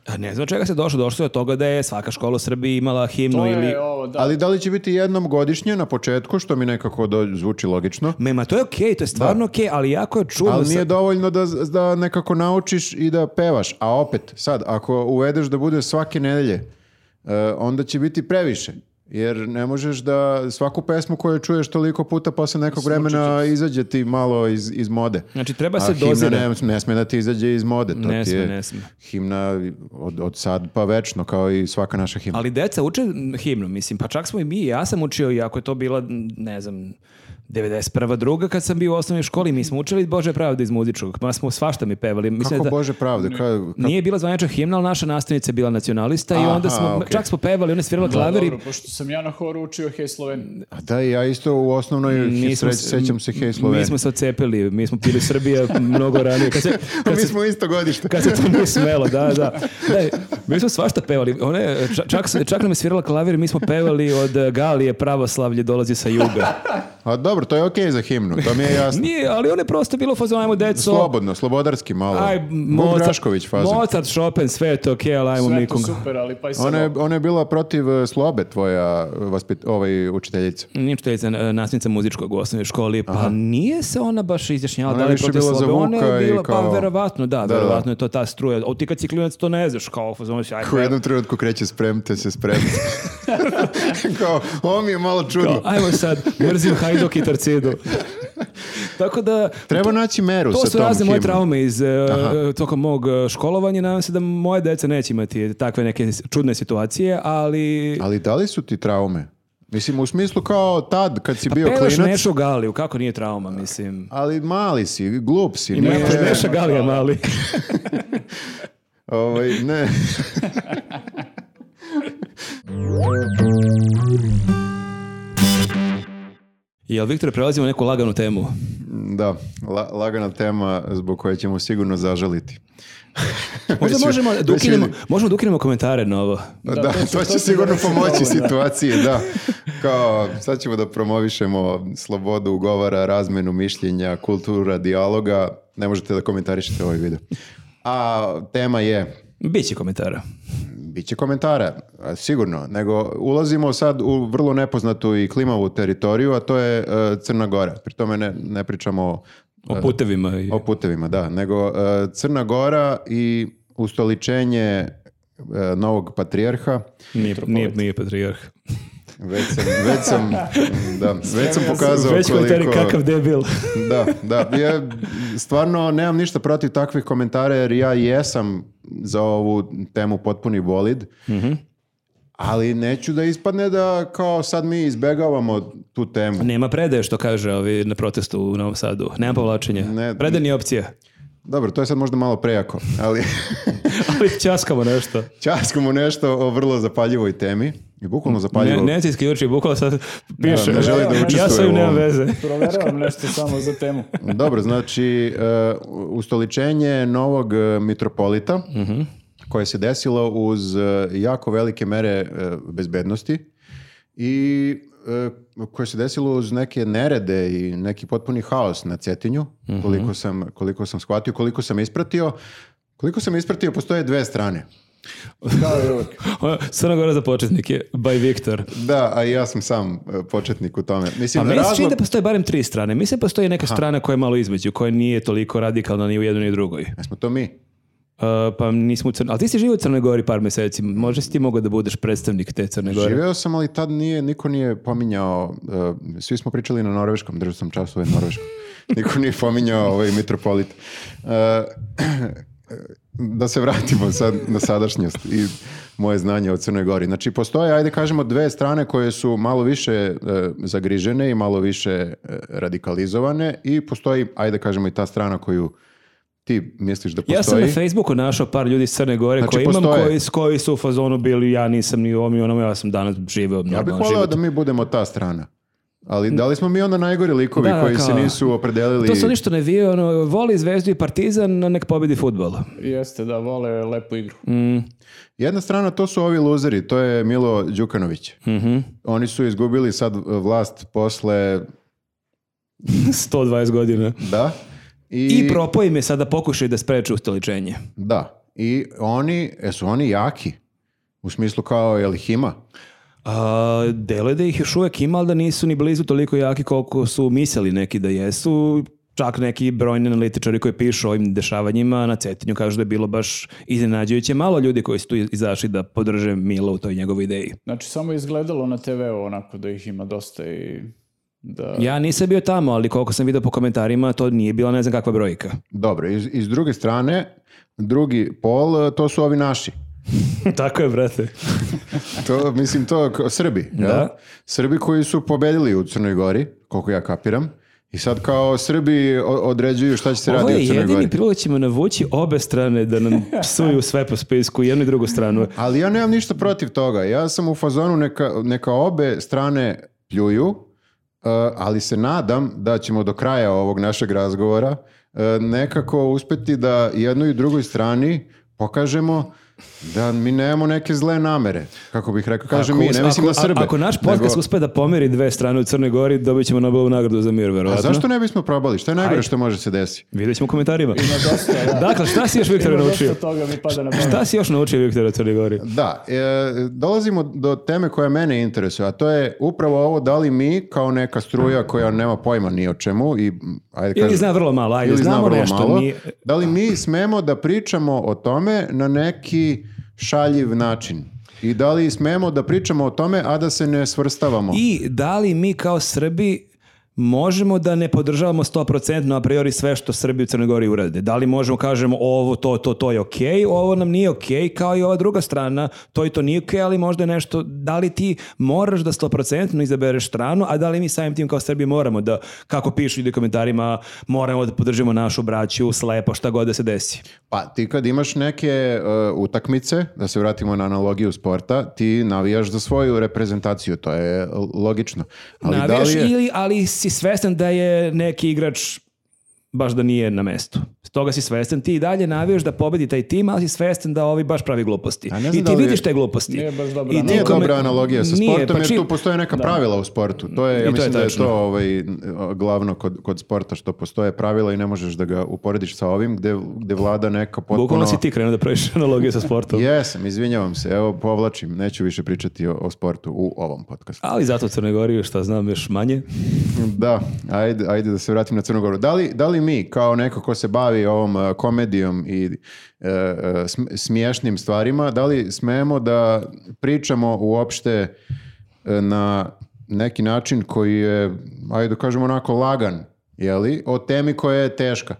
Speaker 1: A ne znam do čega se došlo. Došlo je od toga da je svaka škola u Srbiji imala himnu
Speaker 3: To
Speaker 1: ili...
Speaker 3: je ovo, da.
Speaker 2: Ali da li će biti jednom godišnje na početku, što mi nekako do, zvuči logično,
Speaker 1: Ma, ma, to je okej, to je stvarno okej, ali jako je čudno.
Speaker 2: ali
Speaker 1: sa-
Speaker 2: nije dovoljno da, da nekako naučiš i da pevaš. A opet, sad, ako uvedeš da bude svake nedelje, e, onda će biti previše. Jer ne možeš da svaku pesmu koju čuješ toliko puta posle nekog vremena izađe ti malo iz, iz mode.
Speaker 1: Znači, treba
Speaker 2: A
Speaker 1: se
Speaker 2: himna
Speaker 1: dozira.
Speaker 2: Ne, ne sme da ti izađe iz mode. To
Speaker 1: Ne
Speaker 2: ti
Speaker 1: sme,
Speaker 2: je
Speaker 1: ne sme.
Speaker 2: Himna od, od sad pa večno, kao i svaka naša himna.
Speaker 1: Ali deca uče himnu, mislim, pa čak smo i mi, ja sam učio, iako je to bila, ne znam, 91. druga kad sam bio u osnovnoj školi, mi smo učili Bože pravde iz muzičkog, pa smo svašta mi pevali. Mislim
Speaker 2: Kako
Speaker 1: da
Speaker 2: Bože pravde, kao, kako-
Speaker 1: Nije bila zvanična himna, ali naša nastavnica je bila nacionalista i
Speaker 2: Aha,
Speaker 1: onda smo,
Speaker 2: okej.
Speaker 1: čak smo pevali, ona je svirala
Speaker 3: Da,
Speaker 1: klaver i
Speaker 3: dobro, pošto sam ja na horu učio Hej Sloven.
Speaker 2: A da, i ja isto u osnovnoj
Speaker 1: mi smo
Speaker 2: sreć,
Speaker 1: se-
Speaker 2: sećam se Hej Sloven.
Speaker 1: mi smo se ocepili, mi smo pili Srbija mnogo ranije. Kad se, kad se,
Speaker 2: isto godište.
Speaker 1: kad se to nije smelo, da, da. da mi smo svašta pevali. Ona je, čak, čak, se- čak nam je svirala klavir, mi smo pevali od eh, Galije, pravoslavlje dolazi sa juga.
Speaker 2: A dobro, to je okej za himnu, to mi je jasno.
Speaker 1: Nije, ali on je prosto bilo u fazonu, ajmo deco.
Speaker 2: Slobodno, slobodarski malo.
Speaker 1: Aj,
Speaker 2: Vuk Drašković fazon.
Speaker 1: Mozart, Chopin, sve je to okej, ali ajmo
Speaker 3: Sve je to
Speaker 1: Mikunga.
Speaker 3: super, ali pa i sad
Speaker 2: Ona je,
Speaker 3: ovo.
Speaker 2: ona je bila protiv e, slobe tvoja e, vaspit, ovaj, učiteljica.
Speaker 1: Nije učiteljica e, nastavnica muzičkog u osnovnoj školi, pa nije se ona baš izjašnjavala da
Speaker 2: Ona je
Speaker 1: li je
Speaker 2: više
Speaker 1: protiv
Speaker 2: bila za
Speaker 1: slobe. Ona
Speaker 2: Vuka
Speaker 1: je
Speaker 2: i
Speaker 1: bila,
Speaker 2: kao-
Speaker 1: pa verovatno, da,
Speaker 2: da.
Speaker 1: verovatno je to ta struja. O, ti kad si klinac to ne znaš, kao, fazonu si, aj,
Speaker 2: U
Speaker 1: pe-
Speaker 2: jednom trenutku kreće spremte se, spremte. Kao, ovo mi je malo čudno.
Speaker 1: ajmo sad, mrzim hajdok i tarcidu. Tako da,
Speaker 2: Treba naći meru
Speaker 1: to
Speaker 2: sa
Speaker 1: su
Speaker 2: tom
Speaker 1: razne moje
Speaker 2: himnom.
Speaker 1: traume iz e, tokom mog e, školovanja. Nadam se da moje dece neće imati takve neke čudne situacije, ali...
Speaker 2: Ali da li su ti traume? Mislim, u smislu kao tad, kad si bio
Speaker 1: Pevaš
Speaker 2: klinac,
Speaker 1: Nešo Galiju, kako nije trauma, mislim.
Speaker 2: ali mali si, glup si.
Speaker 1: Ima
Speaker 2: nije-
Speaker 1: Neša Galija mali.
Speaker 2: Ovaj, ne.
Speaker 1: Jel, Viktore, prelazimo na neku laganu temu.
Speaker 2: Da, la- lagana tema zbog koje ćemo sigurno zažaliti.
Speaker 1: Možda
Speaker 2: Već ju-
Speaker 1: možemo da
Speaker 2: već ju-
Speaker 1: ukinemo, možemo da ukinemo komentare na ovo.
Speaker 2: Da, to će sigurno pomoći situaciji, da. Kao, sad ćemo da promovišemo slobodu ugovora, razmenu mišljenja, kultura, dijaloga. Ne možete da komentarišete ovaj video. A tema je,
Speaker 1: Biće komentara.
Speaker 2: bit će komentara, a, sigurno, nego ulazimo sad u vrlo nepoznatu i klimavu teritoriju, a to je e, Crna Gora. Pri tome ne, ne pričamo
Speaker 1: O putevima. I...
Speaker 2: O putevima, da. Nego e, Crna Gora i ustoličenje e, novog patrijarha.
Speaker 1: Nije, nije, nije patrijarh.
Speaker 2: Već sam, već sam, da, već sam pokazao
Speaker 1: Već komentari
Speaker 2: koliko...
Speaker 1: kakav debil.
Speaker 2: Da, da. Ja stvarno nemam ništa protiv takvih komentara jer ja jesam za ovu temu potpuni bolid.
Speaker 1: Mhm.
Speaker 2: Ali neću da ispadne da kao sad mi izbegavamo tu temu.
Speaker 1: Nema predaje što kaže ovi na protestu u Novom Sadu. Nema povlačenja.
Speaker 2: Ne-
Speaker 1: Predaje nije opcija.
Speaker 2: Dobro, to je sad možda malo prejako, ali...
Speaker 1: Ali ćaskamo nešto.
Speaker 2: Časkamo nešto o vrlo zapaljivoj temi. I bukvalno
Speaker 1: Ne,
Speaker 2: zapaljivoj.
Speaker 1: ne se isključi, bukvalo sad piše.
Speaker 2: ne želi da
Speaker 1: ja
Speaker 2: učestvuje
Speaker 1: sa
Speaker 2: u
Speaker 1: im nemam
Speaker 2: ovom.
Speaker 1: veze.
Speaker 3: Proveravam nešto samo za temu.
Speaker 2: Dobro, znači e, ustoličenje novog e, mitropolita
Speaker 1: Mhm.
Speaker 2: koje se desilo uz e, jako velike mere e, bezbednosti i e, koje se desilo uz neke nerede i neki potpuni haos na Cetinju,
Speaker 1: Mhm.
Speaker 2: koliko, sam, koliko sam shvatio, koliko sam ispratio. Koliko sam ispratio, postoje dve strane.
Speaker 1: Ono, Crna Gora za početnike, by Viktor.
Speaker 2: Da, a i ja sam sam e, početnik u tome. Mislim,
Speaker 1: Pa meni se čini
Speaker 2: razlog-
Speaker 1: da postoje barem tri strane. Mislim da postoji neka strana koja je malo između, koja nije toliko radikalna ni u jednoj ni u drugoj.
Speaker 2: Jesmo to mi?
Speaker 1: Uh, pa nismo u Crnoj... Ali ti si živio u Crnoj Gori par meseci. Možda si ti mogao da budeš predstavnik te Crne Gore?
Speaker 2: Živeo sam, ali tad nije, niko nije pominjao, e, svi smo pričali na norveškom, držao sam časove na norveškom. Niko nije pominjao ovaj mitropolit. E, da se vratimo sad na sadašnjost i moje znanje o Crnoj Gori. Znači, postoje, ajde kažemo, dve strane koje su malo više e, zagrižene i malo više e, radikalizovane i postoji, ajde kažemo, i ta strana koju ti misliš da postoji.
Speaker 1: Ja sam na Facebooku našao par ljudi iz Crne Gore
Speaker 2: Znači,
Speaker 1: koje imam,
Speaker 2: postoje.
Speaker 1: koji, s koji su u fazonu bili, ja nisam ni u ovom i onom, ja sam danas živeo
Speaker 2: Ja bih
Speaker 1: normalan
Speaker 2: voleo
Speaker 1: život.
Speaker 2: da mi budemo ta strana. Ali da li smo mi onda najgori likovi
Speaker 1: Da, da,
Speaker 2: koji se
Speaker 1: kao-
Speaker 2: nisu opredelili?
Speaker 1: To su ništa ne vije, ono, voli zvezdu i partizan, nek pobedi futbol.
Speaker 3: Jeste da vole lepu igru.
Speaker 2: Jedna strana to su ovi luzeri, to je Milo Đukanović.
Speaker 1: Mhm.
Speaker 2: Oni su izgubili sad vlast posle,
Speaker 1: 120 godina.
Speaker 2: da.
Speaker 1: I propo im je sada pokušaj da spreče ustoličenje.
Speaker 2: Da. I oni, jesu oni jaki? U smislu kao, jel ih ima?
Speaker 1: A, dele da ih još uvek ima, ali da nisu ni blizu toliko jaki koliko su mislili neki da jesu. Čak neki brojni analitičari koji pišu o ovim dešavanjima na Cetinju kažu da je bilo baš iznenađujuće malo ljudi koji su tu izašli da podrže Milo u toj njegovoj ideji.
Speaker 3: Znači, samo je izgledalo na TV-u onako da ih ima dosta i da...
Speaker 1: Ja nisam bio tamo, ali koliko sam vidio po komentarima, to nije bila ne znam kakva brojka.
Speaker 2: Dobro, iz, iz druge strane, drugi pol, to su ovi naši.
Speaker 1: Tako je, brate.
Speaker 2: To, mislim, to kao Srbi. jel?
Speaker 1: Da.
Speaker 2: Srbi koji su pobedili u Crnoj Gori, koliko ja kapiram. I sad kao Srbi o- određuju šta će se
Speaker 1: Ovo
Speaker 2: raditi
Speaker 1: je
Speaker 2: u Crnoj
Speaker 1: jedini
Speaker 2: Gori.
Speaker 1: prilog ćemo navući obe strane da nam psuju sve po spisku, jednu i drugu stranu.
Speaker 2: Ali ja nemam ništa protiv toga. Ja sam u fazonu neka, neka obe strane pljuju, eh, ali se nadam da ćemo do kraja ovog našeg razgovora eh, nekako uspeti da jednoj i drugoj strani pokažemo da mi nemamo neke zle namere, kako bih rekao. Kažem mi, ne mislim na
Speaker 1: ako-
Speaker 2: Srbe.
Speaker 1: Ako naš podcast
Speaker 2: nego-
Speaker 1: uspe da pomeri dve strane u Crnoj Gori, dobit ćemo Nobelovu nagradu za mir,
Speaker 2: A
Speaker 1: verovatno.
Speaker 2: Pa zašto ne bismo probali? Šta je najgore
Speaker 1: Ajde.
Speaker 2: što može se desiti?
Speaker 1: Vidjet ćemo u komentarima.
Speaker 3: Ima dosta, da.
Speaker 1: dakle, šta si još Viktor
Speaker 3: Ima dosta
Speaker 1: naučio?
Speaker 3: toga mi pada na pamet.
Speaker 1: Šta si još naučio Viktor u Crnoj Gori?
Speaker 2: Da, e, dolazimo do teme koja mene interesuje, a to je upravo ovo da li mi kao neka struja koja nema pojma ni o čemu i m, ajde
Speaker 1: Ili
Speaker 2: kažem-
Speaker 1: zna vrlo malo, ajde,
Speaker 2: ili zna
Speaker 1: znamo
Speaker 2: vrlo
Speaker 1: nešto.
Speaker 2: malo,
Speaker 1: nije-
Speaker 2: da li mi smemo da pričamo o tome na neki šaljiv način? I da li smemo da pričamo o tome, a da se ne svrstavamo?
Speaker 1: I da li mi kao Srbi možemo da ne podržavamo 100% a priori sve što Srbi u Crnoj Gori urade. Da li možemo kažemo ovo, to, to, to je okej, ovo nam nije okej, kao i ova druga strana, to i to nije okej, ali možda je nešto, da li ti moraš da 100% izabereš stranu, a da li mi samim tim kao Srbi moramo da, kako pišu ljudi u komentarima, moramo da podržimo našu braću, slepo, šta god da se desi.
Speaker 2: Pa ti kad imaš neke e, utakmice, da se vratimo na analogiju sporta, ti navijaš za svoju reprezentaciju, to je logično. Ali da
Speaker 1: Navijaš
Speaker 2: li je-
Speaker 1: ili, ali si svestan da je neki igrač baš da nije na mestu. Stoga si svestan, ti i dalje navijaš da pobedi taj tim, ali si svestan da ovi baš pravi gluposti.
Speaker 2: A ne znam
Speaker 1: I
Speaker 2: da
Speaker 1: ti
Speaker 2: li je-
Speaker 1: vidiš te gluposti.
Speaker 3: Nije baš dobra
Speaker 1: I ti
Speaker 2: Nije
Speaker 1: kome-
Speaker 2: dobra analogija sa
Speaker 1: Nije,
Speaker 2: sportom,
Speaker 1: pa
Speaker 2: jer
Speaker 1: čim-
Speaker 2: tu postoje neka pravila u sportu. To je,
Speaker 1: I
Speaker 2: ja
Speaker 1: to je
Speaker 2: mislim da je
Speaker 1: tačno.
Speaker 2: to ovaj, n- glavno kod, kod sporta, što postoje pravila i ne možeš da ga uporediš sa ovim, gde, gde vlada neka potpuno...
Speaker 1: Bukvalno si ti krenuo da praviš analogiju sa sportom.
Speaker 2: Jesam, izvinjavam se, evo povlačim, neću više pričati o, o sportu u ovom podcastu.
Speaker 1: Ali zato u Crnoj Gori, šta znam, još manje.
Speaker 2: Da, ajde, ajde da se vratim na Crnu Goru. Da li, da li mi, kao neko ko se bavi ovom e, komedijom i e, e, sm- smiješnim stvarima, da li smemo da pričamo uopšte e, na neki način koji je, ajde da kažemo onako lagan, jeli, o temi koja je teška.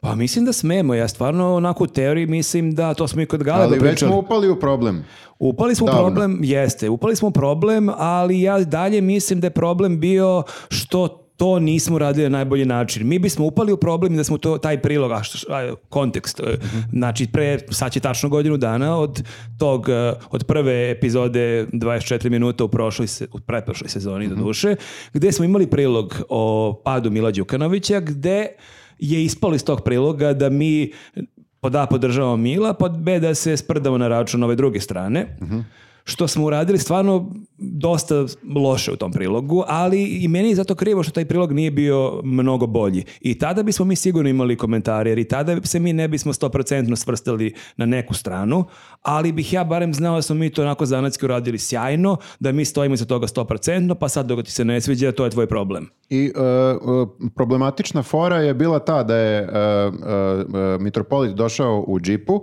Speaker 1: Pa mislim da smemo, ja stvarno onako u teoriji mislim da, to smo i kod Galeba
Speaker 2: Ali već
Speaker 1: pričali.
Speaker 2: smo upali u problem.
Speaker 1: Upali smo u
Speaker 2: Davno.
Speaker 1: problem, jeste, upali smo u problem, ali ja dalje mislim da je problem bio što to nismo radili na najbolji način. Mi bismo upali u problem da smo to, taj prilog, a što- a, kontekst, e, znači pre, sad će tačno godinu dana od tog, e, od prve epizode 24 minuta u prošloj, se, u pretprošloj sezoni do duše, gde smo imali prilog o padu Mila Đukanovića, gde je ispalo iz tog priloga da mi pod A podržavamo Mila, pod B da se sprdamo na račun ove druge strane. Što smo uradili stvarno dosta loše u tom prilogu, ali i meni je zato krivo što taj prilog nije bio mnogo bolji. I tada bismo mi sigurno imali komentare, jer i tada se mi ne bismo stoprocentno svrstali na neku stranu, ali bih ja barem znao da smo mi to onako zanatski uradili sjajno, da mi stojimo iza toga stoprocentno, pa sad dok ti se ne sviđa, to je tvoj problem.
Speaker 2: I e, e, problematična fora je bila ta da je e, e, e, mitropolit došao u džipu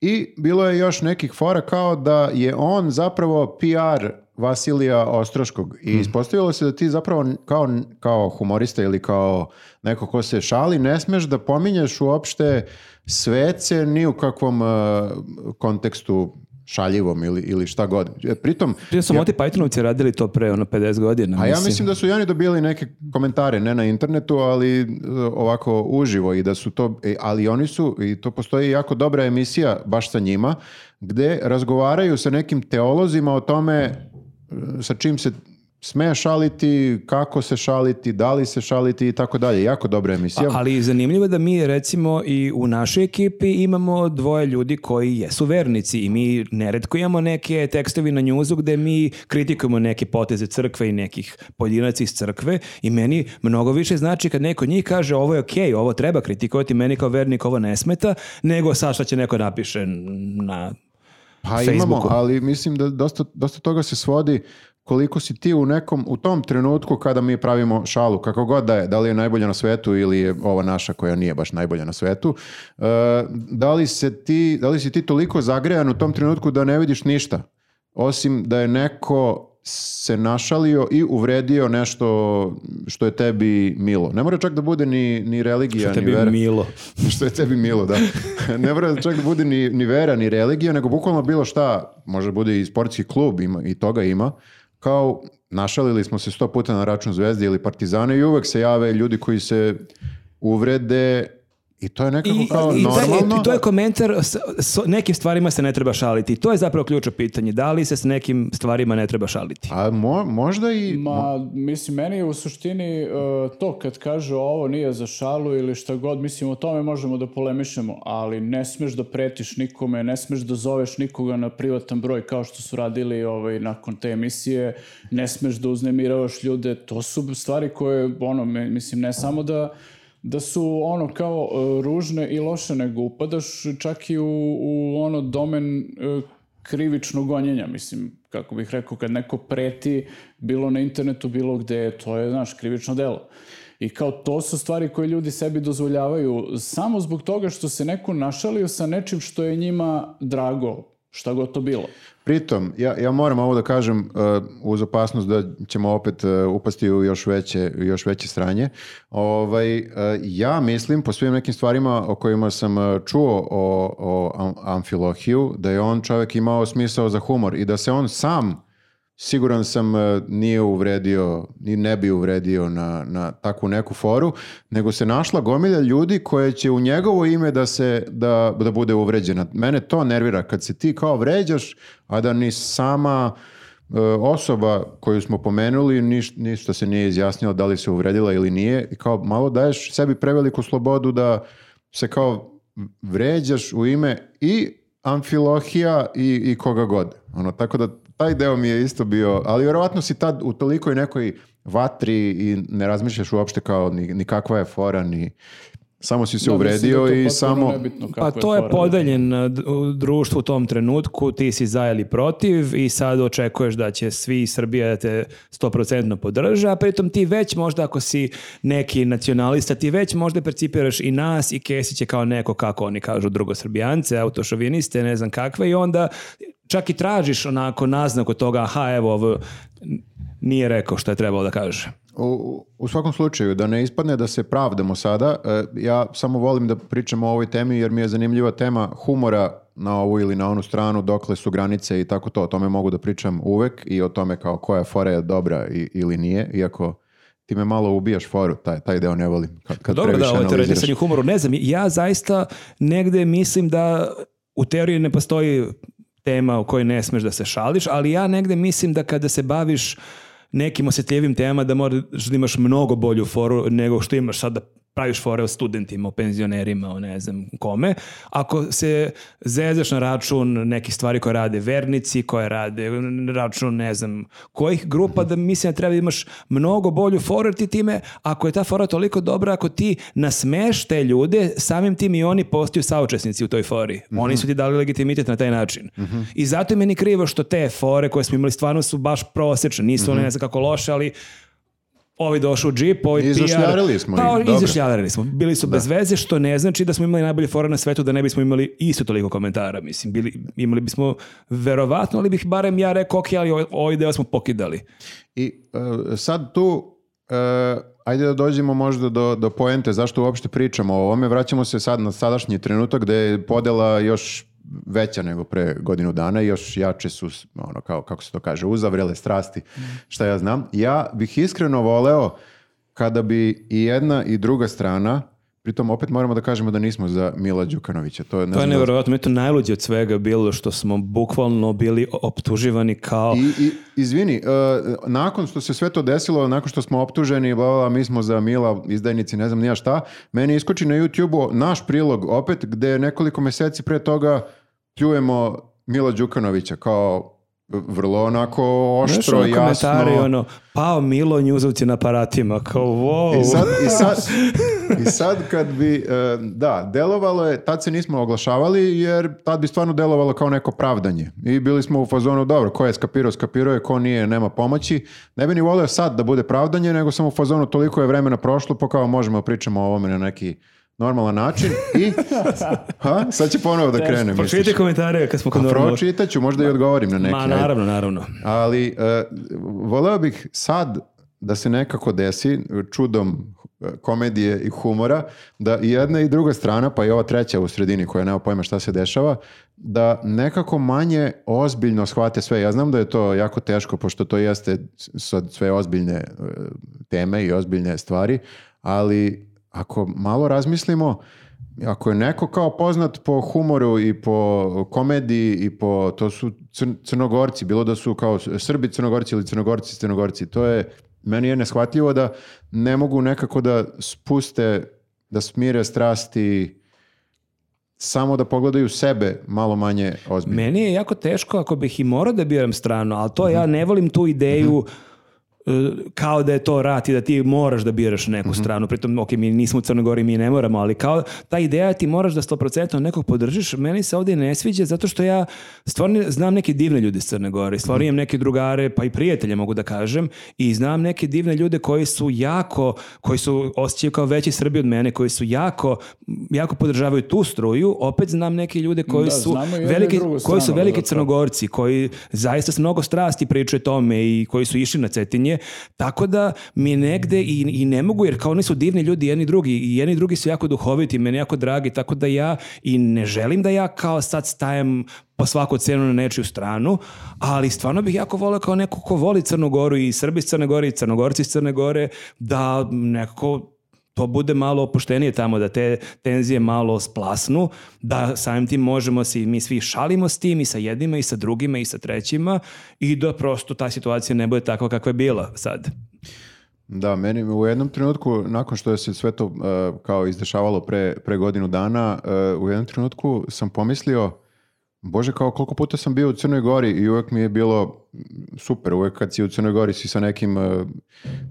Speaker 2: i bilo je još nekih fora kao da je on zapravo PR Vasilija Ostroškog i ispostavilo se da ti zapravo kao, kao humorista ili kao neko ko se šali ne smeš da pominješ uopšte svece ni u kakvom e, kontekstu šaljivom ili, ili šta god. E, Pritom,
Speaker 1: Prije su Monty Pythonovci radili to pre ono 50 godina.
Speaker 2: a Pa ja mislim da su i oni dobili neke komentare, ne na internetu, ali e, ovako uživo i da su to, e, ali oni su, i to postoji jako dobra emisija baš sa njima, gde razgovaraju sa nekim teolozima o tome e, sa čim se sme šaliti, kako se šaliti, da li se šaliti i tako dalje. Jako dobra emisija.
Speaker 1: Ali zanimljivo je da mi recimo i u našoj ekipi imamo dvoje ljudi koji jesu vernici i mi neretko imamo neke tekstovi na njuzu gde mi kritikujemo neke poteze crkve i nekih pojedinaca iz crkve i meni mnogo više znači kad neko od njih kaže ovo je okej, ovo treba kritikovati, meni kao vernik ovo ne smeta, nego sad šta će neko napiše na
Speaker 2: Pa imamo,
Speaker 1: Facebooku.
Speaker 2: ali mislim da dosta, dosta toga se svodi koliko si ti u nekom, u tom trenutku kada mi pravimo šalu, kako god da je, da li je najbolja na svetu ili je ova naša koja nije baš najbolja na svetu, e, da, li se ti, da li si ti toliko zagrejan u tom trenutku da ne vidiš ništa, osim da je neko se našalio i uvredio nešto što je tebi milo. Ne mora čak da bude ni, ni religija,
Speaker 1: tebi
Speaker 2: ni vera.
Speaker 1: milo.
Speaker 2: što je tebi milo, da. ne mora čak da bude ni, ni vera, ni religija, nego bukvalno bilo šta, može da bude i sportski klub, ima, i toga ima, kao našalili smo se sto puta na račun Zvezde ili Partizana i uvek se jave ljudi koji se uvrede i to je nekako kao
Speaker 1: i taj-
Speaker 2: normalno.
Speaker 1: i to je komentar, s, s nekim stvarima se ne treba šaliti. I To je zapravo ključno pitanje. Da li se s nekim stvarima ne treba šaliti?
Speaker 2: A mo- možda i...
Speaker 3: Ma, mislim, meni je u suštini e, to kad kažu ovo nije za šalu ili šta god, mislim, o tome možemo da polemišemo, ali ne smeš da pretiš nikome, ne smeš da zoveš nikoga na privatan broj kao što su radili ovaj, nakon te emisije, ne smeš da uznemiravaš ljude, to su stvari koje, ono, me- mislim, ne samo da da su ono kao e, ružne i loše, nego upadaš čak i u, u ono domen e, krivično gonjenja, mislim, kako bih rekao, kad neko preti bilo na internetu, bilo gde, to je, znaš, krivično delo. I kao to su stvari koje ljudi sebi dozvoljavaju samo zbog toga što se neko našalio sa nečim što je njima drago, šta god to bilo.
Speaker 2: Pritom, ja, ja moram ovo da kažem uh, uz opasnost da ćemo opet uh, upasti u još veće, u još veće stranje. Ovaj, uh, ja mislim, po svim nekim stvarima o kojima sam uh, čuo o, o Am- Amfilohiju, da je on čovjek imao smisao za humor i da se on sam, siguran sam, uh, nije uvredio, ni ne bi uvredio na, na takvu neku foru, nego se našla gomilja ljudi koje će u njegovo ime da, se, da, da bude uvređena. Mene to nervira kad se ti kao vređaš, a da ni sama e, osoba koju smo pomenuli niš, ništa se nije izjasnila da li se uvredila ili nije i kao malo daješ sebi preveliku slobodu da se kao vređaš u ime i amfilohija i, i koga god. Ono, tako da taj deo mi je isto bio, ali vjerovatno si tad u tolikoj nekoj vatri i ne razmišljaš uopšte kao ni, ni kakva je fora, ni samo si se
Speaker 3: Da, mislim da je
Speaker 2: uvredio
Speaker 3: to
Speaker 2: i
Speaker 3: potpuno
Speaker 2: samo...
Speaker 3: nebitno
Speaker 1: Pa
Speaker 3: kako
Speaker 1: to je
Speaker 3: fora.
Speaker 1: podeljen uh, d- u društvu u tom trenutku, ti si za ili protiv i sad očekuješ da će svi iz Srbije da te 100% podrža, a pritom ti već možda ako si neki nacionalista, ti već možda percipiraš i nas i Kesiće kao neko kako oni kažu drugosrbijance, autošoviniste, ne znam kakve i onda čak i tražiš onako naznak od toga, aha evo ovo n- nije rekao što je trebalo da kaže.
Speaker 2: U, u svakom slučaju, da ne ispadne da se pravdamo sada, e, ja samo volim da pričam o ovoj temi jer mi je zanimljiva tema humora na ovu ili na onu stranu, dokle su granice i tako to. O tome mogu da pričam uvek i o tome kao koja fora je dobra i, ili nije, iako ti me malo ubijaš foru, taj, taj deo ne volim. Kad, kad
Speaker 1: Dobro da
Speaker 2: previše
Speaker 1: ovo je
Speaker 2: analiziraš.
Speaker 1: teoretisanje humoru, ne znam, ja zaista negde mislim da u teoriji ne postoji tema o kojoj ne smeš da se šališ, ali ja negde mislim da kada se baviš nekim osjetljivim temama da moraš da imaš mnogo bolju foru nego što imaš sad da praviš fore o studentima, o penzionerima, o ne znam kome. Ako se zezaš na račun nekih stvari koje rade vernici, koje rade na račun ne znam kojih grupa, da mislim da treba da imaš mnogo bolju foru jer ti time, ako je ta fora toliko dobra, ako ti nasmeš te ljude, samim tim i oni postaju saučesnici u toj fori. Oni su ti dali legitimitet na taj način. I zato je meni krivo što te fore koje smo imali stvarno su baš prosečne, nisu one ne znam kako loše, ali ovi došli u džip, ovi PR.
Speaker 2: Izašljarili smo
Speaker 1: pa,
Speaker 2: ih, dobro.
Speaker 1: izašljarili smo. Bili su bez veze, što ne znači da smo imali najbolje fora na svetu, da ne bismo imali isto toliko komentara. Mislim, bili, imali bismo verovatno, ali bih barem ja rekao, ok, ali ovaj- ovaj deo smo pokidali.
Speaker 2: I e, sad tu, e, ajde da dođemo možda do, do poente, zašto uopšte pričamo o ovome, vraćamo se sad na sadašnji trenutak gde je podela još veća nego pre godinu dana, i još jače su, ono, kao, kako se to kaže, uzavrele strasti, šta ja znam. Ja bih iskreno voleo kada bi i jedna i druga strana Pritom opet moramo da kažemo da nismo za Mila Đukanovića. To je, ne
Speaker 1: To je
Speaker 2: znam da-
Speaker 1: nevjerojatno, meni je to najluđe od svega bilo što smo bukvalno bili optuživani kao...
Speaker 2: I, i, izvini, e, nakon što se sve to desilo, nakon što smo optuženi, bla, bla, bla, mi smo za Mila, izdajnici, ne znam nija šta, meni iskoči na YouTube-u naš prilog opet, gde nekoliko meseci pre toga pljujemo Mila Đukanovića kao vrlo onako
Speaker 1: Znaš,
Speaker 2: oštro,
Speaker 1: ono komentari,
Speaker 2: jasno.
Speaker 1: ono, pao Milo Njuzovci na aparatima, kao wow.
Speaker 2: I sad, i, sad, I sad kad bi, e, da, delovalo je, tad se nismo oglašavali jer tad bi stvarno delovalo kao neko pravdanje. I bili smo u fazonu, dobro, ko je skapirao, skapirao je, ko nije, nema pomoći. Ne bi ni volio sad da bude pravdanje, nego sam u fazonu, toliko je vremena prošlo, pa kao možemo pričamo o ovome na neki normalan način. I, ha, sad će ponovo da krene, misliš.
Speaker 1: Pročitajte komentare kad smo kod normalnog.
Speaker 2: Pročitat ću, možda i odgovorim na neki.
Speaker 1: Ma,
Speaker 2: ajde.
Speaker 1: naravno, naravno.
Speaker 2: Ali e, voleo bih sad da se nekako desi čudom e, komedije i humora da i jedna i druga strana, pa i ova treća u sredini koja nema pojma šta se dešava, da nekako manje ozbiljno shvate sve. Ja znam da je to jako teško pošto to jeste s- sad sve ozbiljne e, teme i ozbiljne stvari, ali ako malo razmislimo, ako je neko kao poznat po humoru i po komediji i po, to su cr- crnogorci, bilo da su kao Srbi crnogorci ili crnogorci crnogorci, to je, meni je neshvatljivo da ne mogu nekako da spuste, da smire strasti, samo da pogledaju sebe malo manje ozbiljno.
Speaker 1: Meni je jako teško ako bih i morao da biram strano, ali to ja ne volim tu ideju e, kao da je to rat i da ti moraš da biraš neku
Speaker 3: Mhm.
Speaker 1: stranu. Pritom, ok, mi nismo u Crnoj Gori, mi ne moramo, ali kao ta ideja ti moraš da 100% nekog podržiš, meni se ovdje ne sviđa zato što ja stvarno znam neke divne ljude iz Crne
Speaker 3: Mhm.
Speaker 1: Gore, stvarno imam neke drugare, pa i prijatelje mogu da kažem, i znam neke divne ljude koji su jako, koji su osjećaju kao veći Srbi od mene, koji su jako, jako podržavaju tu struju, opet znam neke ljude koji
Speaker 3: Da,
Speaker 1: su
Speaker 3: znamo i jednu i
Speaker 1: veliki,
Speaker 3: drugu
Speaker 1: koji su
Speaker 3: stranu,
Speaker 1: veliki
Speaker 3: zapravo.
Speaker 1: crnogorci, koji zaista s mnogo strasti pričaju o tome i koji su išli na Cetinje, tako da mi negde i, i ne mogu, jer kao oni su divni ljudi jedni i drugi i jedni i drugi su jako duhoviti, meni jako dragi, tako da ja i ne želim da ja kao sad stajem po svaku cenu na nečiju stranu, ali stvarno bih jako volio kao neko ko voli Crnu Goru i Srbi iz Crne Gore i Crnogorci iz Crne Gore, da nekako to bude malo opuštenije tamo, da te tenzije malo splasnu, da samim tim možemo se i mi svi šalimo s tim i sa jednima i sa drugima i sa trećima i da prosto ta situacija ne bude takva kakva je bila sad.
Speaker 2: Da, meni u jednom trenutku, nakon što je se sve to e, kao izdešavalo pre, pre godinu dana, e, u jednom trenutku sam pomislio, bože, kao koliko puta sam bio u Crnoj Gori i uvek mi je bilo mm, super, uvek kad si u Crnoj Gori si sa nekim e,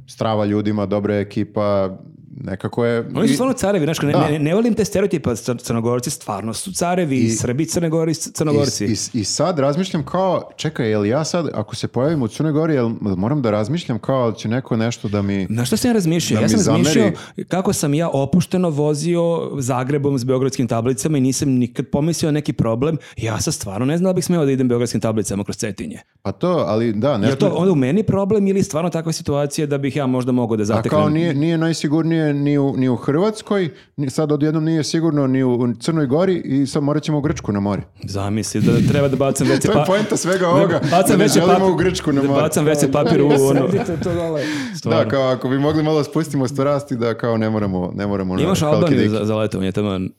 Speaker 2: strava ljudima, dobra je ekipa, nekako je...
Speaker 1: Oni su
Speaker 2: i-
Speaker 1: stvarno carevi, znaš, ne,
Speaker 2: Da.
Speaker 1: ne, ne volim te stereotipa, cr- crnogorci stvarno su carevi, i, Srbi, crnogori, crnogorci.
Speaker 2: I, i, I sad razmišljam kao, čekaj, je li ja sad, ako se pojavim u Crnoj Gori, jel moram da razmišljam kao, će neko nešto da mi...
Speaker 1: Na što sam ja razmišljao?
Speaker 2: Da
Speaker 1: ja
Speaker 2: mi
Speaker 1: sam razmišljao
Speaker 2: zameri.
Speaker 1: kako sam ja opušteno vozio Zagrebom s beogradskim tablicama i nisam nikad pomislio na neki problem. Ja sad stvarno ne znam da bih smeo da idem beogradskim tablicama kroz Cetinje.
Speaker 2: Pa to, ali da,
Speaker 1: Je li
Speaker 2: nešto...
Speaker 1: to onda u meni problem ili stvarno takva situacija da bih ja možda mogao da
Speaker 2: A
Speaker 1: zateknem?
Speaker 2: kao nije, nije najsigurnije ni u, ni u Hrvatskoj, ni sad odjednom nije sigurno ni u Crnoj Gori i sad morat ćemo u Grčku na more.
Speaker 1: Zamisli da treba da bacam veće
Speaker 2: To je
Speaker 1: pa...
Speaker 2: poenta svega ovoga, da ne želimo u Grčku na
Speaker 1: da
Speaker 2: more.
Speaker 1: bacam WC papir u ono...
Speaker 6: Sredite to dole.
Speaker 1: stvarno.
Speaker 2: Da, kao ako bi mogli malo spustimo strasti da kao ne moramo, ne moramo na
Speaker 1: Imaš
Speaker 2: halkidiki.
Speaker 1: Albaniju za, za letovanje, taman.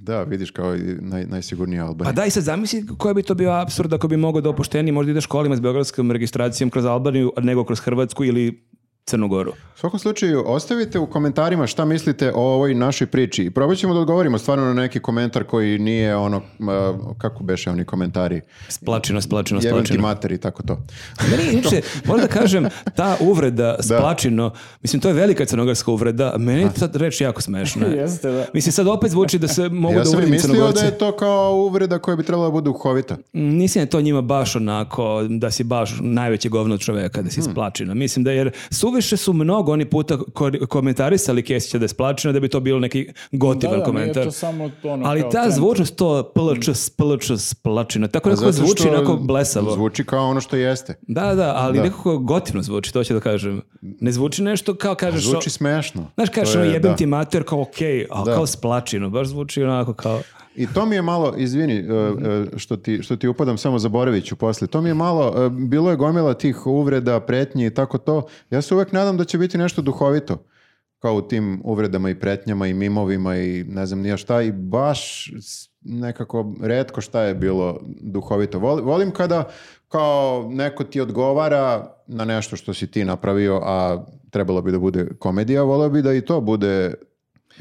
Speaker 2: Da, vidiš kao i naj, najsigurnija
Speaker 1: Pa
Speaker 2: Albanija.
Speaker 1: daj sad zamisli koja bi to bio absurd ako bi mogao da opušteni možda ideš kolima s beogradskom registracijom kroz Albaniju, a nego kroz Hrvatsku ili Crnu Goru.
Speaker 2: U svakom slučaju, ostavite u komentarima šta mislite o ovoj našoj priči i probat ćemo da odgovorimo stvarno na neki komentar koji nije ono, ma, kako beše oni komentari,
Speaker 1: Splačino, splačino,
Speaker 2: jebim ti
Speaker 1: splačino.
Speaker 2: mater i tako to.
Speaker 1: Meni inače, moram da kažem, ta uvreda splačino, mislim, to je velika crnogorska uvreda, meni je sad reč jako smešna.
Speaker 6: Jeste, da.
Speaker 1: Mislim, sad opet zvuči da se mogu
Speaker 2: Ja
Speaker 1: da
Speaker 2: sam i
Speaker 1: uvredim
Speaker 2: mislio da
Speaker 1: crnogorce.
Speaker 2: je to kao uvreda koja bi trebala da bude duhovita.
Speaker 1: Mm, Mislim da je to njima baš onako, da si baš najveće govno od čoveka, da si splačina. Mislim da jer suviše su mnogo oni puta kor- komentarisali Kesića da je splačina, da bi to bilo neki gotivan
Speaker 3: Da, da, nije
Speaker 1: komentar.
Speaker 3: to samo ono
Speaker 1: Ali
Speaker 3: kao
Speaker 1: ta
Speaker 3: trend.
Speaker 1: zvučnost to plč, splč, splačina, tako nekako
Speaker 2: Zato
Speaker 1: zvuči
Speaker 2: što
Speaker 1: onako blesavo.
Speaker 2: Zvuči kao ono što jeste.
Speaker 1: Da, da, ali nekako gotivno zvuči, to ću da kažem. Ne zvuči nešto kao kažeš...
Speaker 2: Zvuči
Speaker 1: o-
Speaker 2: smešno.
Speaker 1: Znaš, kažeš,
Speaker 2: To
Speaker 1: ono,
Speaker 2: je,
Speaker 1: jebem
Speaker 2: da.
Speaker 1: ti mater, kao okej, a
Speaker 2: Da.
Speaker 1: kao splačino, baš zvuči onako kao...
Speaker 2: I to mi je malo, izvini e, e, što ti, što ti upadam, samo zaboravit ću posle. To mi je malo, e, bilo je gomila tih uvreda, pretnji i tako to. Ja se uvek nadam da će biti nešto duhovito. kao u tim uvredama i pretnjama i mimovima i ne znam nija šta i baš s- nekako redko šta je bilo duhovito. Volim, volim kada kao neko ti odgovara na nešto što si ti napravio, a trebalo bi da bude komedija, volio bi da i to bude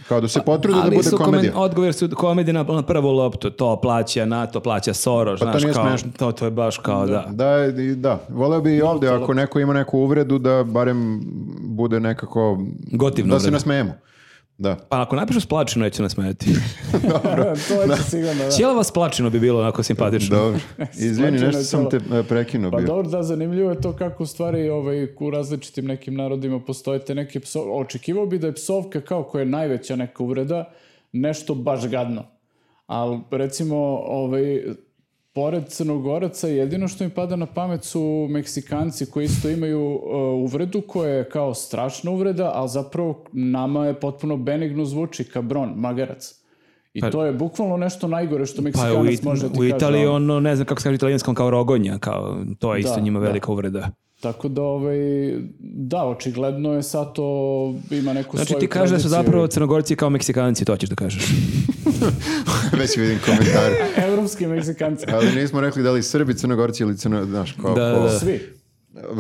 Speaker 2: kao da se potrude da
Speaker 1: Ali
Speaker 2: bude
Speaker 1: su komen-
Speaker 2: komedija.
Speaker 1: odgovor su komedije na, na prvu loptu. To plaća NATO, plaća Soros.
Speaker 2: Pa to
Speaker 1: znaš,
Speaker 2: nije
Speaker 1: kao,
Speaker 2: smešno.
Speaker 1: to, to je baš kao da.
Speaker 2: Da, i- da. Voleo bi i ovdje, ako neko ima neku uvredu, da barem bude nekako...
Speaker 1: Gotivna
Speaker 2: Da se
Speaker 1: uvreda.
Speaker 2: nasmejemo. Da.
Speaker 1: Pa ako napišu splačino, neće nas smijeti.
Speaker 6: to je sigurno, da.
Speaker 1: Cijela vas plačino bi bilo onako simpatično.
Speaker 2: Dobro. Izvini,
Speaker 6: Skočio
Speaker 2: nešto
Speaker 6: na
Speaker 2: sam te e, prekinuo
Speaker 3: Pa
Speaker 2: bio.
Speaker 3: dobro, da, zanimljivo je to kako u stvari ovaj, u različitim nekim narodima postoje te neke psovke. Očekivao bi da je psovka kao koja je najveća neka uvreda, nešto baš gadno. Ali recimo, ovaj, pored Crnogoraca, jedino što mi pada na pamet su Meksikanci koji isto imaju e, uvredu koja je kao strašna uvreda, ali zapravo nama je potpuno benigno zvuči kabron, magarac. I to je bukvalno nešto najgore što
Speaker 1: Pa u,
Speaker 3: Meksikanac
Speaker 1: It-
Speaker 3: može da ti
Speaker 1: u
Speaker 3: kaže,
Speaker 1: Italiji
Speaker 3: ono.
Speaker 1: ono, ne znam kako se kaže u italijanskom, kao rogonja, kao, to je isto
Speaker 3: Da,
Speaker 1: njima
Speaker 3: da.
Speaker 1: velika uvreda.
Speaker 3: Tako da, ovaj, da, očigledno je sad to ima neku
Speaker 1: Znači
Speaker 3: svoju
Speaker 1: ti kažeš da su
Speaker 3: tradiciju.
Speaker 1: zapravo crnogorci kao meksikanci, to ćeš da kažeš.
Speaker 2: Već vidim komentar.
Speaker 3: Evropski Meksikanci. Pa,
Speaker 2: Ali nismo rekli da li Srbi, Crnogorci ili Crno... Znaš, kao...
Speaker 1: Da,
Speaker 2: ko-
Speaker 1: da.
Speaker 3: Svi.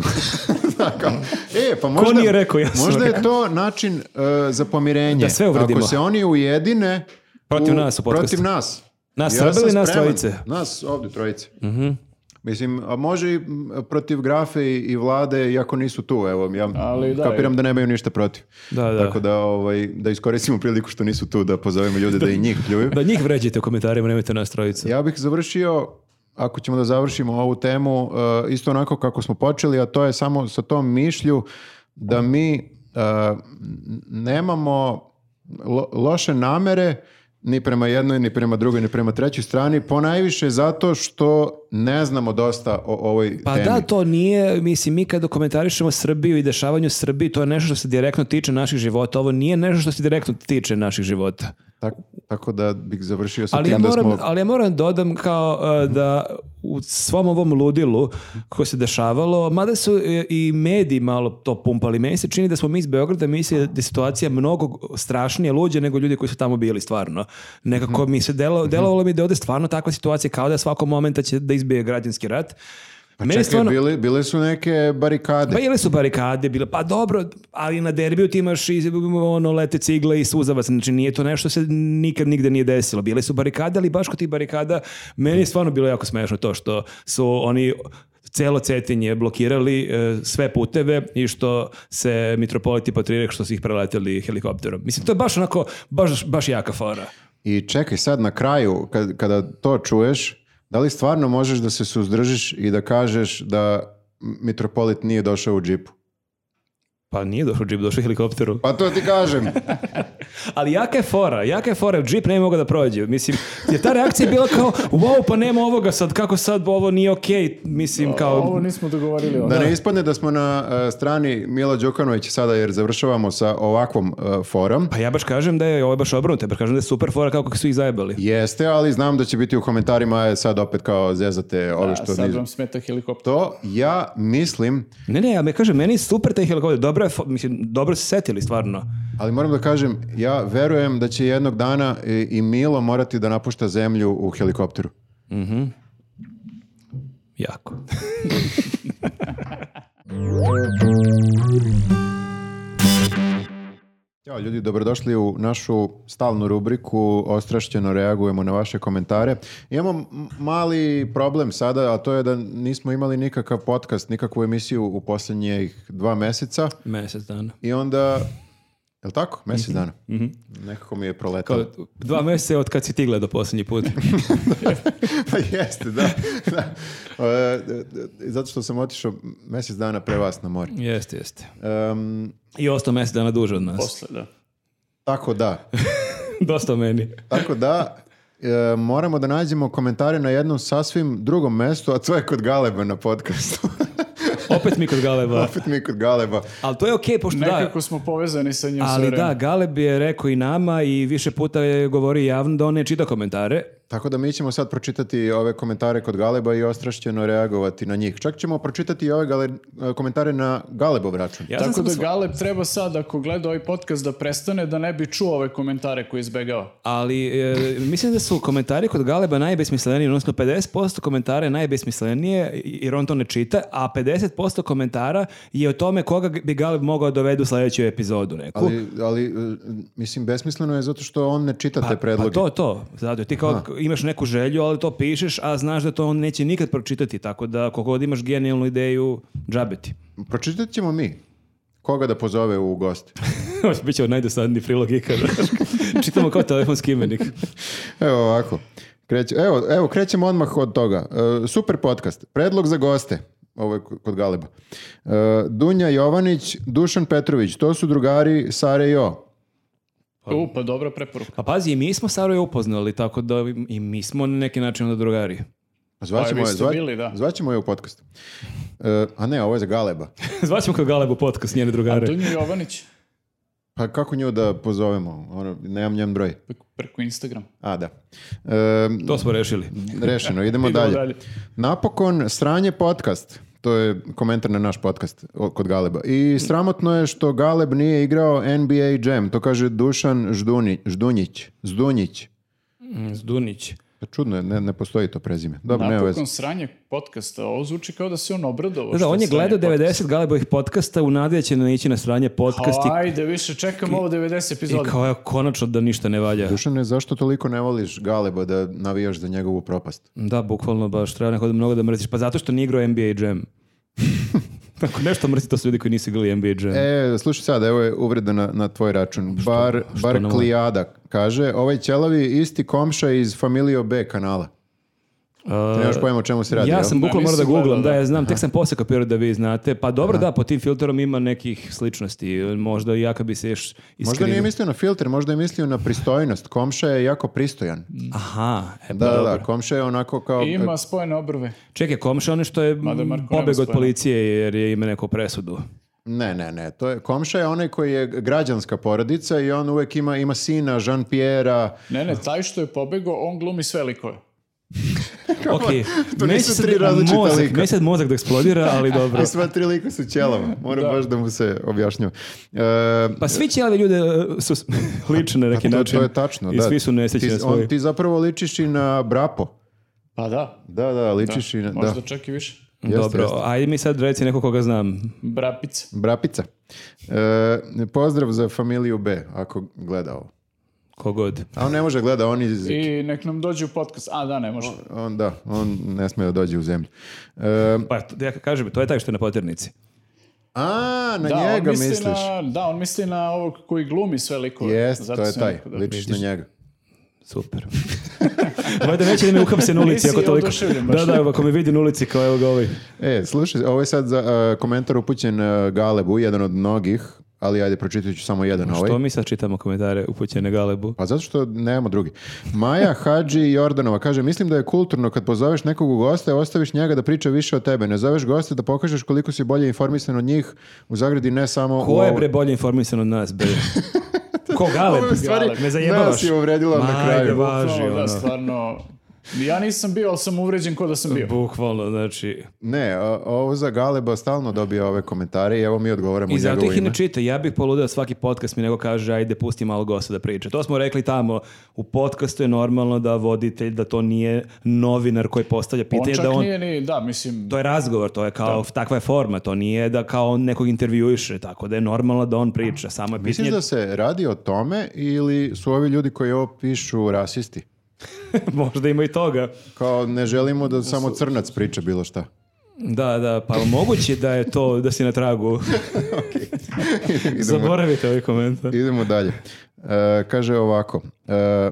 Speaker 2: Da, kao- E, pa možda...
Speaker 1: nije rekao, ja sam
Speaker 2: Možda je
Speaker 1: rekao.
Speaker 2: to način e, za pomirenje.
Speaker 1: Da sve uvredimo.
Speaker 2: Ako se oni ujedine...
Speaker 1: Protiv nas u podcastu.
Speaker 2: Protiv nas.
Speaker 1: Nas
Speaker 2: Ja
Speaker 1: Srbe
Speaker 2: sam
Speaker 1: ili nas
Speaker 2: spreman.
Speaker 1: trojice? Mhm.
Speaker 2: Nas ovdje trojice. Mislim, a može i m, protiv grafe i, i vlade, iako nisu tu, evo, ja
Speaker 3: Ali da,
Speaker 2: kapiram da nemaju ništa protiv.
Speaker 1: Da, da.
Speaker 2: Tako da, ovaj, da iskoristimo priliku što nisu tu, da pozovemo ljude da i njih pljuju.
Speaker 1: Da njih vređajte u komentarima, nemojte nas trojice.
Speaker 2: Ja bih završio, ako ćemo da završimo ovu temu, uh, isto onako kako smo počeli, a to je samo sa tom mišlju da mi uh, n- nemamo lo- loše namere ni prema jednoj, ni prema drugoj, ni prema trećoj strani, ponajviše zato što ne znamo dosta o ovoj
Speaker 1: Pa
Speaker 2: temi.
Speaker 1: da, to nije, mislim, mi kada komentarišemo Srbiju i dešavanju u Srbiji, to je nešto što se direktno tiče naših života. Ovo nije nešto što se direktno tiče naših života.
Speaker 2: Tako, tako da bih završio sa
Speaker 1: ali ja
Speaker 2: tim da
Speaker 1: moram,
Speaker 2: smo...
Speaker 1: ali ja moram da dodam kao e, da u svom ovom ludilu koje se dešavalo, mada su e, i mediji malo to pumpali, meni se čini da smo mi iz Beograda mislili da je situacija mnogo strašnije luđe nego ljudi koji su tamo bili stvarno. Nekako mi se delo, delovalo mi da je ovde stvarno takva situacija kao da svakog momenta će da izbije građanski rat.
Speaker 2: Pa
Speaker 1: Meni
Speaker 2: čekaj,
Speaker 1: stvarno-
Speaker 2: bile, bile su neke barikade.
Speaker 1: pa ili su barikade bile, pa dobro, ali na derbiju ti imaš i ono, lete cigle i suzavac, znači nije to nešto se nikad nigde nije desilo. Bile su barikade, ali baš kod tih barikada meni je stvarno bilo jako smešno to što su oni celo cetinje blokirali e, sve puteve i što se mitropoliti patrirek što su ih preleteli helikopterom. Mislim, to je baš onako, baš, baš jaka fora.
Speaker 2: I čekaj sad na kraju, kad, kada to čuješ, da li stvarno možeš da se suzdržiš i da kažeš da mitropolit nije došao u džipu?
Speaker 1: Pa nije došao džip, došao je helikopteru.
Speaker 2: Pa to ti kažem.
Speaker 1: Ali jaka je fora, jaka je fora, džip ne mogu da prođe. Mislim, je ta reakcija bila kao, wow, pa nema ovoga sad, kako sad ovo nije okej, mislim,
Speaker 3: Ovo
Speaker 1: kao...
Speaker 3: nismo dogovorili. ono.
Speaker 2: Da ne ispadne da smo na e, strani Mila Đukanovića sada jer završavamo sa ovakvom e, forom.
Speaker 1: Pa ja baš kažem da je, ovo je baš obrnuto, ja baš kažem da je super fora kako su ih zajebali.
Speaker 2: Jeste, ali znam da će biti u komentarima e, sad opet kao zezate ove
Speaker 3: A,
Speaker 2: što
Speaker 3: sad
Speaker 2: niz-
Speaker 3: vam smeta helikopter.
Speaker 2: To ja mislim,
Speaker 1: Ne, ne, ja me kažem, meni je super taj helikopter, dobro je, fo- mislim, dobro se setili, stvarno.
Speaker 2: ali moram da kažem, ja verujem da će jednog dana i, i Milo morati da napušta zemlju u helikopteru.
Speaker 1: Jako.
Speaker 2: Ćao ljudi, dobrodošli u našu stalnu rubriku Ostrašćeno reagujemo na vaše komentare. Imamo m- mali problem sada, a to je da nismo imali nikakav podcast, nikakvu emisiju u posljednjih dva meseca
Speaker 1: Mesec dana.
Speaker 2: i onda, je li tako? Mesec dana? Nekako mi je proletalo.
Speaker 1: Dva mjeseca od kad si ti gledao posljednji put.
Speaker 2: Pa jeste, da. da. E, d- d- zato što sam otišao mjesec dana pre vas na more.
Speaker 1: jeste, jeste.
Speaker 2: Em,
Speaker 1: I ostao mjesec dana duže od nas.
Speaker 3: Posle, da.
Speaker 2: tako da,
Speaker 1: Dosta o meni.
Speaker 2: Tako da, e, moramo da nađemo komentare na jednom sasvim drugom mestu, a to je kod Galeba na podcastu.
Speaker 1: Opet mi kod Galeba.
Speaker 2: Opet mi kod Galeba.
Speaker 1: Ali to je okej, pošto da,
Speaker 3: Nekako smo povezani sa njim sve
Speaker 1: Ali
Speaker 3: vreme.
Speaker 1: da, Galeb je rekao i nama i više puta je govorio javno da on ne čita komentare,
Speaker 2: Tako da mi ćemo sad pročitati ove komentare kod Galeba i ostrašćeno reagovati na njih. Čak ćemo pročitati i ove gale- e, komentare na Galebov račun.
Speaker 1: Ja sam
Speaker 3: Tako
Speaker 1: samo
Speaker 3: da
Speaker 1: sva-
Speaker 3: Galeb treba sad, ako gleda ovaj podcast, da prestane da ne bi čuo ove komentare koje izbegava.
Speaker 1: Ali e, mislim da su komentari kod Galeba najbesmisleniji, odnosno 50% komentara je najbesmislenije i- jer on to ne čita, a 50% komentara je o tome koga bi Galeb mogao dovede u sljedeću epizodu neku.
Speaker 2: Ali, ali, e, mislim, besmisleno je zato što on ne čita te predloge.
Speaker 1: Pa to, to. Zato ti kao k- imaš neku želju, ali to pišeš, a znaš da to on neće nikad pročitati, tako da koliko god imaš genijalnu ideju, džabeti.
Speaker 2: Pročitat ćemo mi. Koga da pozove u goste.
Speaker 1: Biće od najdosadniji prilog ikada. Čitamo kao telefonski imenik.
Speaker 2: Evo ovako. Kreće, evo, evo, krećemo odmah od toga. E, super podcast. Predlog za goste. Ovo je kod Galeba. E, Dunja Jovanić, Dušan Petrović. To su drugari Sare i O.
Speaker 3: U, pa dobra preporuka.
Speaker 1: Pa pazi, i mi smo Saroju upoznali, tako da i mi smo na neki način onda drugari.
Speaker 2: Zvaćemo,
Speaker 3: Pa, vi
Speaker 2: je,
Speaker 3: ste
Speaker 2: zva-
Speaker 3: bili, da.
Speaker 2: zvaćemo je u podcast. E, a ne, ovo je za Galeba.
Speaker 1: Zvaćemo kao Galebu podcast njene drugare.
Speaker 3: Dunja Jovanić,
Speaker 2: Pa kako nju da pozovemo? Ono, nemam njen broj.
Speaker 3: preko- preko Instagram.
Speaker 2: A, da. E,
Speaker 1: To smo rešili.
Speaker 2: Rešeno, idemo,
Speaker 3: Idemo
Speaker 2: dalje.
Speaker 3: dalje.
Speaker 2: Napokon, sranje podcast. To je komentar na naš podcast o- kod Galeba. I sramotno je što Galeb nije igrao NBA Jam. To kaže Dušan Žduni, Ždunjić. Zdunjić.
Speaker 1: Mm, Zdunić.
Speaker 2: Pa Čudno je, ne, ne postoji to prezime. Dobro, nema veze.
Speaker 3: Napokon sranje podcasta. Ovo zvuči kao da se on obradovao.
Speaker 1: Da,
Speaker 3: što
Speaker 1: da, on je
Speaker 3: sranje
Speaker 1: gledao
Speaker 3: podcasta.
Speaker 1: 90 Galebovih podcasta u nadi da će naići na sranje podcast i,
Speaker 3: Ajde, više čekam ovo 90
Speaker 1: i
Speaker 3: epizoda.
Speaker 1: kao je konačno da ništa ne valja.
Speaker 2: Dušane, zašto toliko ne voliš Galeba da navijaš za njegovu propast?
Speaker 1: Da, bukvalno baš treba nekako da mnogo da mrziš. Pa zato što nije igrao NBA Jam. Ako nešto mrzi, to su ljudi koji nisu igrali NBA Jam.
Speaker 2: E, slušaj sad, evo je uvreda na, na tvoj račun. Bar, bar
Speaker 1: ne volim?
Speaker 2: Klijada kaže, ovaj ćelavi isti komša iz Familio B kanala. Nemaš pojma o čemu se radi,
Speaker 1: E, ja
Speaker 2: jel?
Speaker 1: sam
Speaker 3: Da,
Speaker 1: bukvalno morao da
Speaker 3: nisam
Speaker 1: googlam, da,
Speaker 3: gledao, da.
Speaker 1: ja znam, tek sam posle kapirao da vi znate. Pa dobro, da, po tim filterom ima nekih sličnosti. Možda i ja kad bi se još
Speaker 2: Možda nije
Speaker 1: iskrenuo.
Speaker 2: mislio na filter, možda je mislio na pristojnost. Komša je jako pristojan.
Speaker 1: Aha, e,
Speaker 2: Da,
Speaker 1: da,
Speaker 2: da, da, komša je onako kao...
Speaker 3: Ima spojene obrve.
Speaker 1: Čekaj, komša ono što je
Speaker 3: Mada Marko nema
Speaker 1: pobeg od
Speaker 3: spojeno.
Speaker 1: policije jer je ima neku presudu.
Speaker 2: Ne, ne, ne. To je, komša je onaj koji je građanska porodica i on uvek ima, ima sina, Jean-Pierre-a.
Speaker 3: Ne, ne, taj što je pobegao, on glumi sve likove.
Speaker 1: Ok,
Speaker 2: to
Speaker 1: neće
Speaker 2: nisu
Speaker 1: sad
Speaker 2: tri različita
Speaker 1: mozak,
Speaker 2: lika.
Speaker 1: neće sad mozak da eksplodira, ali dobro.
Speaker 2: I sva tri lika su ćelava. Moram baš da mu se objašnjava. E,
Speaker 1: Pa svi ćelavi ljude e, su s- lične na neki
Speaker 2: Pa to,
Speaker 1: način.
Speaker 2: to je tačno,
Speaker 1: I
Speaker 2: da.
Speaker 1: svi su nesrećni
Speaker 2: ti,
Speaker 1: na svoje.
Speaker 2: on, ti zapravo ličiš i na Brapo.
Speaker 3: Pa da,
Speaker 2: Da, da, ličiš i na...
Speaker 3: možda
Speaker 2: Da.
Speaker 3: čak i više.
Speaker 2: Jeste,
Speaker 1: Dobro,
Speaker 2: jeste.
Speaker 1: ajde mi sad reci neko koga znam.
Speaker 3: Brapica.
Speaker 2: Brapica. E, pozdrav za familiju B, ako gleda ovo.
Speaker 1: Kogod.
Speaker 2: A on ne može gleda, on iz
Speaker 3: I nek nam dođe u podcast. A da, ne može.
Speaker 2: On da, on ne smije da dođe u zemlju. E,
Speaker 1: Pa to- ja kažem, to je taj što je na poternici.
Speaker 2: a, na
Speaker 3: Da, on
Speaker 2: njega
Speaker 3: misli
Speaker 2: misliš.
Speaker 3: Na, da, on misli na ovog koji glumi sve likove.
Speaker 2: Jest,
Speaker 3: Zato
Speaker 2: to je
Speaker 3: sam
Speaker 2: taj,
Speaker 3: rekao da-
Speaker 2: ličiš na njega.
Speaker 1: Super. Valjda neće da me uhapse na ulici
Speaker 3: Nisi
Speaker 1: ako toliko.
Speaker 3: oduševljen baš.
Speaker 1: Da, da, ako me vidi na ulici kao evo ga ovaj.
Speaker 2: E, slušaj, ovo je sad za, e, komentar upućen e, Galebu, jedan od mnogih, ali ajde, pročitat ću samo jedan ovaj.
Speaker 1: Što mi sad čitamo komentare upućene Galebu?
Speaker 2: Pa zato što nemamo drugi. Maja Hadži Jordanova kaže, mislim da je kulturno kad pozoveš nekog u goste, ostaviš njega da priča više o tebe. Ne zoveš goste da pokažeš koliko si bolje informisan od njih u zagradi, ne samo u
Speaker 1: Ko je
Speaker 2: ovoj-
Speaker 1: bre bolje informisan od nas, bre? Ko Galeb?
Speaker 2: Ovo je u stvari
Speaker 1: Galeb, me zajebavaš.
Speaker 2: nas je uvredila na
Speaker 1: Ma,
Speaker 2: kraju.
Speaker 1: ajde, važi,
Speaker 3: Stvarno,
Speaker 1: ono.
Speaker 3: da, stvarno. Ja nisam bio, ali sam uvređen ko da sam bio.
Speaker 1: Bukvalno, znači...
Speaker 2: Ne, o- ovo za Galeba stalno dobija ove komentare i evo mi odgovaramo u
Speaker 1: I zato
Speaker 2: njegovo
Speaker 1: ih i
Speaker 2: ime.
Speaker 1: ne čita. Ja bih poludeo svaki podcast mi nego kaže ajde pusti malo gosta da priča. To smo rekli tamo. U podcastu je normalno da voditelj, da to nije novinar koji postavlja
Speaker 3: On
Speaker 1: pitanje.
Speaker 3: čak
Speaker 1: da on,
Speaker 3: nije ni, da, mislim,
Speaker 1: To je razgovor, to je kao, takva je forma, to nije da kao on nekog intervjuiše, tako da je normalno da on priča, samo je
Speaker 2: Misliš
Speaker 1: pitanje,
Speaker 2: da se radi o tome ili su ovi ljudi koji ovo pišu rasisti?
Speaker 1: možda ima i toga.
Speaker 2: Kao ne želimo da samo crnac priča bilo šta.
Speaker 1: Da, da, pa moguće da je to, da si na tragu. Zaboravite ovaj komentar.
Speaker 2: Idemo dalje. E, kaže ovako. E,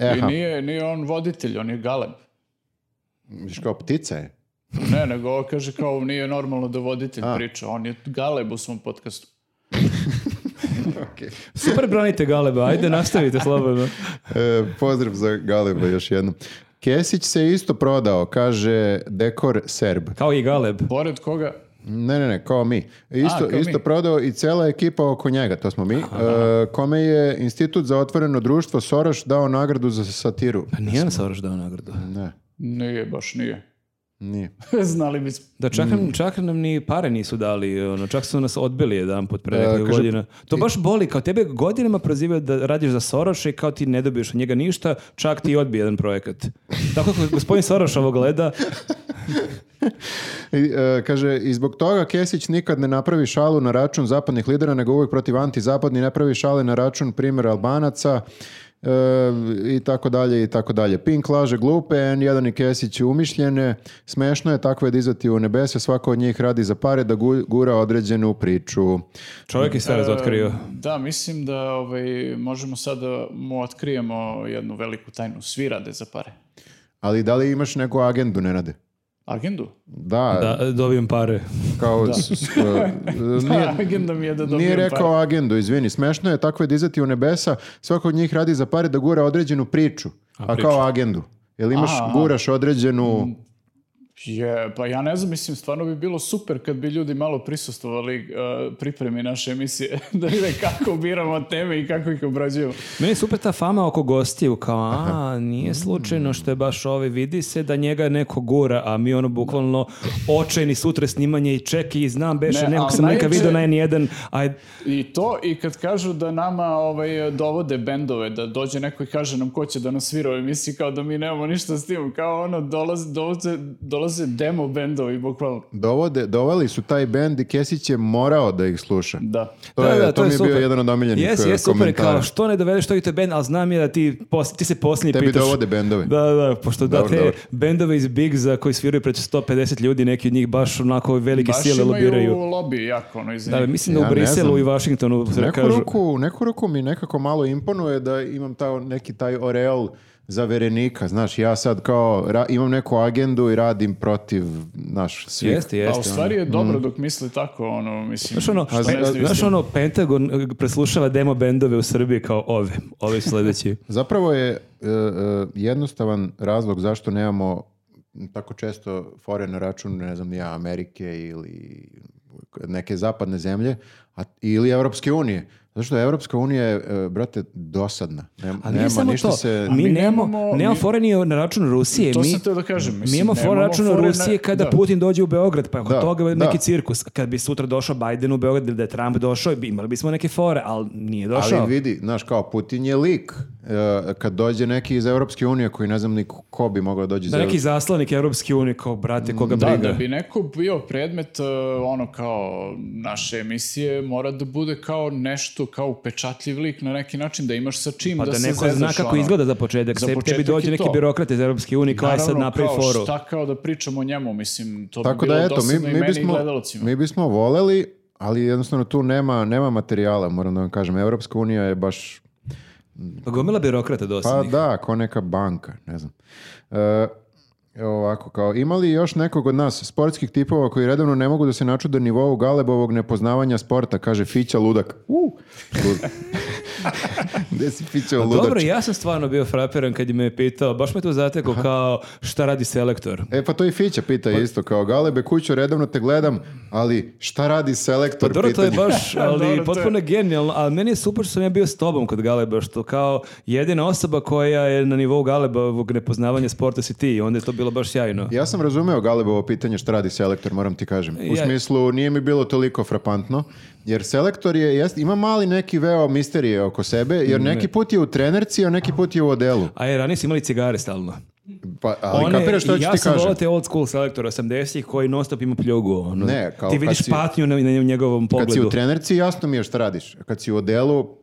Speaker 3: i
Speaker 2: aha,
Speaker 3: nije, nije on voditelj, on je galeb.
Speaker 2: viš kao ptica je.
Speaker 3: Ne, nego ovo kaže kao nije normalno da voditelj priča. On je galeb u svom podcastu.
Speaker 1: Super branite Galeba, ajde nastavite slobodno.
Speaker 2: E, pozdrav za Galeba još jednom. Kesić se isto prodao, kaže Dekor Serb.
Speaker 1: Kao i Galeb.
Speaker 3: Pored koga?
Speaker 2: Ne, ne, ne, kao mi. Isto,
Speaker 3: kao mi.
Speaker 2: isto prodao i cela ekipa oko njega, to smo mi, e, kome je Institut za otvoreno društvo Soroš dao nagradu za satiru.
Speaker 1: Pa nije nam Soroš dao nagradu.
Speaker 2: Ne,
Speaker 3: Nije, baš nije.
Speaker 2: nije.
Speaker 6: Znali bismo.
Speaker 1: Da, čak, nam, čak nam ni pare nisu dali, ono, čak su nas odbili jedan put pre nekoliko
Speaker 2: kaže-
Speaker 1: godina. To baš boli, kao tebe godinama prozivaju da radiš za Soroša i kao ti ne dobiješ od njega ništa, čak ti odbi jedan projekat. Tako kako gospodin Soroš ovo gleda,
Speaker 2: I, e, kaže, i zbog toga Kesić nikad ne napravi šalu na račun zapadnih lidera, nego uvijek protiv antizapadni, ne pravi šale na račun primjer Albanaca e, i tako dalje i tako dalje. Pink laže glupe, N1 i Kesić umišljene, smešno je takvo je dizati u nebese, svako od njih radi za pare da gu- gura određenu priču.
Speaker 1: čovjek je sve razotkrio.
Speaker 3: Da, mislim da ovaj, možemo sad da mu otkrijemo jednu veliku tajnu. Svi rade za pare.
Speaker 2: Ali da li imaš neku agendu, Nenade?
Speaker 3: Agendu?
Speaker 2: Da,
Speaker 1: Da, dobijem pare.
Speaker 2: kao... s- s- e, e, nije-
Speaker 3: Agenda mi je da dobijem
Speaker 2: Nije rekao
Speaker 3: pare.
Speaker 2: agendu, izvini. Smešno je takve dizati u nebesa. Svako od njih radi za pare da gura određenu priču. A, kao agendu. Jel imaš,
Speaker 3: Aha.
Speaker 2: guraš određenu...
Speaker 3: Je, pa ja ne znam, mislim, stvarno bi bilo super kad bi ljudi malo prisustovali eh, pripremi naše emisije, da vide kako biramo teme i kako ih obrađujemo.
Speaker 1: Meni je super ta fama oko gostiju, kao a, nije slučajno što je baš ovi, vidi se da njega neko gura, a mi ono bukvalno očajni sutra snimanje i čeki i znam beše,
Speaker 3: Ne,
Speaker 1: ne, nekog
Speaker 3: ali
Speaker 1: sam nekad
Speaker 3: najjače-
Speaker 1: vidio na N1, aj,
Speaker 3: I to, i kad kažu da nama ovaj, dovode bendove, da dođe neko i kaže nam ko će da nas svira u emisiji, kao da mi nemamo ništa s tim, kao ono, dolaze, dolaze, dolaze demo bendovi, bukvalno.
Speaker 2: Dovode, doveli su taj bend i Kesić je morao da ih sluša.
Speaker 3: Da.
Speaker 2: To, je, to, mi je bio jedan od omiljenih
Speaker 1: Jes,
Speaker 2: eh,
Speaker 1: jes, super,
Speaker 2: komentara.
Speaker 1: kao što ne dovedeš to i to je bend, ali znam je da ti, pos- ti se posljednji
Speaker 2: Tebi
Speaker 1: pitaš.
Speaker 2: dovode bendove.
Speaker 1: Da, da, pošto da
Speaker 2: Dobro,
Speaker 1: te
Speaker 2: dobro.
Speaker 1: bendove iz Big za koji sviraju pred 150 ljudi, neki od njih baš onako velike
Speaker 3: Baš
Speaker 1: sile
Speaker 3: imaju
Speaker 1: lobiraju.
Speaker 3: lobby jako, ono, iza
Speaker 1: Da,
Speaker 3: njih.
Speaker 1: mislim da
Speaker 2: Ja
Speaker 1: u
Speaker 2: ne
Speaker 1: Briselu
Speaker 2: znam.
Speaker 1: i Vašingtonu
Speaker 2: U
Speaker 1: se
Speaker 2: neku
Speaker 1: kažu.
Speaker 2: ruku, u neku ruku mi nekako malo imponuje da imam taj, neki taj oreol zaverenika, znaš, ja sad kao ra- imam neku agendu i radim protiv, znaš, svih.
Speaker 1: Jeste, jeste. ono. mm.
Speaker 3: Pa u stvari je dobro dok misle tako, ono, mislim...
Speaker 1: Znaš ono,
Speaker 3: šta
Speaker 1: pe-
Speaker 3: ne znaju s
Speaker 1: znaš
Speaker 3: tim.
Speaker 1: ono, Pentagon eh, preslušava demo bendove u Srbiji kao ove, ove su sledeći.
Speaker 2: Zapravo je e, e, jednostavan razlog zašto nemamo tako često fore na račun, ne znam, ni ja, Amerike ili neke zapadne zemlje a, ili Evropske unije. Zato što Evropska unija je, e, brate, dosadna. Ne,
Speaker 1: A nije
Speaker 2: nema
Speaker 1: samo
Speaker 2: ništa
Speaker 1: to,
Speaker 2: se...
Speaker 1: mi,
Speaker 3: mi
Speaker 1: nemamo,
Speaker 3: nemamo-
Speaker 1: nemamo,
Speaker 3: mi-
Speaker 1: fore ni na račun Rusije.
Speaker 3: To
Speaker 1: mi,
Speaker 3: sam teo da kažem, mislim,
Speaker 1: mi imamo fore na
Speaker 3: nemamo
Speaker 1: račun
Speaker 3: fore na-
Speaker 1: Rusije kada
Speaker 3: da.
Speaker 1: Putin dođe u Beograd, pa oko
Speaker 2: Da,
Speaker 1: toga neki
Speaker 2: da.
Speaker 1: cirkus. Kad bi sutra došao Biden u Beograd ili da je Trump došao, bi- imali bismo neke fore, ali nije došao.
Speaker 2: Ali vidi, znaš, kao Putin je lik. E, kad dođe neki iz Evropske unije koji ne znam ni ko bi mogao dođi iz
Speaker 1: Da neki
Speaker 2: Evropske
Speaker 1: zaslanik Europske unije kao brate koga
Speaker 3: Mm, Da,
Speaker 1: briga.
Speaker 3: da bi neko bio predmet e, ono kao naše emisije mora da bude kao nešto kao upečatljiv lik na neki način da imaš sa čim
Speaker 1: Pa da,
Speaker 3: se
Speaker 1: neko zna
Speaker 3: zezaš,
Speaker 1: kako
Speaker 3: ono.
Speaker 1: izgleda za početak.
Speaker 3: Za
Speaker 1: Za
Speaker 3: početak
Speaker 1: tebi dođe
Speaker 3: i
Speaker 1: neki
Speaker 3: to.
Speaker 1: birokrat iz Europske unije kao je
Speaker 3: Naravno,
Speaker 1: sad napravi
Speaker 3: kao,
Speaker 1: foru.
Speaker 3: Šta kao da pričamo o njemu, mislim, to
Speaker 2: Tako
Speaker 3: bi bilo
Speaker 2: da eto, mi,
Speaker 3: dosadno i
Speaker 2: mi,
Speaker 3: meni i
Speaker 2: bismo,
Speaker 3: gledalcima.
Speaker 2: mi bismo voleli, ali jednostavno tu nema, nema materijala, moram da vam kažem. Evropska unija je baš
Speaker 1: Pa gomila birokrata
Speaker 2: Pa
Speaker 1: dosadnih.
Speaker 2: da, kao neka banka, ne znam. E, evo ovako, kao, ima li još nekog od nas sportskih tipova koji redovno ne mogu da se načude nivou Galebovog nepoznavanja sporta, kaže Fića Ludak. Uh, lud- Gde si Fića
Speaker 3: Pa
Speaker 2: Ludak?
Speaker 1: Dobro, ja sam stvarno bio frapiran kad je me pitao, baš me to zatekao kao šta radi selektor.
Speaker 2: E pa to i Fića pita isto, kao Galebe kuću redovno te gledam, ali šta radi selektor?
Speaker 1: Pa Dobro, to je
Speaker 2: pitanje.
Speaker 1: baš,
Speaker 3: Dobro,
Speaker 1: ali
Speaker 3: to je-
Speaker 1: potpuno genijalno, ali meni je super što sam ja bio s tobom kod Galeba, što kao jedina osoba koja je na nivou Galebovog nepoznavanja sporta si ti, i onda je to bilo baš sjajno.
Speaker 2: Ja sam razumeo Galebovo pitanje šta radi selektor, moram ti kažem. U
Speaker 1: Ja-
Speaker 2: smislu, nije mi bilo toliko frapantno, jer selektor je, jest, ima mali neki veo misterije oko sebe, jer neki put je u trenerci, a neki put je u odelu.
Speaker 1: A je, ranije su imali cigare stalno.
Speaker 2: Pa, ali
Speaker 1: One-
Speaker 2: kapiraš što ću
Speaker 1: ja
Speaker 2: ti
Speaker 1: sam
Speaker 2: kažem?
Speaker 1: volao te old school selektora 80-ih koji non stop ima pljugu. Ono.
Speaker 2: Ne, kao
Speaker 1: ti
Speaker 2: kad
Speaker 1: vidiš
Speaker 2: si-
Speaker 1: patnju na, na njegovom
Speaker 2: Kad si u
Speaker 1: pogledu.
Speaker 2: trenerci, jasno mi je šta radiš. a Kad si u odelu,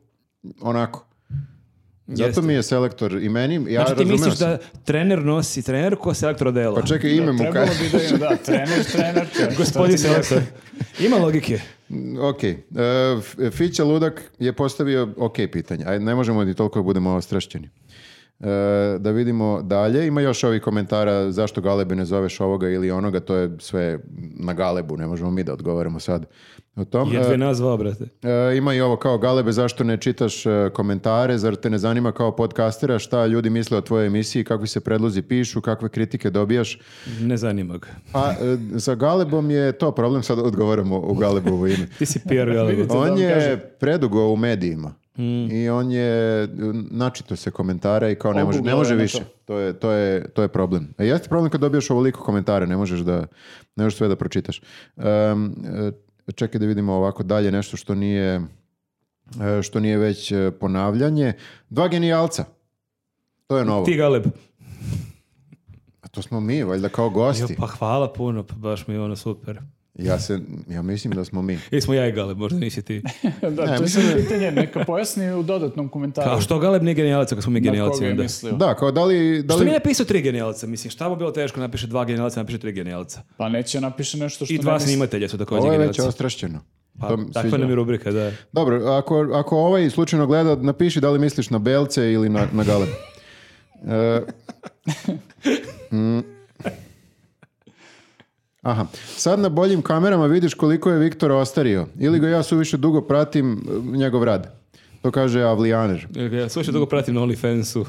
Speaker 2: onako. Zato
Speaker 1: Jeste.
Speaker 2: mi je selektor i meni, ja
Speaker 1: Znači ti
Speaker 2: razumeo
Speaker 1: misliš
Speaker 2: sam.
Speaker 1: da trener nosi trenerku, a selektor odela.
Speaker 2: Pa čekaj, ime mu
Speaker 3: Trebalo
Speaker 2: kaže.
Speaker 3: bi da im, da, trener, trener.
Speaker 1: Gospodin selektor. Ima logike.
Speaker 2: Ok, e, F- Fića Ludak je postavio ok pitanje, Ajde, ne možemo ni toliko da budemo ostrašćeni. E, da vidimo dalje. Ima još ovih komentara zašto Galebe ne zoveš ovoga ili onoga, to je sve na Galebu, ne možemo mi da odgovaramo sad o tom.
Speaker 1: Jedve
Speaker 2: E,
Speaker 1: nazvao, brate.
Speaker 2: E, ima i ovo kao Galebe, zašto ne čitaš e, komentare, zar te ne zanima kao podcastera šta ljudi misle o tvojoj emisiji, kakvi se predlozi pišu, kakve kritike dobijaš.
Speaker 1: Ne zanima ga.
Speaker 2: Pa e, sa Galebom je to problem, sad odgovaramo u Galebovo ime.
Speaker 1: Ti si PR Galeba.
Speaker 2: On je predugo u medijima.
Speaker 1: Mm.
Speaker 2: I on je načito se komentara i kao ne može, ne
Speaker 3: Oguglao
Speaker 2: može
Speaker 3: je na
Speaker 2: više.
Speaker 3: to.
Speaker 2: To je, to, je, to je problem. A jeste problem kad dobiješ ovoliko komentara, ne možeš da ne možeš sve da pročitaš. Um, e, čekaj da vidimo ovako dalje nešto što nije e, što nije već e, ponavljanje. Dva genijalca. To je novo.
Speaker 1: Ti Galeb.
Speaker 2: A to smo mi, valjda kao
Speaker 1: Jo,
Speaker 2: gosti.
Speaker 1: pa hvala puno, pa baš mi je ono super.
Speaker 2: Ja, se, ja mislim da smo mi.
Speaker 1: Ili smo ja i Galeb, možda nisi ti.
Speaker 3: da, to je sad pitanje, neka pojasni u dodatnom komentaru.
Speaker 2: Pa,
Speaker 1: A što Galeb nije genijalac ako smo mi
Speaker 3: na
Speaker 1: genijalci
Speaker 3: koga je
Speaker 1: onda?
Speaker 3: mislio.
Speaker 2: Da, kao da li... Da
Speaker 1: Što mi
Speaker 2: li...
Speaker 1: je napisao tri genijalca? Mislim, šta mu bilo teško napiše dva genijalca, napiše tri genijalca.
Speaker 3: Pa neće napiše nešto što
Speaker 1: I dva
Speaker 3: ne misli.
Speaker 1: snimatelja su također
Speaker 2: Ovo je već
Speaker 1: genijalci.
Speaker 2: ostrašćeno.
Speaker 1: Pa,
Speaker 2: To mi se
Speaker 1: takva
Speaker 2: sviđa.
Speaker 1: nam je rubrika, da.
Speaker 2: Dobro, ako, ako ovaj slučajno gleda, napiši da li misliš na belce ili na, na gale. E, mm. Aha, sad na boljim kamerama vidiš koliko je Viktor ostario. Ili ga ja suviše dugo pratim e, njegov rad. To kaže Avlijaner.
Speaker 1: Ja slušaj, dugo pratim na OnlyFansu.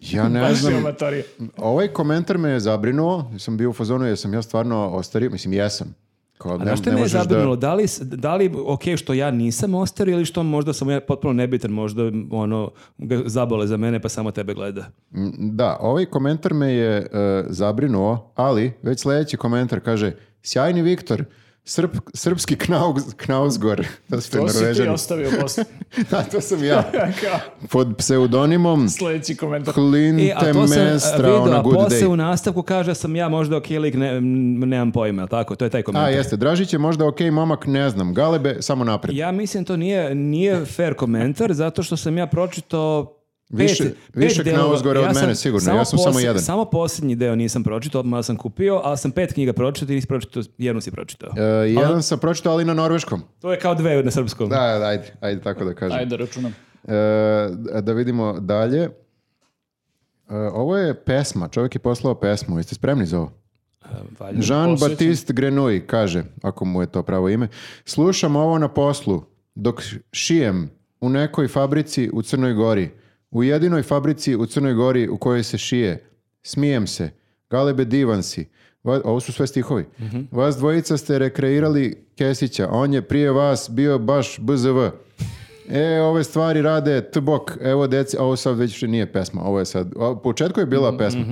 Speaker 2: Ja ne
Speaker 3: Baš je
Speaker 2: znam,
Speaker 3: amatorija.
Speaker 2: ovaj komentar me je zabrinuo. Sam bio u fazonu, jesam ja stvarno ostario? Mislim, jesam. Kao,
Speaker 1: A
Speaker 2: ne-
Speaker 1: znaš što
Speaker 2: ne
Speaker 1: me je
Speaker 2: možeš da-
Speaker 1: zabrinulo? Da, li, s- da li ok što ja nisam ostar ili što možda sam ja potpuno nebitan, možda ono, ga zabole za mene pa samo tebe gleda.
Speaker 2: Mm, Da, ovaj komentar me je e, zabrinuo, ali već sljedeći komentar kaže Sjajni Viktor, Srp, srpski knauz, knauzgor. To ste
Speaker 3: To si ti
Speaker 2: Norvežani.
Speaker 3: ostavio posle.
Speaker 2: da, to sam ja.
Speaker 3: Kao,
Speaker 2: Pod pseudonimom
Speaker 3: Sljedeći komentar.
Speaker 1: E, a
Speaker 2: Klinte
Speaker 1: to sam a,
Speaker 2: Mestra
Speaker 1: video,
Speaker 2: on a
Speaker 1: a
Speaker 2: good
Speaker 1: posle u
Speaker 2: day.
Speaker 1: nastavku kaže da sam ja možda ok lik, ne, m, nemam pojma, jel tako? To je taj
Speaker 2: A,
Speaker 1: komentar.
Speaker 2: jeste, Dražić je možda ok, momak, ne znam. Galebe, samo napred.
Speaker 1: Ja mislim to nije, nije fair komentar zato što sam ja pročitao pet-
Speaker 2: Više-
Speaker 1: pet
Speaker 2: više
Speaker 1: delova.
Speaker 2: Knausgora od
Speaker 1: sam
Speaker 2: mene sigurno, ja sam samo jedan.
Speaker 1: Samo posljednji deo nisam pročitao, odmah sam kupio, ali sam pet knjiga pročitao i nisi pročitao, jednu si pročitao.
Speaker 2: E, jedan sam pročitao, ali na norveškom.
Speaker 1: To je kao dve na srpskom.
Speaker 2: Da, ajde, ajde tako da kažem.
Speaker 3: Ajde, računam.
Speaker 2: E, da vidimo dalje. E, ovo je pesma, čovjek je poslao pesmu. Jeste spremni za ovo?
Speaker 1: Valjda.
Speaker 2: Jean-Baptiste Grenouille kaže, ako mu je to pravo ime, slušam ovo na poslu dok šijem u nekoj fabrici u Crnoj Gori. U jedinoj fabrici u Crnoj Gori u kojoj se šije. Smijem se. Galebe divan si. Va- Ovo su sve stihovi. Vas dvojica ste rekreirali Kesića. On je prije vas bio baš BZV. E, ove stvari rade tbok, evo deci, ovo sad već više nije pesma, ovo je sad, o, u početku je
Speaker 1: Mhm,
Speaker 2: bila pesma.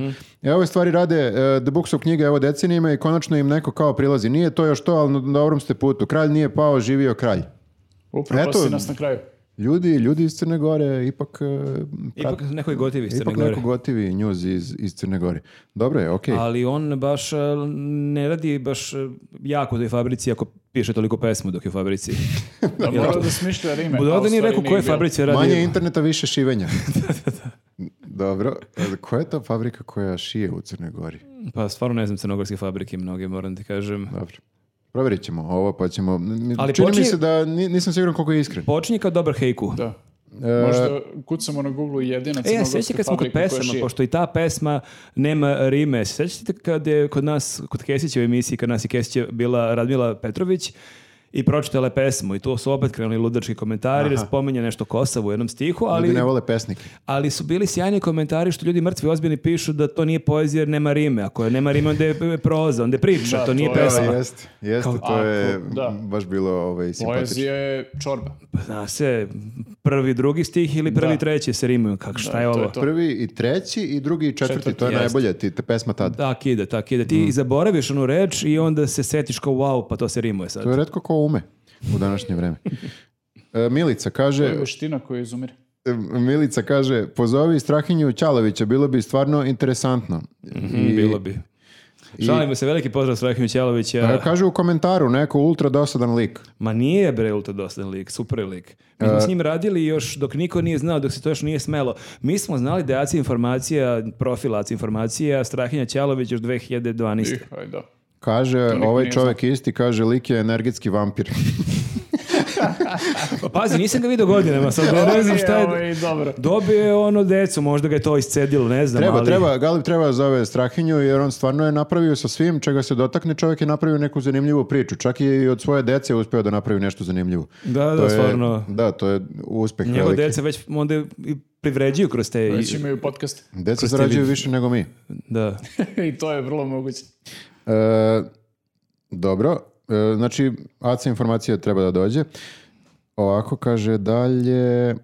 Speaker 2: E, ove stvari rade e, The Books of knjige, evo decenijima i konačno im neko kao prilazi. Nije to još to, ali na dobrom ste putu. Kralj nije pao, živio kralj.
Speaker 3: Upravo
Speaker 2: Eto.
Speaker 3: si nas na kraju.
Speaker 2: Ljudi, ljudi iz Crne Gore ipak... e,
Speaker 1: Ipak
Speaker 2: prate-
Speaker 1: neko je gotivi iz Crne
Speaker 2: ipak
Speaker 1: Gore.
Speaker 2: neko gotivi njuz iz, iz Crne Gore. Dobro je, okej.
Speaker 1: Ali on baš e, ne radi baš e, jako u toj fabrici ako piše toliko pesmu dok je u fabrici.
Speaker 3: Da, mora da smišlja rime.
Speaker 1: Budu
Speaker 3: a u
Speaker 1: ovdje nije
Speaker 3: stvari
Speaker 1: rekao koje
Speaker 3: bilo.
Speaker 1: fabrici radi.
Speaker 2: Manje interneta, više šivenja. Dobro, e, koja je to fabrika koja šije u Crnoj Gori?
Speaker 1: Pa stvarno ne znam crnogorske fabrike mnoge, moram ti kažem.
Speaker 2: Dobro. Provjerit ćemo ovo, pa ćemo... n-
Speaker 1: Ali
Speaker 2: Čini mi
Speaker 1: počinje-
Speaker 2: se da ni- nisam siguran koliko je iskren.
Speaker 1: Počinje kao dobar hejku.
Speaker 3: Da.
Speaker 2: E-
Speaker 3: Možda kucamo na Google
Speaker 1: E,
Speaker 3: jedina
Speaker 1: ja
Speaker 3: crnogorska
Speaker 1: sjećam kad smo kod
Speaker 3: fabrika koja
Speaker 1: pesama,
Speaker 3: šije.
Speaker 1: pošto i ta pesma nema rime. Sjećate kad je kod nas, kod Kesića u emisiji, kad nas je Kesić bila Radmila Petrović i pročitala je pesmu i tu su opet krenuli ludački komentari da spominje nešto Kosovo u jednom stihu,
Speaker 2: Ljudi
Speaker 1: ali,
Speaker 2: ne vole pesnike.
Speaker 1: ali su bili sjajni komentari što ljudi mrtvi ozbiljni pišu da to nije poezija jer nema rime. Ako je nema rime onda je proza, onda je priča,
Speaker 3: Da,
Speaker 1: to nije
Speaker 3: to je-
Speaker 1: pesma.
Speaker 2: Jeste, jeste, to je
Speaker 3: Ako, da.
Speaker 2: baš bilo ovaj, simpatično.
Speaker 3: Poezija je čorba.
Speaker 1: Pa Zna se, prvi, drugi stih ili prvi,
Speaker 3: Da.
Speaker 1: treći se rimuju. Kak, šta je
Speaker 3: to
Speaker 1: ovo?
Speaker 3: je to.
Speaker 2: Prvi i treći i drugi i četvrti, to je
Speaker 1: Jeste.
Speaker 2: najbolje, ti, ta pesma tad.
Speaker 1: Tak ide, tak ide.
Speaker 2: Mhm.
Speaker 1: Ti zaboraviš onu reč i onda se setiš kao wow, pa to se rimuje sad.
Speaker 2: To je redko ko ume u današnje vreme. E, Milica
Speaker 3: To je
Speaker 2: kaže,
Speaker 3: veština koja izumire.
Speaker 2: e, Milica kaže, pozovi Strahinju Ćalovića, bilo bi stvarno interesantno.
Speaker 3: Mhm,
Speaker 2: I-
Speaker 1: Mm, Bilo bi. Šalimo se, veliki pozdrav Strahimir
Speaker 2: e,
Speaker 1: Ćelovića.
Speaker 2: Kaže u komentaru neko ultra dosadan lik.
Speaker 1: Ma nije bre ultra dosadan lik, super je lik. Mi
Speaker 2: E-
Speaker 1: smo s njim radili još dok niko nije znao, dok se to još nije smelo. Mi smo znali da je Aci informacija, profil Aci informacija, Strahinja Ćalović još 2012.
Speaker 3: Ih, aj da.
Speaker 2: Kaže,
Speaker 3: niko
Speaker 2: ovaj
Speaker 3: nije
Speaker 2: čovjek isti, kaže, lik je energetski vampir.
Speaker 1: Pa pazi, nisam ga vidio godinama, sad ne znam šta
Speaker 3: Ovo
Speaker 2: ovaj,
Speaker 3: je
Speaker 1: je...
Speaker 3: i dobro.
Speaker 1: Dobio je ono decu, možda ga je to iscedilo, ne znam,
Speaker 2: Treba,
Speaker 1: ali...
Speaker 2: treba, Galip treba da zove Strahinju jer on stvarno je napravio sa svim čega se dotakne čovjek je napravio neku zanimljivu priču. Čak je i od svoje dece uspio da napravi nešto zanimljivo.
Speaker 1: Da, da,
Speaker 2: To je-
Speaker 1: stvarno.
Speaker 2: Da, to je uspeh
Speaker 1: Njegov
Speaker 2: veliki.
Speaker 1: deca već onda i privređuju kroz te...
Speaker 3: Već imaju podcast.
Speaker 2: Deca
Speaker 1: Kroz te
Speaker 2: zarađuju
Speaker 1: vidi-
Speaker 2: više nego mi.
Speaker 1: Da.
Speaker 3: I to je vrlo moguće.
Speaker 2: E, dobro, E, znači AC informacija treba da dođe. Ovako kaže dalje,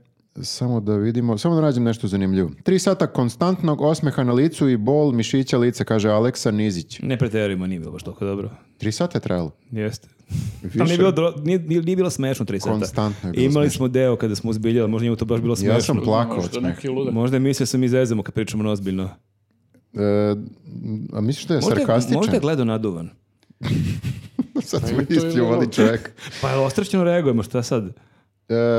Speaker 2: samo da vidimo, samo da nađem nešto zanimljivo. Tri sata konstantnog osmeha na licu i bol mišića lica, kaže Aleksa Nizić.
Speaker 1: Ne preterujemo, nije bilo baš toliko dobro.
Speaker 2: Tri sata je trajalo.
Speaker 1: Jeste.
Speaker 2: Više.
Speaker 1: Ali nije bilo, dro- nije, nije, nije bilo smešno tri sata.
Speaker 2: Konstantno je bilo
Speaker 1: Imali
Speaker 2: smešno.
Speaker 1: smo deo kada smo uzbiljali, možda njemu to baš bilo smešno.
Speaker 2: Ja sam plakao od
Speaker 3: Možda
Speaker 2: smeha.
Speaker 3: neki ludak.
Speaker 1: Možda je mislio sam mi zezamo kad pričamo na ozbiljno.
Speaker 2: E, a misliš da je
Speaker 1: Možda je-
Speaker 2: sarkastičan?
Speaker 1: Možda je gledao naduvan.
Speaker 2: Sad smo
Speaker 3: i to je
Speaker 2: istljuvali
Speaker 3: dobro.
Speaker 2: čovjek.
Speaker 1: Pa je ostrašćeno reagujemo, šta sad?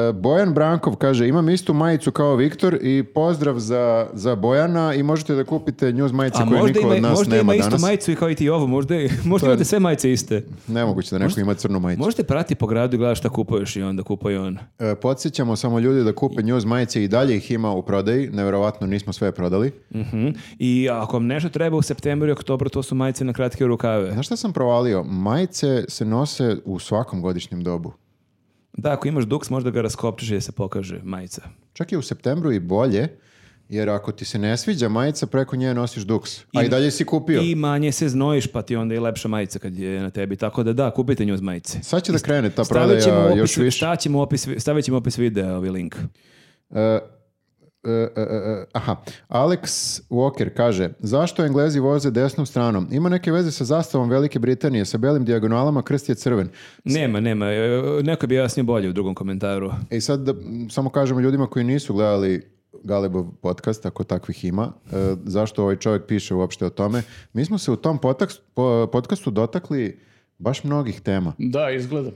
Speaker 2: E, Bojan Brankov kaže, imam istu majicu kao Viktor i pozdrav za, za Bojana i možete da kupite njuz majice
Speaker 1: A
Speaker 2: koje
Speaker 1: možda
Speaker 2: niko
Speaker 1: ima,
Speaker 2: od nas
Speaker 1: možda
Speaker 2: nema
Speaker 1: ima istu
Speaker 2: danas.
Speaker 1: majicu i kao i ti ovo, možda, je- možda imate sve majice iste.
Speaker 2: Nemoguće da neko ima crnu majicu.
Speaker 1: Možete prati po gradu i gledaš šta kupuješ i onda kupuje on.
Speaker 2: E, podsjećamo samo ljudi da kupe njuz majice i dalje ih ima u prodaji. Neverovatno nismo sve prodali.
Speaker 1: Mhm. I ako vam nešto treba u septembru i oktobru, to su majice na kratke rukave.
Speaker 2: Znaš šta sam provalio? Majice se nose u svakom godišnjem dobu.
Speaker 1: Da, ako imaš duks, možda ga raskopčiš i da se pokaže majica.
Speaker 2: Čak i u septembru i bolje, jer ako ti se ne sviđa majica, preko nje nosiš duks. A i, dalje si kupio.
Speaker 1: I manje se znojiš, pa ti onda i lepša majica kad je na tebi. Tako da da, kupite njuz majice.
Speaker 2: Sad će da krene ta
Speaker 1: Stavit ćemo
Speaker 2: prodaja
Speaker 1: u
Speaker 2: još
Speaker 1: opis,
Speaker 2: više.
Speaker 1: šta ćemo u opis, stavit ćemo u opis videa ovaj link.
Speaker 2: E, e, e, e, aha, Alex Walker kaže Zašto Englezi voze desnom stranom? Ima neke veze sa zastavom Velike Britanije, sa belim dijagonalama, krst je crven.
Speaker 1: Nema, nema. e, Neko bi jasnije bolje u drugom komentaru.
Speaker 2: E, I sad da m, samo kažemo ljudima koji nisu gledali Galebov podcast, ako takvih ima, e, zašto ovaj čovjek piše uopšte o tome. Mi smo se u tom potak- po- podcastu dotakli baš mnogih tema.
Speaker 3: Da, izgleda.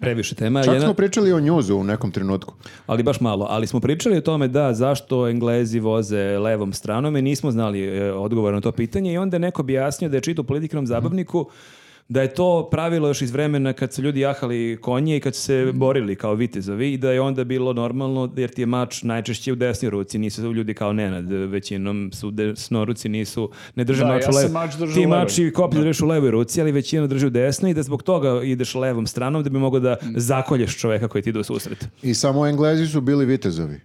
Speaker 1: Previše tema.
Speaker 2: Čak
Speaker 1: jedna-
Speaker 2: smo pričali o njuzu u nekom trenutku.
Speaker 1: Ali baš malo. Ali smo pričali o tome da zašto Englezi voze levom stranom i nismo znali e, odgovor na to pitanje i onda je neko objasnio da je čito u politikom zabavniku da je to pravilo još iz vremena kad su ljudi jahali konje i kad su se
Speaker 3: Mhm.
Speaker 1: borili kao vitezovi i da je onda bilo normalno jer ti je mač najčešće u desnoj ruci, nisu ljudi kao Nenad, e, većinom su desnoruci, nisu, ne drže
Speaker 3: Da,
Speaker 1: mač
Speaker 3: ja
Speaker 1: u
Speaker 3: sam
Speaker 1: levoj-
Speaker 3: mač držao
Speaker 1: Ti
Speaker 3: u levoj.
Speaker 1: mač i koplje držiš u levoj ruci, ali većina drži u desnoj i da zbog toga ideš levom stranom da bi mogao da
Speaker 3: Mhm.
Speaker 1: zakolješ čoveka koji ti ide u susret.
Speaker 2: I samo Englezi su bili vitezovi.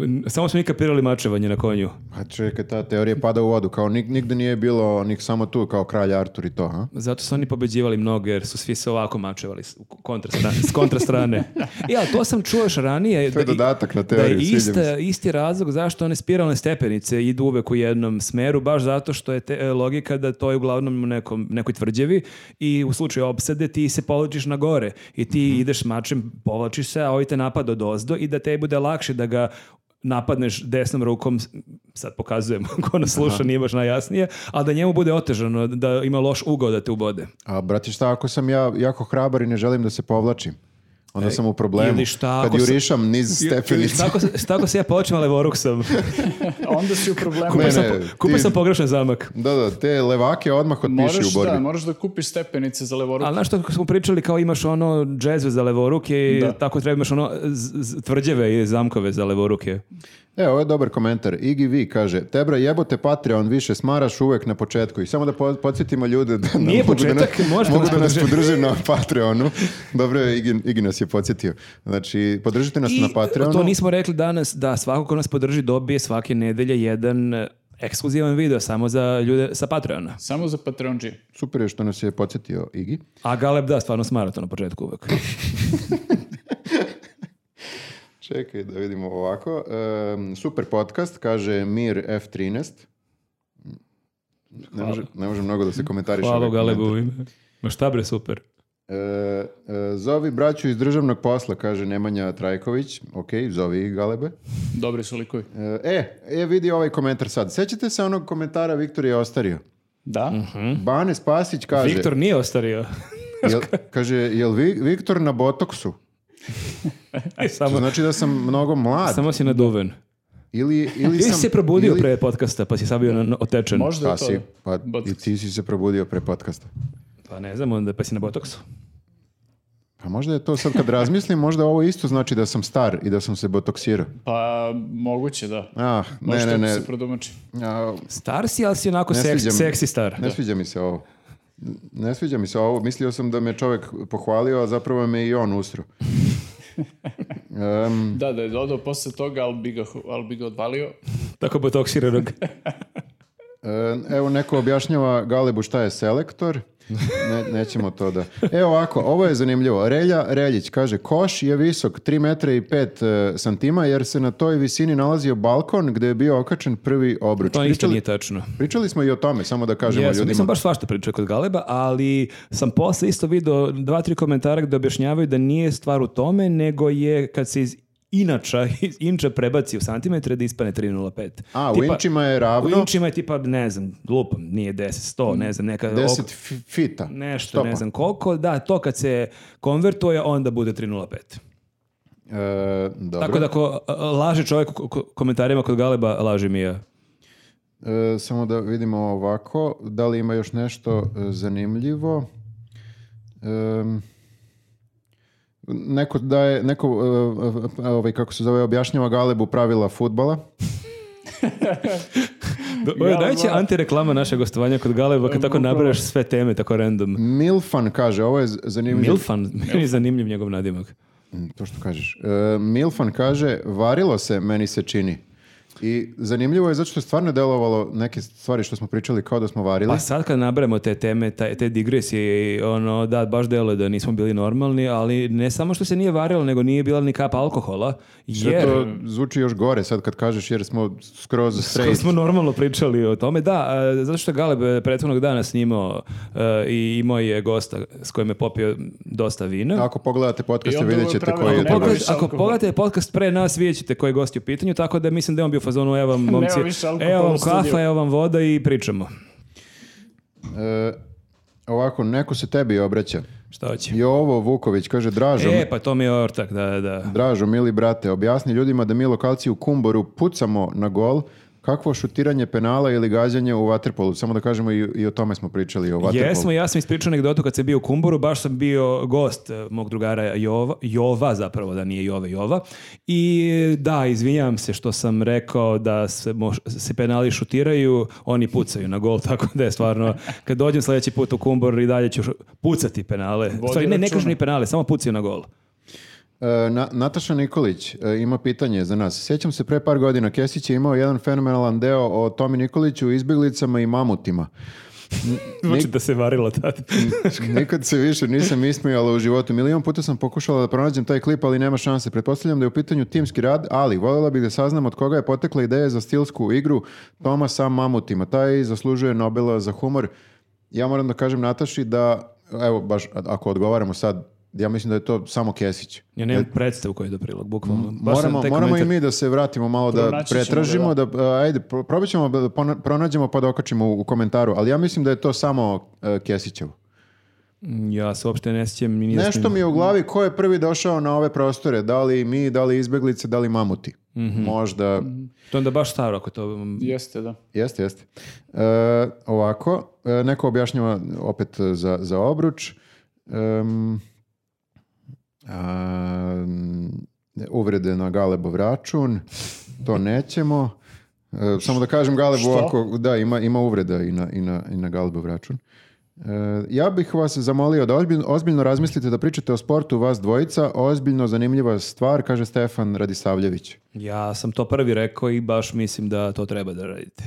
Speaker 1: N- Samo smo mi kapirali mačevanje na konju.
Speaker 2: Pa čekaj, ta teorija pada u vodu, kao nig, nigde nije bilo, nik samo tu, kao kralj Artur i to, ha?
Speaker 1: Zato su oni pobeđivali mnogo jer su svi se ovako mačevali s, u kontra strane, s kontra strane. I, ali to sam čuo još ranije.
Speaker 2: To je
Speaker 1: da i-
Speaker 2: dodatak na teoriju,
Speaker 1: Da je
Speaker 2: sviđa mi se.
Speaker 1: ista- isti razlog zašto one spiralne stepenice idu uvek u jednom smeru, baš zato što je te, e, logika da to je uglavnom u nekom, nekoj tvrđevi i u slučaju opsade ti se povlačiš na gore i ti
Speaker 2: Mhm.
Speaker 1: ideš mačem, povlačiš se, a ovi te napad od ozdo i da te bude lakše da ga napadneš desnom rukom, s- sad pokazujem ko nas sluša, nije baš najjasnije, a da njemu bude otežano, da ima loš ugao da te ubode.
Speaker 2: A brati šta, ako sam ja jako hrabar i ne želim da se povlačim, onda sam u problemu.
Speaker 1: E, ili šta
Speaker 2: Kad
Speaker 1: ako sam-
Speaker 2: jurišam niz stepenice.
Speaker 1: Tako, se- tako se ja počnem, ali voruk sam.
Speaker 3: Onda si u problemu.
Speaker 2: Ne,
Speaker 1: Kupio sam,
Speaker 2: ne,
Speaker 1: po- kupio
Speaker 2: ti-
Speaker 1: sam pogrešan zamak.
Speaker 2: Da, da, te levake odmah otpiši
Speaker 3: Moraš
Speaker 2: u borbi.
Speaker 3: da, moraš da kupiš stepenice za levoruku.
Speaker 1: Ali znaš što kako smo pričali, kao imaš ono džezve za levoruke i
Speaker 3: Da.
Speaker 1: tako treba imaš ono z- z- tvrđeve i zamkove za levoruke.
Speaker 2: E, ovo je dobar komentar. Igi Vi kaže, Tebra jebote Patreon više smaraš uvek na početku. I samo da po- podsjetimo ljude da nam
Speaker 1: Nije
Speaker 2: mogu da nas-
Speaker 1: početak, možete
Speaker 2: mogu
Speaker 1: nas
Speaker 2: da nas
Speaker 1: podržati.
Speaker 2: podrže na Patreonu. Dobro je, Igi, Igi nas je podsjetio. Znači, podržite nas na Patreonu.
Speaker 1: to nismo rekli danas, da svako ko nas podrži dobije svake nedelje jedan e, ekskluzivan video samo za ljude sa Patreona.
Speaker 3: Samo za Patreonđije.
Speaker 2: Super je što nas je podsjetio Igi.
Speaker 1: A Galeb da, stvarno smara to na početku uvek.
Speaker 2: Čekaj da vidimo ovako. Em, super podcast, kaže Mir F13. Ne može, ne može mnogo da se komentariše.
Speaker 1: Hvala
Speaker 2: ovaj komentar.
Speaker 1: Galebu u ime. Ma šta bre, super.
Speaker 2: E, e, zovi braću iz državnog posla, kaže Nemanja Trajković. Ok, zovi ih, Galebe.
Speaker 3: Dobri su likovi.
Speaker 2: E, E, e, vidi ovaj komentar sad. Sećate se onog komentara Viktor je ostario?
Speaker 3: Da.
Speaker 2: Mhm, Bane Spasić kaže...
Speaker 1: Viktor nije ostario.
Speaker 2: Jel, kaže, jel vi, Viktor na botoksu? To
Speaker 1: samo,
Speaker 2: znači da sam mnogo mlad.
Speaker 1: samo si naduven.
Speaker 2: Ili, ili
Speaker 1: Ti si
Speaker 2: sam,
Speaker 1: se probudio
Speaker 2: ili-
Speaker 1: pre podcasta, pa si sad bio na- na- otečen.
Speaker 3: Možda
Speaker 2: Pa
Speaker 3: je to.
Speaker 2: si, pa i
Speaker 3: Botoks.
Speaker 2: ti si se probudio pre podcasta.
Speaker 1: Pa ne znam, onda pa si na botoksu.
Speaker 2: Pa možda je to sad kad razmislim, možda ovo isto znači da sam star i da sam se botoksirao.
Speaker 3: Pa moguće da.
Speaker 2: Ah, ne,
Speaker 3: Možete
Speaker 2: ne, ne. Mhm.
Speaker 3: se prodomači.
Speaker 2: A,
Speaker 1: Star si, ali si onako
Speaker 2: Ne
Speaker 1: seks,
Speaker 2: sviđa mi-
Speaker 1: seksi star.
Speaker 2: Ne sviđa mi se ovo. Ne sviđa mi se ovo. Mislio sam da me čovek pohvalio, a zapravo me i on ustro. Em,
Speaker 3: Da, da je dodao posle toga, ali bi ga, ali bi ga odvalio.
Speaker 1: Tako botoksiranog.
Speaker 2: e, evo neko objašnjava Galebu šta je selektor. Ne, nećemo to da... Evo ovako, ovo je zanimljivo. Relja Reljić kaže, koš je visok 3 metra i 5 santima jer se na toj visini nalazio balkon gde je bio okačen prvi obruč.
Speaker 1: To ništa
Speaker 2: Pričali-
Speaker 1: nije tačno.
Speaker 2: Pričali smo i o tome, samo da kažemo
Speaker 1: Jesam,
Speaker 2: ljudima.
Speaker 1: nisam baš svašta pričao kod Galeba, ali sam posle isto video dva, tri komentara gde objašnjavaju da nije stvar u tome, nego je kad se iz inača, iz inča prebaci u santimetre da ispane 3,05.
Speaker 2: A, u
Speaker 1: Tipa-
Speaker 2: inčima je
Speaker 1: U
Speaker 2: ravno
Speaker 1: inčima je tipa, ne znam, lupam, nije 10, 100, ne znam, neka...
Speaker 2: 10
Speaker 1: oko-
Speaker 2: fi- fita.
Speaker 1: Nešto,
Speaker 2: Hmm. Stopa.
Speaker 1: ne znam koliko. Da, to kad se konvertuje, onda bude 3,05.
Speaker 2: E, dobro.
Speaker 1: Tako da ko a, a, laže čovjek u ko- ko- komentarima kod Galeba, laže mi ja.
Speaker 2: E, samo da vidimo ovako, da li ima još nešto e, zanimljivo. Em, neko da je, neko, e, e, ovaj, kako se zove, objašnjava Galebu pravila futbala.
Speaker 1: Da, da će antireklama naše gostovanja kod Galeba kad tako nabereš sve teme, tako random.
Speaker 2: Milfan kaže, ovo je z- zanimljivo.
Speaker 1: Milfan, meni je zanimljiv njegov nadimak.
Speaker 2: To što kažeš. E, Milfan kaže, varilo se, meni se čini. I zanimljivo je zato što je stvarno delovalo neke stvari što smo pričali kao da smo varili.
Speaker 1: Pa sad kad nabrajamo te teme, taj- te digresije, i ono, da, baš deluje da nismo bili normalni, ali ne samo što se nije varilo, nego nije bila ni kap alkohola,
Speaker 2: Sve
Speaker 1: jer...
Speaker 2: to zvuči još gore sad kad kažeš jer smo skroz
Speaker 1: Skoro
Speaker 2: straight.
Speaker 1: smo normalno pričali o tome. Da, a, zato što je Galeb e, prethodnog dana snimao e, i imao je gosta s kojim je popio dosta vina.
Speaker 2: Ako pogledate
Speaker 3: I
Speaker 2: podcaste
Speaker 3: onda
Speaker 2: vidjet
Speaker 3: ovo
Speaker 2: ćete
Speaker 3: je
Speaker 2: koji je
Speaker 3: pravilo
Speaker 1: Ako,
Speaker 2: to
Speaker 3: nema
Speaker 1: pogled-
Speaker 3: više
Speaker 1: ako
Speaker 3: alkohola.
Speaker 1: pogledate podcast pre nas, vidjet ćete koji je gost je u pitanju, tako da mislim da je on bio u fazonu, evo vam momci,
Speaker 3: više alkohola
Speaker 1: evo vam
Speaker 3: u studiju.
Speaker 1: kafa, evo vam voda i pričamo.
Speaker 2: E, ovako, neko se tebi obraća.
Speaker 1: Šta hoće?
Speaker 2: Jovo Vuković kaže, dražo,
Speaker 1: E, pa to mi je ortak, da, da.
Speaker 2: dražo, mili brate, objasni ljudima da mi lokalci u Kumboru pucamo na gol, kakvo šutiranje penala ili gađanje u vaterpolu. Samo da kažemo i, i o tome smo pričali, o
Speaker 3: Pa
Speaker 2: vaterpolu.
Speaker 1: Jesmo, ja sam ispričao anegdotu kad sam bio u Kumboru, baš sam bio gost e, mog drugara Jova, Jova zapravo, da nije Jove, Jova. I e, da, izvinjavam se što sam rekao da se, moš- se penali šutiraju, oni pucaju na gol, tako da je stvarno, kad dođem sljedeći put u Kumbor i dalje ću šu- pucati penale. U Stvari, ne, ne
Speaker 3: računa.
Speaker 1: kažu ni penale, samo pucaju na gol.
Speaker 2: E, Na- Nataša Nikolić e, ima pitanje za nas. Sjećam se pre par godina, Kesić je imao jedan fenomenalan deo o Tomi Nikoliću, izbjeglicama i mamutima.
Speaker 1: Znači da se varilo tad.
Speaker 2: Nikad se više nisam ismijala u životu. Milion puta sam pokušala da pronađem taj klip, ali nema šanse. Pretpostavljam da je u pitanju timski rad, ali voljela bih da saznam od koga je potekla ideja za stilsku igru Toma sa mamutima. Taj zaslužuje Nobela za humor. Ja moram da kažem Nataši da, evo baš a- ako odgovaramo sad, ja mislim da je to samo Kesić.
Speaker 1: Ja nemam predstavu koji je do prilog, bukvalno. Baš sam
Speaker 2: Moramo,
Speaker 1: taj
Speaker 2: moramo i
Speaker 1: komentar-
Speaker 2: mi da se vratimo malo da
Speaker 3: Pronaći ćemo ga,
Speaker 2: pretražimo, da, a, ajde, pro- probat ćemo da pona- pronađemo pa da okačimo u, u komentaru, ali ja mislim da je to samo e, Kesićevo.
Speaker 1: Ja se uopšte ne sjećam. ni da
Speaker 2: Nešto
Speaker 1: sam-
Speaker 2: mi je u glavi ko je prvi došao na ove prostore, da li mi, da li izbeglice, da li mamuti. Možda,
Speaker 1: To je onda baš staro ako to... mm,
Speaker 3: Jeste, da.
Speaker 2: jeste, jeste. E, ovako, e, neko objašnjava opet e, za, za obruč. Em, a, m, uvrede na Galebov račun, to nećemo. E, samo da kažem Galebu
Speaker 3: Što?
Speaker 2: ako, da, ima, ima uvreda i na, i na, i na Galebov račun. E, ja bih vas zamolio da ozbiljno, ozbiljno razmislite da pričate o sportu vas dvojica, ozbiljno zanimljiva stvar, kaže Stefan Radisavljević.
Speaker 1: Ja sam to prvi rekao i baš mislim da to treba da radite.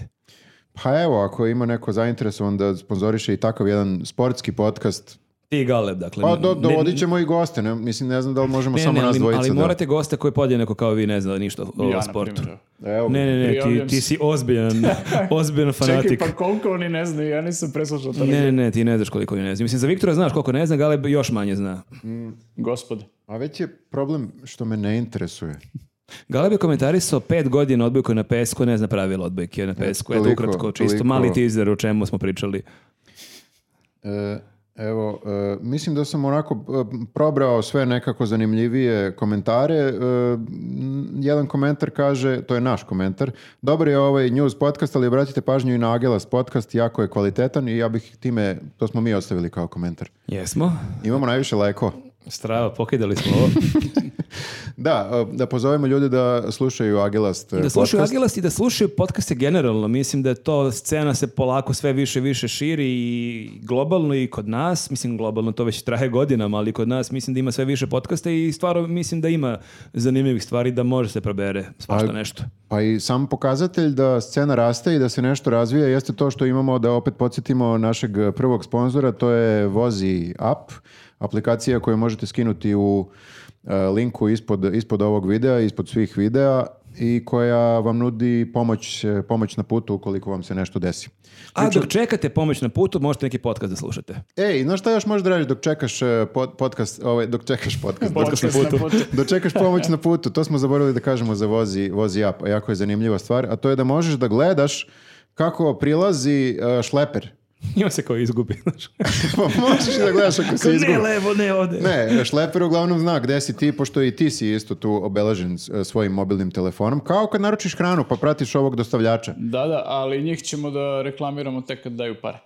Speaker 2: Pa evo, ako ima neko zainteresovan da sponzoriše i takav jedan sportski podcast,
Speaker 1: Ti i Galeb, dakle.
Speaker 2: pa
Speaker 1: ne-
Speaker 2: do,
Speaker 1: ne-
Speaker 2: dovodit ćemo i goste, ne, mislim ne znam da li možemo
Speaker 1: ne,
Speaker 2: samo
Speaker 1: ne,
Speaker 2: nas
Speaker 1: ali,
Speaker 2: dvojica.
Speaker 1: ali
Speaker 2: da-
Speaker 1: morate gosta koji podjednako kao vi ne zna ništa o, o
Speaker 3: ja,
Speaker 1: sportu.
Speaker 3: Na primjer,
Speaker 2: Evo,
Speaker 1: Ne, ne, ne, ti,
Speaker 3: Prijavljam
Speaker 1: ti
Speaker 3: se.
Speaker 1: si ozbiljan, ozbiljan
Speaker 3: evo. Čekaj,
Speaker 1: fanatik.
Speaker 3: pa koliko oni ne znaju, ja nisam preslušao to.
Speaker 1: Ne, ne, ne, ti ne znaš koliko ne zna. Mislim, za Viktora znaš koliko ne zna, Galeb još manje zna.
Speaker 3: Gospode.
Speaker 2: A već je problem što me ne interesuje.
Speaker 1: Galeb je komentarisao pet godina odbojku na pesku, ne zna pravila odbojke na pesku. Eto,
Speaker 2: E, toliko,
Speaker 1: ukratko, čisto
Speaker 2: toliko.
Speaker 1: mali teaser o čemu smo pričali.
Speaker 2: E, evo, e, mislim da sam onako e, probrao sve nekako zanimljivije komentare. E, m, jedan komentar kaže, to je naš komentar, dobar je ovaj news podcast, ali obratite pažnju i na Agelas podcast, jako je kvalitetan i ja bih time, to smo mi ostavili kao komentar.
Speaker 1: Jesmo?
Speaker 2: Imamo najviše lajkova.
Speaker 1: Strava, pokidali smo ovo.
Speaker 2: Da, e, da pozovemo ljude da slušaju e, Agilast
Speaker 1: Da slušaju Agilast i da slušaju podcaste generalno. Mislim da je to, scena se polako sve više i više širi i globalno i kod nas. Mislim, globalno to već traje godinama, ali kod nas mislim da ima sve više podcasta i stvarno mislim da ima zanimljivih stvari da može se probere svašta nešto.
Speaker 2: Pa i sam pokazatelj da scena raste i da se nešto razvija jeste to što imamo da opet podsjetimo našeg prvog sponzora, to je Vozi App, aplikacija koju možete skinuti u e, linku ispod, ispod ovog videa, ispod svih videa i koja vam nudi pomoć, e, pomoć na putu ukoliko vam se nešto desi.
Speaker 1: A dok čekate pomoć na putu, možete neki podcast da slušate.
Speaker 2: Ej, znaš šta još možeš da radiš dok čekaš e, pod, podcast, ovaj, dok čekaš podcast,
Speaker 3: Podcast na putu.
Speaker 2: dok čekaš pomoć na putu, to smo zaboravili da kažemo za vozi, vozi app, a jako je zanimljiva stvar, a to je da možeš da gledaš kako prilazi e, šleper. Pa
Speaker 1: I on se kao izgubi, znaš.
Speaker 2: možeš i da gledaš ako se izgubi.
Speaker 1: Ne, levo, ne, ovde.
Speaker 2: Ne, šleper uglavnom zna gde si ti, pošto i ti si isto tu obeležen s- e, svojim mobilnim telefonom. Kao kad naručiš hranu, pa pratiš ovog dostavljača.
Speaker 3: Da, da, ali njih ćemo da reklamiramo tek kad daju pare.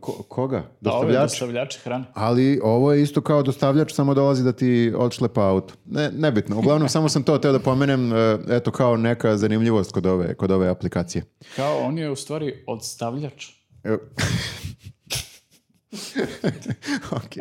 Speaker 2: Ko- koga?
Speaker 3: Da, ovaj ove
Speaker 2: Dostavljača?
Speaker 3: dostavljače hrane.
Speaker 2: Ali ovo je isto kao dostavljač, samo dolazi da ti odšlepa auto. Ne, nebitno. Uglavnom, samo sam to teo da pomenem, e, eto, kao neka zanimljivost kod ove, kod ove aplikacije.
Speaker 3: Kao on je u stvari odstavljač.
Speaker 2: E, ok.